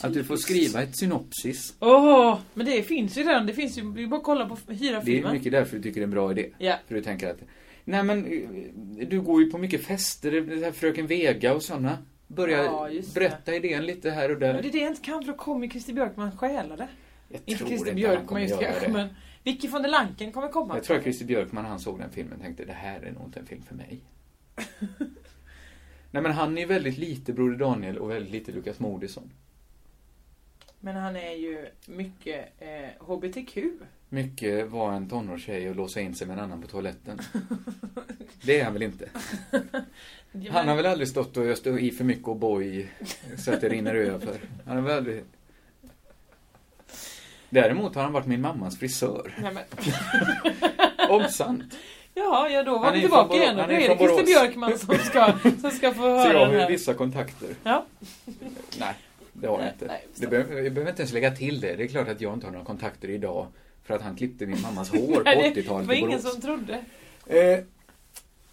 D: att du får skriva ett synopsis.
E: Åh, men det finns ju redan. Det finns ju, vi bara att kolla på hyra
D: Det är
E: filmen.
D: mycket därför du tycker det är en bra idé.
E: Ja.
D: För du tänker att... Nej men, eh, du går ju på mycket fester, det här Fröken Vega och sådana. Börja
E: Ja, just det.
D: berätta idén lite här och
E: Men
D: där.
E: det är det jag inte kan för då kommer ju Christer Björkman stjäla det.
D: Jag
E: Inte
D: tror
E: Christer
D: inte han
E: Björkman
D: kommer
E: just
D: göra
E: kanske
D: det.
E: men Vicky von der Lanken kommer komma.
D: Jag tror att Christer Björkman, när han såg den filmen, tänkte det här är nog inte en film för mig. Nej men han är ju väldigt lite Broder Daniel och väldigt lite Lukas Moodysson.
E: Men han är ju mycket eh, HBTQ.
D: Mycket var en tonårstjej och låsa in sig med en annan på toaletten. Det är han väl inte? Han har väl aldrig stått och öst i för mycket O'boy så att det rinner över. Han har väl aldrig... Däremot har han varit min mammas frisör.
E: Nej, men...
D: Om sant.
E: Ja, ja då var
D: Han
E: vi
D: är ju
E: tillbaka
D: från Borå-
E: igen. Då är
D: han är ju
E: det
D: från
E: Christer
D: Borås.
E: Björkman som ska, som ska få
D: Så jag
E: höra
D: har
E: den
D: ju
E: här.
D: vissa kontakter.
E: Ja.
D: Nej, det har jag
E: Nej,
D: inte.
E: nej,
D: det behöver, jag behöver inte ens lägga till det. Det är klart att jag inte har några kontakter idag för att han klippte min mammas hår på
E: Nej, det
D: 80-talet
E: var
D: i
E: ingen
D: Borås.
E: som trodde.
D: Eh,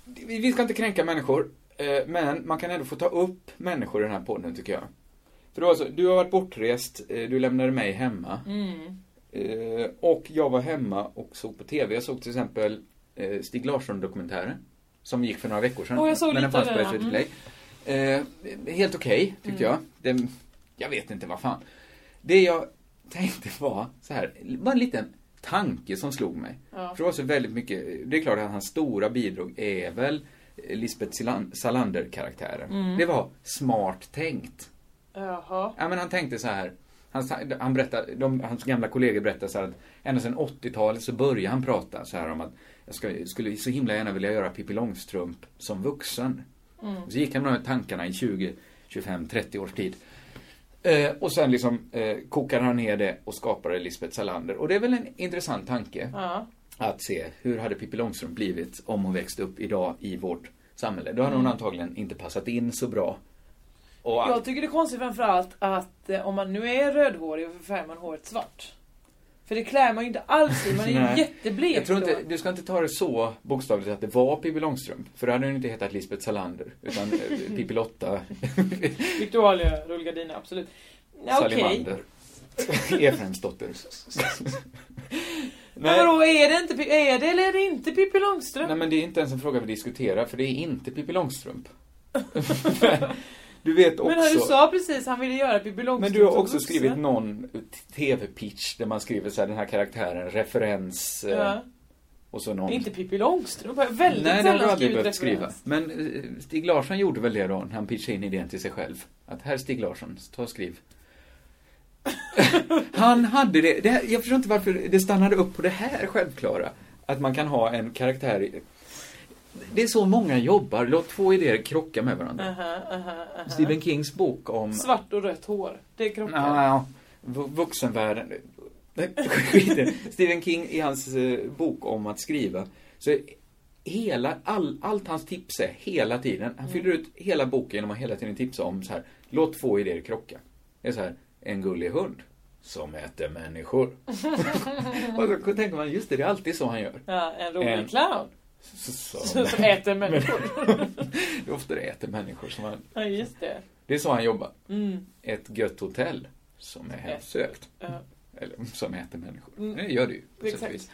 D: vi vi ska inte kränka människor, eh, men man kan ändå få ta upp människor i den här podden tycker jag. För då alltså, du har varit bortrest, eh, du lämnade mig hemma.
E: Mm.
D: Eh, och jag var hemma och såg på TV. Jag såg till exempel eh, Stig Larsson-dokumentären. Som gick för några veckor sedan.
E: Åh, jag såg
D: men den
E: lite av
D: fanns på
E: den, ja.
D: SVT Play. Eh, helt okej, tyckte
E: Mm.
D: jag. Det, jag vet inte vad fan. Det jag tänkte var så här, bara en liten tanke som slog mig.
E: Ja.
D: För det var så väldigt mycket, det är klart att hans stora bidrag är väl Lisbeth Silan- Salander-karaktären.
E: Mm.
D: Det var smart tänkt.
E: Jaha.
D: Ja, men han tänkte så här. Han, sa- han berättar, de, hans gamla kollegor berättar så här att ända sedan 80-talet så började han prata så här om att jag ska, skulle så himla gärna vilja göra Pippi Långstrump som vuxen.
E: Mm.
D: Och Så gick han med de här tankarna i 20, 25, 30 års tid. Eh, och sen liksom eh, kokade han ner det och skapade Lisbeth Salander. Och det är väl en intressant tanke
E: Ja.
D: att se hur hade Pippi Långstrump blivit om hon växte upp idag i vårt samhälle. Då hade hon
E: Mm.
D: antagligen inte passat in så bra. Och allt.
E: Jag tycker det är konstigt framförallt att eh, om man nu är rödhårig varför färgar man håret svart? För det klär man ju inte alls i, man är ju
D: Nej.
E: jätteblek
D: Jag tror inte,
E: då.
D: du ska inte ta det så bokstavligt att det var Pippi Långstrump. För då hade hon inte hetat Lisbeth Salander. Utan eh, Pippi Lotta
E: Victoria rullgardina, absolut. Ja, Okej.
D: Salimander. Efraims dotter.
E: Men vadå, är det, inte, är det eller är det inte Pippi Långstrump?
D: Nej men det är inte ens en fråga vi diskuterar för det är inte Pippi Långstrump. du vet också...
E: Men han- du sa precis han ville göra Pippi
D: Men
E: Långstrump
D: du har
E: som
D: också
E: vuxen.
D: skrivit någon TV-pitch där man skriver så här, den här karaktären, referens eh,
E: Ja.
D: och så någon...
E: Inte Pippi Långstrump, jag har väldigt
D: Nej, det har
E: sällan
D: du aldrig
E: skrivit
D: behövt skriva.
E: referens.
D: Men eh, Stig Larsson gjorde väl det då, när han pitchade in idén till sig själv. Att här Stig Larsson, ta och skriv. han hade det, det här, jag förstår inte varför det stannade upp på det här självklara. Att man kan ha en karaktär i... Det är så många jobbar, låt två idéer krocka med varandra.
E: Aha, aha, aha.
D: Stephen Kings bok om...
E: Svart och rött hår, det är kroppen.
D: Ja, ja. V- Vuxenvärlden. Nej, skit i det. Stephen King i hans eh, bok om att skriva. Så är hela, all, allt hans tips är hela tiden. Han fyller ut hela boken genom att hela tiden tipsa om så här. Låt två idéer krocka. Det är så här. En gullig hund. Som äter människor. Och då tänker man, just det, det är alltid så han gör.
E: Ja, en rolig
D: En-
E: clown.
D: Som,
E: Som äter människor.
D: det är ofta det äter människor som han...
E: Ja, just det.
D: Det är så han jobbar.
E: Mm.
D: Ett gött hotell som är hemsökt.
E: Ja.
D: Eller som äter människor.
E: Mm.
D: Det gör det ju. på sätt och
E: Exakt.
D: vis.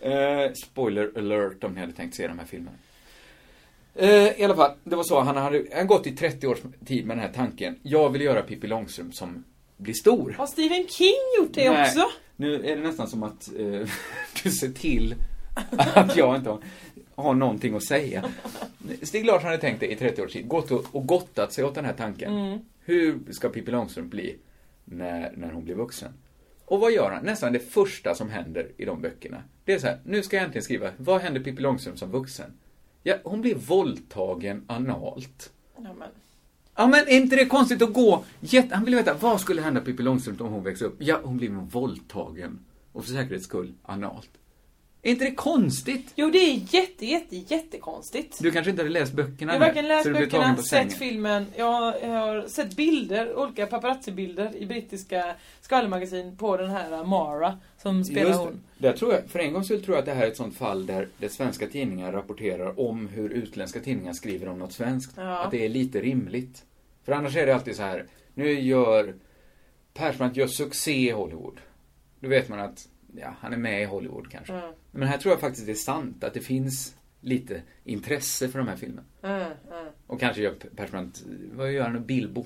D: Eh, spoiler alert om ni hade tänkt se de här filmerna. Eh, I alla fall, det var så. Han hade han hade gått i 30 års tid med den här tanken. Jag vill göra Pippi Långstrump som blir stor.
E: Har Stephen King gjort det
D: Nej,
E: också?
D: Nu är det nästan som att eh, du ser till att jag inte har, har någonting att säga. Stig Larsson hade tänkt det i 30 års tid, gått och, och gottat sig åt den här tanken.
E: Mm.
D: Hur ska Pippi Långstrump bli när, när hon blir vuxen? Och vad gör han? Nästan det första som händer i de böckerna. Det är så här, nu ska jag äntligen skriva, vad händer Pippi Långstrump som vuxen? Ja, hon blir våldtagen analt.
E: Ja, men.
D: Ja men är inte det konstigt att gå? Jätte... Han ville veta, vad skulle hända Pippi Långstrump om hon växte upp? Ja, hon blev nog våldtagen. Och för säkerhets skull, analt. Är inte det konstigt?
E: Jo, det är jätte, jätte, jättekonstigt.
D: Du kanske inte hade läst böckerna
E: Jag
D: nu,
E: har varken läst
D: så du blev
E: böckerna,
D: tagen på
E: sett
D: sängen.
E: filmen, jag har sett bilder, olika paparazzi-bilder i brittiska skvallermagasin på den här uh, Mara som spelar
D: Just
E: hon.
D: det. Där tror jag, för en gång skulle tror jag att det här är ett sånt fall där det svenska tidningar rapporterar om hur utländska tidningar skriver om något svenskt.
E: Ja.
D: Att det är lite rimligt. För annars är det alltid så här, nu gör Persbrandt gör succé i Hollywood. Då vet man att, ja, han är med i Hollywood kanske.
E: Mm.
D: Men här tror jag faktiskt det är sant, att det finns lite intresse för de här filmerna.
E: Mm, mm.
D: Och kanske gör Persbrandt, vad gör han nu, Bilbo?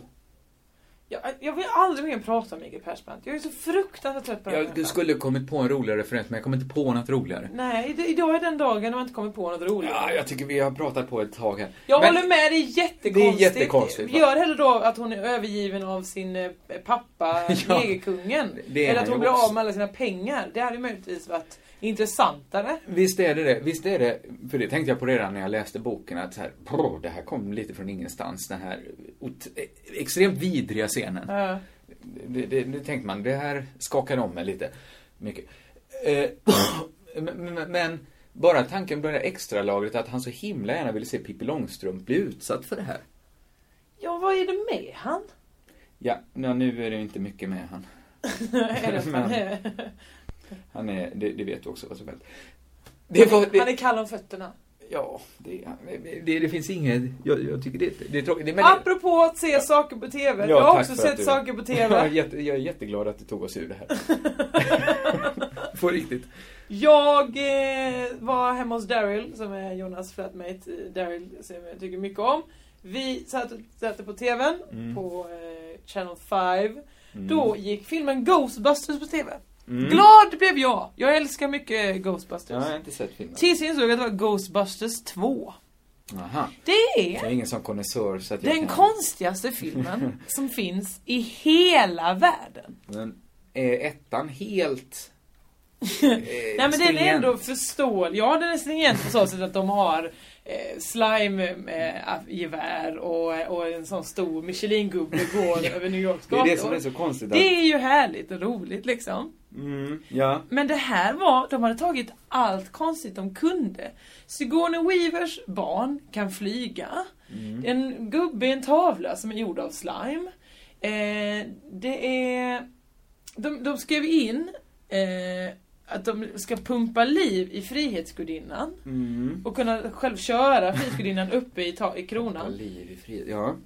E: Jag, jag vill aldrig mer prata om Mikael Persbrandt. Jag är så fruktansvärt trött på den
D: Jag
E: människan.
D: skulle kommit på en roligare referens, men jag kommer inte på något roligare.
E: Nej, id- idag är den dagen när man inte kommer på något roligt.
D: Ja, jag tycker vi har pratat på ett tag här.
E: Jag
D: Men-
E: håller med, det är jättekonstigt.
D: Det är jättekonstigt, va?
E: Gör hellre då att hon är övergiven av sin eh, pappa,
D: Ja.
E: negerkungen.
D: det är
E: Eller
D: han
E: att
D: ju
E: hon blir
D: också.
E: av med alla sina pengar. Det hade ju möjligtvis varit intressantare.
D: Visst är det det. Visst är det. För det tänkte jag på redan när jag läste boken att så här, brr, det här kom lite från ingenstans. Den här ot- extremt vidriga scenen.
E: Ja.
D: Det, det, det tänkte man, det här skakade om mig lite. Mycket. Eh, men, men- men bara tanken på det här extra lagret att han så himla gärna ville se Pippi Långstrump bli utsatt för det här.
E: Ja, vad är det med han?
D: Ja, nå, nu är det ju inte mycket med han.
E: Eller att han,
D: Men-
E: är,
D: Han är, det, det vet du också vad som helst. Det var, det,
E: han är kall om fötterna.
D: ja, det, det, det finns inget, jag, jag tycker det, det är tråkigt. Det, men det,
E: Apropå att se saker på TV.
D: Ja,
E: jag har
D: tack
E: också
D: för att
E: sett
D: du-
E: saker på
D: Jag är,
E: TV.
D: jätte, jag är jätteglad att du tog oss ur det här. På riktigt.
E: jag eh, var hemma hos Daryl, som är Jonas flatmate. eh, Daryl som jag tycker mycket om. Vi satt, satt på TVn,
D: Mm.
E: på eh, Channel 5. Då gick filmen Ghostbusters på TV.
D: Mm.
E: Glad blev jag! Jag älskar mycket eh,
D: Ja, Jag
E: Ghostbusters.
D: har inte sett filmen.
E: Tills jag insåg att det var Ghostbusters 2.
D: Aha.
E: Det är
D: Jag är ingen sån konnässör så att jag
E: Den
D: kan...
E: konstigaste filmen som finns i hela världen.
D: Men är ettan helt... eh, Nej
E: Nej men den är ändå förståelig. Ja den är stringent på så sätt att de har eh, slime-gevär och, och en sån stor Michelin-gubbe går över New Yorks
D: Det
E: gator.
D: är det som är så konstigt. Att...
E: Det är ju härligt och roligt liksom.
D: Mm, ja.
E: Men det här var, de hade tagit allt konstigt de kunde. Sigourney Weavers barn kan flyga. En gubbe i en tavla som är gjord av slime. Eh, det är... De, de skrev in eh, att de ska pumpa liv i Frihetsgudinnan.
D: Mm.
E: Och kunna själv köra Frihetsgudinnan uppe i, ta- i kronan.
D: Liv i fred. Ja.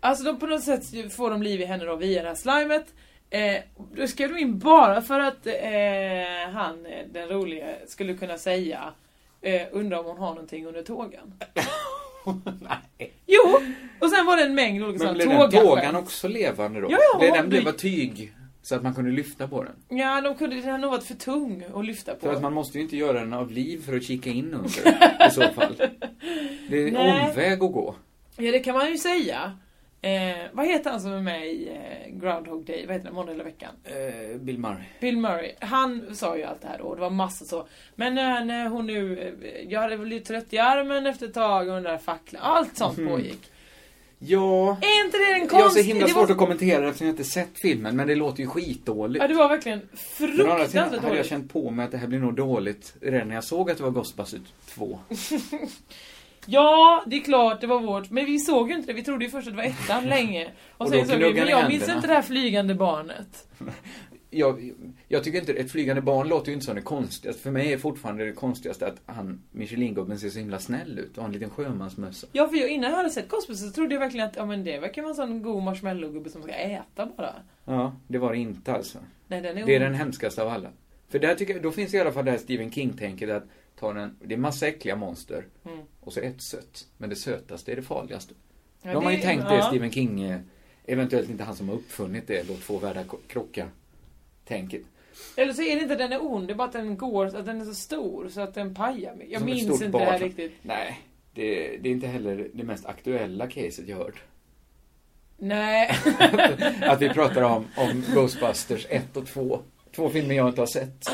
E: Alltså de, på något sätt får de liv i henne då via det här slimet. Eh, då skrev de in bara för att eh, han, eh, den roliga, skulle kunna säga eh, undrar om hon har någonting under tågan. Jo! Och sen var det en mängd olika
D: Men
E: sådana
D: blev den
E: tågaskämt.
D: tågan också levande då?
E: Ja, ja,
D: blev
E: hon
D: den blev
E: blir-
D: av tyg så att man kunde lyfta på den?
E: Ja, de kunde, den hade nog varit för tung att lyfta på.
D: För att man måste ju inte göra den av liv för att kika in under i så fall. Det är en
E: Nej.
D: omväg att gå.
E: Ja, det kan man ju säga. Eh, vad heter han som är med i eh, Groundhog Day? Vad heter den? Måndag eller veckan?
D: Eh, Bill Murray.
E: Bill Murray, han sa ju allt det här då och det var massa så. Men när, när hon nu, eh, jag hade blivit trött i armen efter ett tag och den där facklan, allt sånt
D: Mhm.
E: pågick.
D: Ja,
E: Är inte det en
D: jag har så
E: konstig...
D: himla
E: det
D: svårt
E: var,
D: att kommentera eftersom jag inte sett filmen, men det låter ju skitdåligt.
E: Ja, det var verkligen
D: Men å andra sidan
E: fruktansvärt
D: hade jag
E: dåligt.
D: känt på mig att det här blir nog dåligt redan när jag såg att det var Ghostbusters 2.
E: Ja, det är klart, det var vårt. Men vi såg ju inte det, vi trodde ju först att det var ettan länge. Och,
D: Och då
E: sen såg vi,
D: gnuggade
E: men jag minns
D: händerna.
E: inte det här flygande barnet.
D: Jag, jag tycker inte, ett flygande barn låter ju inte som det konstigaste. För mig är fortfarande det konstigaste att han, Michelin-gubben, ser så himla snäll ut och har en liten sjömansmössa.
E: Ja, för jag, innan jag hade sett Cosmos så trodde jag verkligen att ja, men det verkar vara en sån god marshmallowgubbe som ska äta bara.
D: Ja, det var det inte alltså.
E: Nej, den är
D: Det är
E: ond.
D: den hemskaste av alla. För där tycker jag, då finns i alla fall det här Stephen King-tänket att ta den, det är massa äckliga monster
E: Mm.
D: och så ett sött. Men det sötaste är det farligaste.
E: Ja,
D: De har
E: det-
D: ju tänkt
E: ja.
D: det, Stephen King, eh, eventuellt inte han som har uppfunnit det, låt två världar ko- krocka, tänket.
E: Eller så är det inte att den är ond, det är bara att den går, att den är så stor så att den pajar mig. Jag
D: Som ett
E: minns
D: stort
E: inte
D: barn
E: det här
D: som-
E: riktigt.
D: Nej, det, det är inte heller det mest aktuella caset jag hört.
E: Nej.
D: Att vi pratar om, om Ghostbusters 1 och 2. Två filmer jag inte har sett.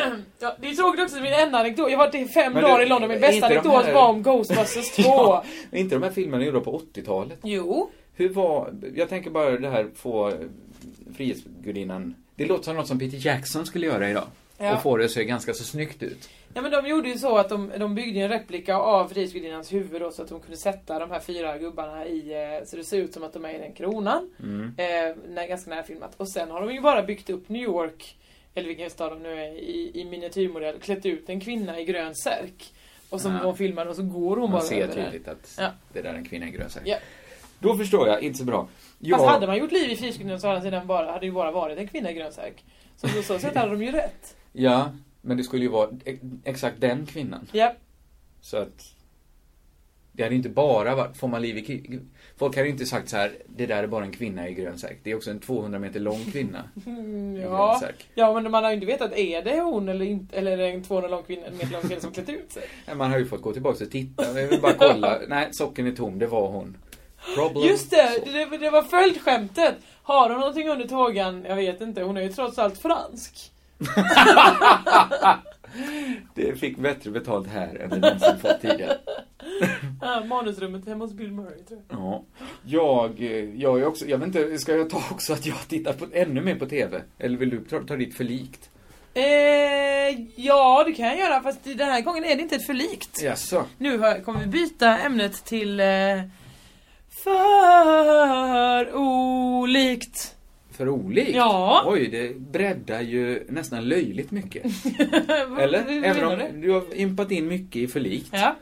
E: ja, det är tråkigt också, min enda anekdot. Jag har varit i fem
D: Men
E: dagar
D: du,
E: i London, min
D: är
E: bästa
D: inte de
E: anekdot
D: här-
E: var om Ghostbusters 2.
D: Ja, är inte de här filmerna gjorda på 80-talet?
E: Jo.
D: Hur var, jag tänker bara det här få Frihetsgudinnan. Det låter som något som Peter Jackson skulle göra idag.
E: Ja.
D: Och få det att se ganska så snyggt ut.
E: Ja men de gjorde ju så att de, de byggde ju en replika av Frihetsgudinnans huvud då, så att de kunde sätta de här fyra gubbarna i, eh, så det ser ut som att de är i den kronan.
D: Mm.
E: Eh, när, ganska nära filmat. Och sen har de ju bara byggt upp New York, eller vilken stad de nu är i, i miniatyrmodell, klätt ut en kvinna i grön särk. Och som
D: Ja.
E: de filmar och så går hon
D: Man
E: bara
D: ser
E: över där.
D: tydligt att
E: Ja.
D: det där är en kvinna i grön särk.
E: Ja.
D: Då förstår jag, inte så bra.
E: Fast
D: Jag-
E: hade man gjort liv i Frihetsgudinnan så hade, den bara, hade ju bara varit en kvinna i grön särk. Så på så sätt hade de ju rätt.
D: Ja, men det skulle ju vara e- exakt den kvinnan.
E: Ja.
D: Så att det hade inte bara varit, får man liv i krig? Folk hade ju inte sagt så här, det där är bara en kvinna i grön särk. Det är också en 200 meter lång kvinna.
E: Mm,
D: i grön
E: Ja.
D: särk.
E: ja, men man har ju inte vetat, är det hon eller inte? Eller är det en 200 lång kvinna, en meter lång kvinna som klätt ut sig?
D: Nej, Man har ju fått gå tillbaka och titta, vi vill bara kolla. Nej, socken är tom, det var hon. Problem.
E: Just det, det, det var följdskämtet. Har hon någonting under tågan? Jag vet inte, hon är ju trots allt fransk.
D: Det fick bättre betalt här än det någonsin fått tidigare.
E: Ja, manusrummet hemma hos Bill Murray tror jag.
D: Ja. Jag, eh, jag är också, jag vet inte, ska jag ta också att jag tittar på, ännu mer på TV? Eller vill du ta, ta ditt förlikt?
E: Eh, ja, det kan jag göra fast den här gången är det inte ett förlikt.
D: Jaså?
E: Nu har- kommer vi byta ämnet till eh, för olikt.
D: För olikt?
E: Ja.
D: Oj, det breddar ju nästan löjligt mycket. Eller? Även
E: Hur Eh, menar
D: om du har impat in mycket i för likt.
E: Ja.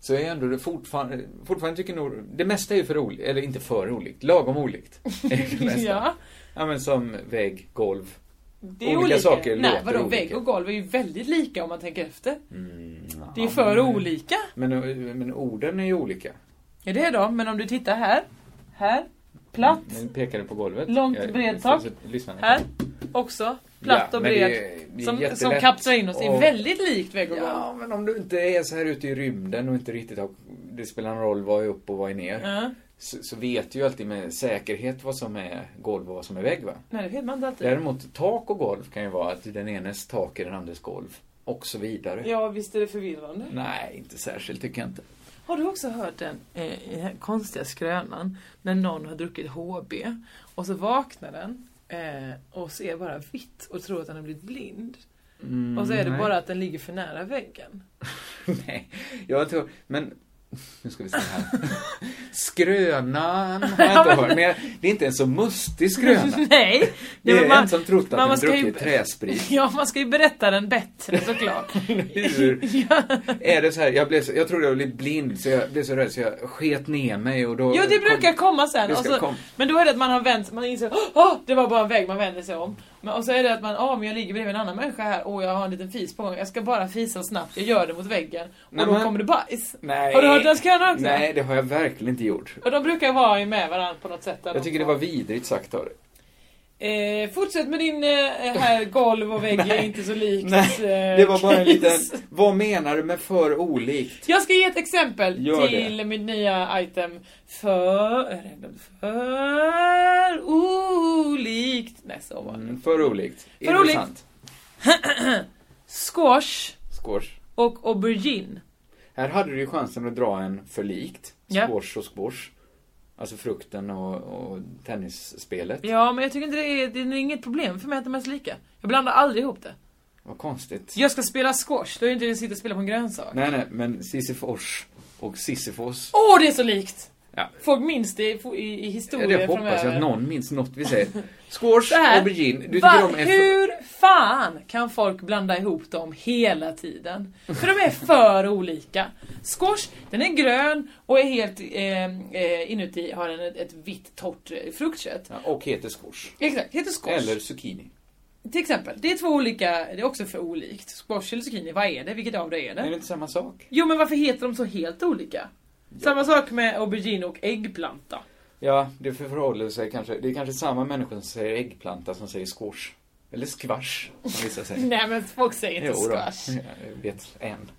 D: Så är jag ändå det fortfarande, fortfarande tycker nog, det mesta är ju för olikt, eller inte för olikt, lagom olikt. Är det mesta.
E: Ja,
D: ja men som vägg, golv.
E: det är olika.
D: Olika saker
E: Nej,
D: låter
E: vadå,
D: olika.
E: vägg och golv är ju väldigt lika om man tänker efter.
D: Mm, ja,
E: Det är för
D: men-
E: olika.
D: Men, men orden är ju olika.
E: Ja, det är de, men om du tittar här, här, platt.
D: Nu pekar du på golvet.
E: Långt
D: Jag-
E: bredtak.
D: Lyssna.
E: Här också. Platt
D: Ja,
E: och
D: men
E: bred.
D: det är- det är
E: som, som
D: jättelätt
E: kapslar in oss. Det är
D: och-
E: väldigt likt vägg och golv.
D: Ja, men om du inte är så här ute i rymden och inte riktigt har, det spelar någon roll vad är upp och vad är ner.
E: Ja.
D: så, så vet du ju alltid med säkerhet vad som är golv och vad som är vägg va?
E: Nej, det vet man inte alltid.
D: Däremot tak och golv kan ju vara att den enes tak är den andres golv. Och så vidare.
E: Ja, visst är det förvirrande.
D: Nej, inte särskilt tycker jag inte.
E: Har du också hört den eh, konstiga skrönan när någon har druckit HB och så vaknar den eh, och ser bara vitt och tror att den har blivit blind.
D: Mm,
E: och så är det
D: nej.
E: bara att den ligger för nära väggen.
D: nej, jag tror, men nu ska vi se här. Skrönan har jag inte hört, men jag, det är inte en så mustig skröna.
E: Nej!
D: Det
E: men
D: är
E: man-
D: en som trott att
E: man-
D: man,
E: man ska ju-
D: druckit träsprit.
E: Ja, man ska ju berätta den bättre såklart.
D: Hur är det så här, jag, blev så, jag trodde jag blev blind så jag blev så rädd så jag sket ner mig och då...
E: Jo det brukar komma sen. alltså-
D: Det
E: Och
D: ska
E: så,
D: komma.
E: men då är det att man har vänt man inser att det var bara en väg, man vänder sig om. Men, och så är det att man, ja men jag ligger bredvid en annan människa här och jag har en liten fis på gång. Jag ska bara fisa snabbt, jag gör det mot väggen. Och
D: Nej,
E: då
D: men-
E: kommer det bajs.
D: Nej.
E: Har du hört deras skrönor också?
D: Nej, det har jag verkligen inte gjort.
E: Och de brukar ju vara med varandra på något sätt. där
D: Jag
E: de
D: tycker det
E: två.
D: var vidrigt sagt av dig.
E: Eh, fortsätt med din eh, här golv och vägg är inte så likt.
D: Nej,
E: eh,
D: det var bara en
E: case.
D: liten... Vad menar du med för olikt?
E: Jag ska ge ett exempel
D: Gör det.
E: till min nya item. För... För olikt. Nej, så var det.
D: Mm, för olikt.
E: För olikt.
D: Intressant.
E: Squash
D: Skårs.
E: och aubergine.
D: Här hade du ju chansen att dra en för likt.
E: Ja.
D: Squash och squash. Alltså frukten och, och tennisspelet.
E: Ja, men jag tycker inte det är, det är inget problem för mig att de är så lika. Jag blandar aldrig ihop det.
D: Vad konstigt.
E: Jag ska spela squash, då är det inte det att sitta och spela på en grönsak.
D: Nej, nej, men Sisyfors och Sisyfos.
E: Åh, det är så likt!
D: Ja.
E: Folk minns det i, i, i
D: Ja,
E: historien
D: det hoppas jag
E: framöver.
D: att någon minns något vi säger. Squash,
E: Så här.
D: aubergine. Du tycker
E: Va,
D: om en för...
E: hur fan kan folk blanda ihop dem hela tiden? För de är för olika. Squash, den är grön och är helt eh, eh, inuti har den ett, ett vitt torrt eh, fruktkött.
D: Ja, Och heter squash.
E: Exakt, heter squash.
D: Eller zucchini.
E: Till exempel, det är två olika, det är också för olikt. Squash eller zucchini, vad är det? Vilket av det är
D: Är det
E: det?
D: inte samma sak?
E: Jo men varför heter de så helt olika? Samma sak med aubergine och äggplanta.
D: Ja, det förhåller sig kanske. Det är kanske samma människor som säger äggplanta som säger squash. Eller squash, som vissa säger.
E: Nej men folk säger inte
D: Jo då.
E: squash.
D: Jag vet en.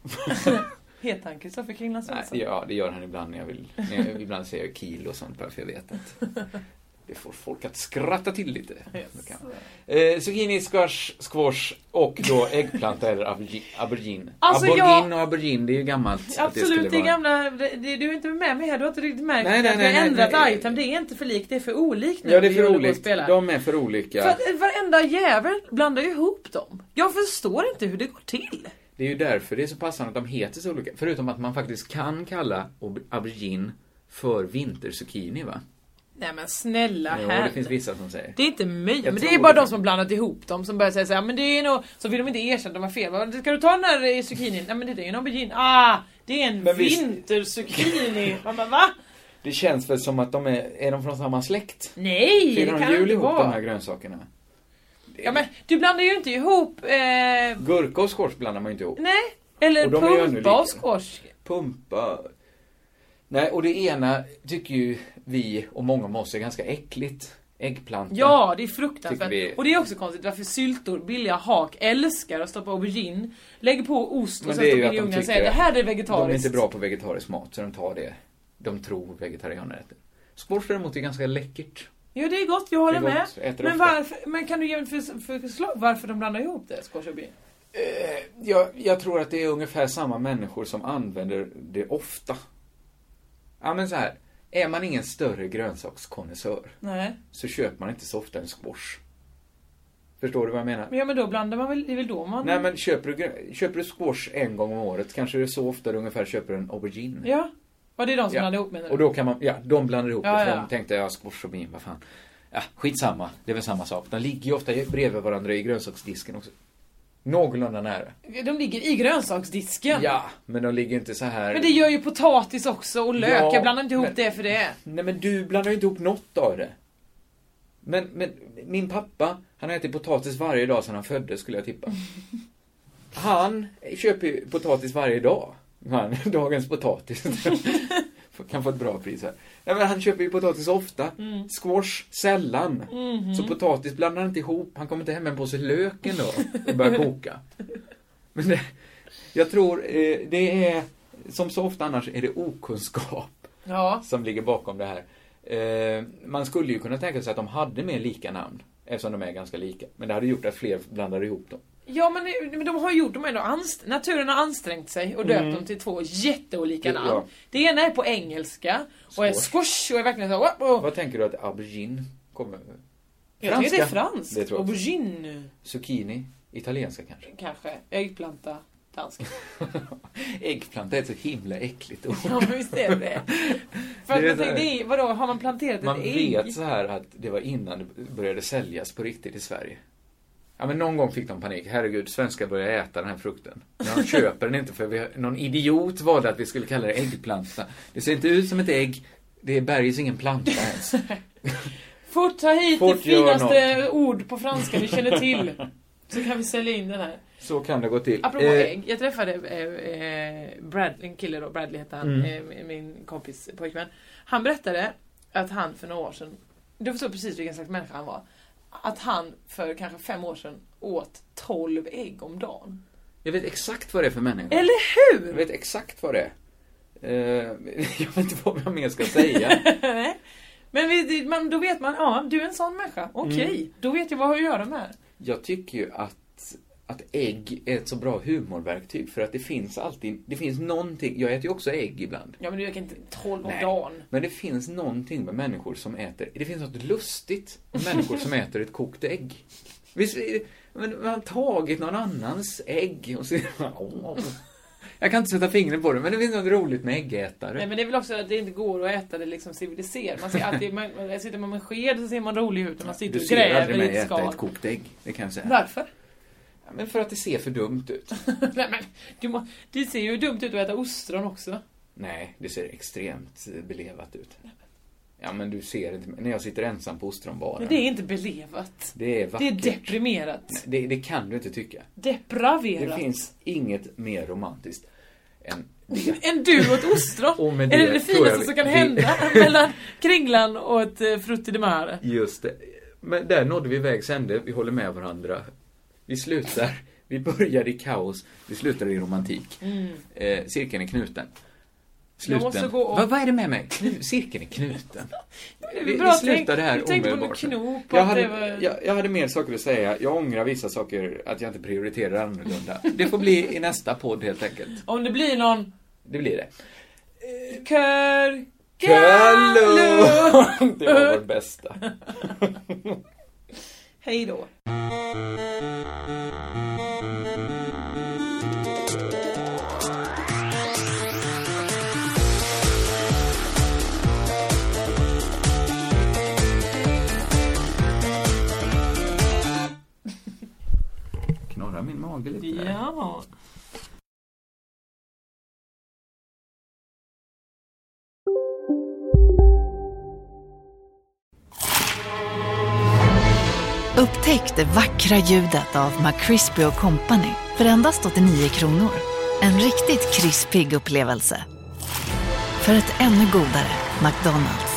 E: Heter han Kristoffer Kringland
D: Nej,
E: Svensson?
D: ja, det gör han ibland när jag vill. När jag, ibland säger jag kil och sånt bara för jag vet att det får folk att skratta till lite. Då kan man. Eh, zucchini, squash, squash och då äggplanta eller aubergi- aubergine.
E: Alltså, jag-
D: aubergine och aubergine, det är ju gammalt. att
E: Absolut,
D: skulle
E: det,
D: vara-
E: gamla, det, det, du är inte med mig här, du har inte riktigt märkt
D: Nej, nej,
E: att vi
D: nej,
E: har
D: nej,
E: ändrat
D: nej.
E: item. Det är inte för likt, det är för olikt nu.
D: Ja, det är
E: vi
D: för
E: håller på att
D: olikt.
E: spela.
D: De är för olika.
E: För att eh, varenda jävel blandar ju ihop dem. Jag förstår inte hur det går till.
D: Det är ju därför det är så passande att de heter så olika. Förutom att man faktiskt kan kalla ob- aubergine för vinterzucchini, va?
E: Nej men snälla
D: Jo,
E: här.
D: det finns vissa som säger.
E: Det är inte mig,
D: Jag
E: men det
D: tror
E: är bara
D: det.
E: de som har blandat ihop dem som börjar säga såhär, men det är nog... Så vill de inte erkänna att de har fel. Bara, Ska du ta den här eh, zucchinin? Nej men det är ju en aubergine. Ah! Det är en
D: Men visst-
E: vinterzucchini. Man bara, va?
D: Det känns väl som att de är, är de från samma släkt?
E: Nej!
D: Firar
E: det
D: de
E: kan
D: jul
E: inte
D: ihop de
E: vara.
D: här grönsakerna?
E: Ja men du blandar ju inte ihop... Eh,
D: Gurka och squash blandar man ju inte ihop.
E: Nej, eller
D: Och de är ju ännu
E: pumpa och
D: lika.
E: squash.
D: Pumpa... Nej, och det ena tycker ju vi och många av oss är ganska äckligt. Äggplanta.
E: Ja, det är
D: Tycker
E: fruktansvärt.
D: vi-
E: Och det är också konstigt varför syltor, billiga hak, älskar att stoppa aubergine, lägger på ost och
D: Men
E: sen
D: det är ju
E: stoppar
D: att
E: in i
D: de
E: ugnen och
D: tycker...
E: säger det här är
D: De är
E: vegetariskt.
D: inte bra på vegetarisk mat, så de tar det. De tror vegetarianer äter. Squash däremot är ganska läckert.
E: Ja, det är gott, jag håller
D: Det är
E: med.
D: gott, äter
E: Men,
D: ofta.
E: varför, men kan du ge mig för, för förslag varför de blandar ihop det, squash och aubergine?
D: Jag, jag tror att det är ungefär samma människor som använder det ofta. Ja, men så här. Är man ingen större grönsakskonnässör
E: Nej.
D: så köper man inte så ofta en squash. Förstår du vad jag menar?
E: Men ja, men då blandar man väl, det är väl då man...
D: Nej men köper du, grö- köper du squash en gång om året kanske det är så ofta du ungefär köper en aubergine.
E: Ja. Ja, det är de som
D: Ja.
E: blandar ihop menar du?
D: Och då kan man, ja de blandar ihop
E: Ja,
D: det för
E: ja.
D: de tänkte ja squash och aubergine, vad fan. Ja, skitsamma, det är väl samma sak. De ligger ju ofta bredvid varandra i grönsaksdisken också. Någorlunda nära.
E: De ligger i grönsaksdisken.
D: Ja, men de ligger inte så här.
E: Men det gör ju potatis också och lök,
D: Ja,
E: jag blandar inte ihop
D: men-
E: det för det.
D: Nej men du blandar ju inte ihop något av det. Men, men min pappa, han har ätit potatis varje dag sedan han föddes skulle jag tippa. Han köper ju potatis varje dag. Han, dagens potatis. kan få ett bra pris här. Nej, men han köper ju potatis ofta. Squash sällan. Så potatis blandar han inte ihop. Han kommer inte hem med en påse lök en dag och börjar koka. Men det, jag tror eh, det är, som så ofta annars, är det okunskap
E: Ja.
D: som ligger bakom det här. Eh, man skulle ju kunna tänka sig att de hade mer lika namn, eftersom de är ganska lika. Men det hade gjort att fler blandade ihop dem.
E: Ja men, men de har gjort, de har ändå anst- naturen har ansträngt sig och döpt
D: Mm.
E: dem till två jätteolika
D: Ja.
E: namn. Det ena är på engelska och är squash och är verkligen så här, "Wow, wow."
D: Vad tänker du att aubergine kommer...
E: Jag tycker det är
D: Franska.
E: franskt.
D: Det tror jag också.
E: Aubergine
D: Zucchini? Italienska kanske?
E: kanske. Äggplanta. Dansk.
D: Äggplanta är ett så himla äckligt ord.
E: Ja men visst är det det. För att
D: Det är
E: man
D: så här-
E: tänker, det är, vadå, har man planterat ett
D: Man
E: ägg?
D: vet så här att det var innan det började säljas på riktigt i Sverige. Ja men någon gång fick de panik. Herregud, svenskar börjar äta den här frukten. Men de köper den inte för vi, har- någon idiot valde att vi skulle kalla det äggplanta. Det ser inte ut som ett ägg. Det är bergs ingen planta ens.
E: Fort ta hit
D: Fort
E: det
D: gör
E: finaste ord på franska ni känner till. Så kan vi sälja in den här.
D: Så kan det gå till.
E: Apropå
D: Eh,
E: ägg, jag träffade eh, eh, Brad, en kille då, Bradley hette han,
D: Mm.
E: eh, min kompis pojkvän. Han berättade att han för några år sedan, du förstår precis vilken slags människa han var. Att han för kanske fem år sedan åt 12 ägg om dagen.
D: Jag vet exakt vad det är för människa.
E: Eller hur?
D: Jag vet exakt vad det är. Eh, jag vet inte vad jag mer ska säga.
E: Nej. Men vi, det- man, då vet man, ja du är en sån människa, okej.
D: Mm.
E: Då vet jag vad jag gör göra med.
D: Jag tycker ju att, att ägg är ett så bra humorverktyg för att det finns alltid, det finns någonting, jag äter ju också ägg ibland.
E: Ja men du kan inte 12 om
D: Nej.
E: dagen.
D: Men det finns någonting med människor som äter, det finns något lustigt med människor som äter ett kokt ägg. Visst, är det- men man har tagit någon annans ägg och så åh. Jag kan inte sätta fingret på det, men det finns något roligt med äggätare.
E: Nej men det är väl också att det inte går att äta det liksom civiliserat. Man ser alltid, man, man, sitter man med en sked så ser man rolig ut och man sitter
D: Du
E: och
D: ser
E: gräver
D: aldrig mig
E: i ett
D: äta
E: skal.
D: ett kokt ägg, det kan jag säga.
E: Varför?
D: Ja, Men för att det ser för dumt ut.
E: Nej, men, du, må, det ser ju dumt ut att äta ostron också.
D: Nej, det ser extremt eh, belevat ut. Ja, men du ser inte. När jag sitter ensam på ostronbaren.
E: Men det är inte belevat.
D: Det är
E: Det är
D: vackert.
E: deprimerat.
D: Nej, det, det kan du inte tycka.
E: Depraverat.
D: Det finns inget mer romantiskt än det.
E: En du åt ostron.
D: Och med
E: är det
D: tror
E: det finaste
D: jag-
E: som kan
D: Oh, det-
E: hända mellan Kringlan och ett eh, Frutti di Mare?
D: Just det. Men där nådde vi vägs ände. Vi håller med varandra. Vi slutar. Vi började i kaos. Vi slutade i romantik.
E: Mm.
D: Eh, cirkeln är knuten.
E: Jag
D: Sluten.
E: måste gå och-
D: Vad, vad är det med mig? Knu- Cirkeln är knuten. Vi, vi
E: pratar-
D: slutar det här
E: vi tänkte på
D: omedelbart.
E: någon knop och
D: jag,
E: att
D: hade,
E: det var-
D: jag, jag hade mer saker att säga. Jag ångrar vissa saker att jag inte prioriterar annorlunda. Det får bli i nästa podd helt enkelt.
E: Om det blir någon
D: Det blir det.
E: kör...
D: Kallo! Det var vårt bästa.
E: Hej då.
D: Knorrar min mage lite. där.
E: Ja.
A: Upptäck det vackra ljudet av McCrispy Company för endast 89 kronor. En riktigt krispig upplevelse. För ett ännu godare McDonalds.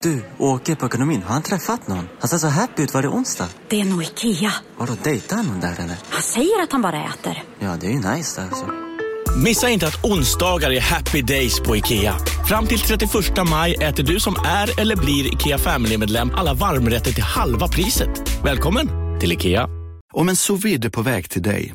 L: Du, åker på ekonomin, har han träffat någon? Han ser så happy ut. Var det onsdag?
G: Det är nog Ikea.
L: Har du dejtar han någon där eller?
G: Han säger att han bara äter.
L: Ja, det är ju nice alltså.
M: Missa inte att onsdagar är happy days på IKEA. Fram till 31 maj äter du som är eller blir IKEA Family-medlem alla varmrätter till halva priset. Välkommen till IKEA.
C: Om en sous vide är på väg till dig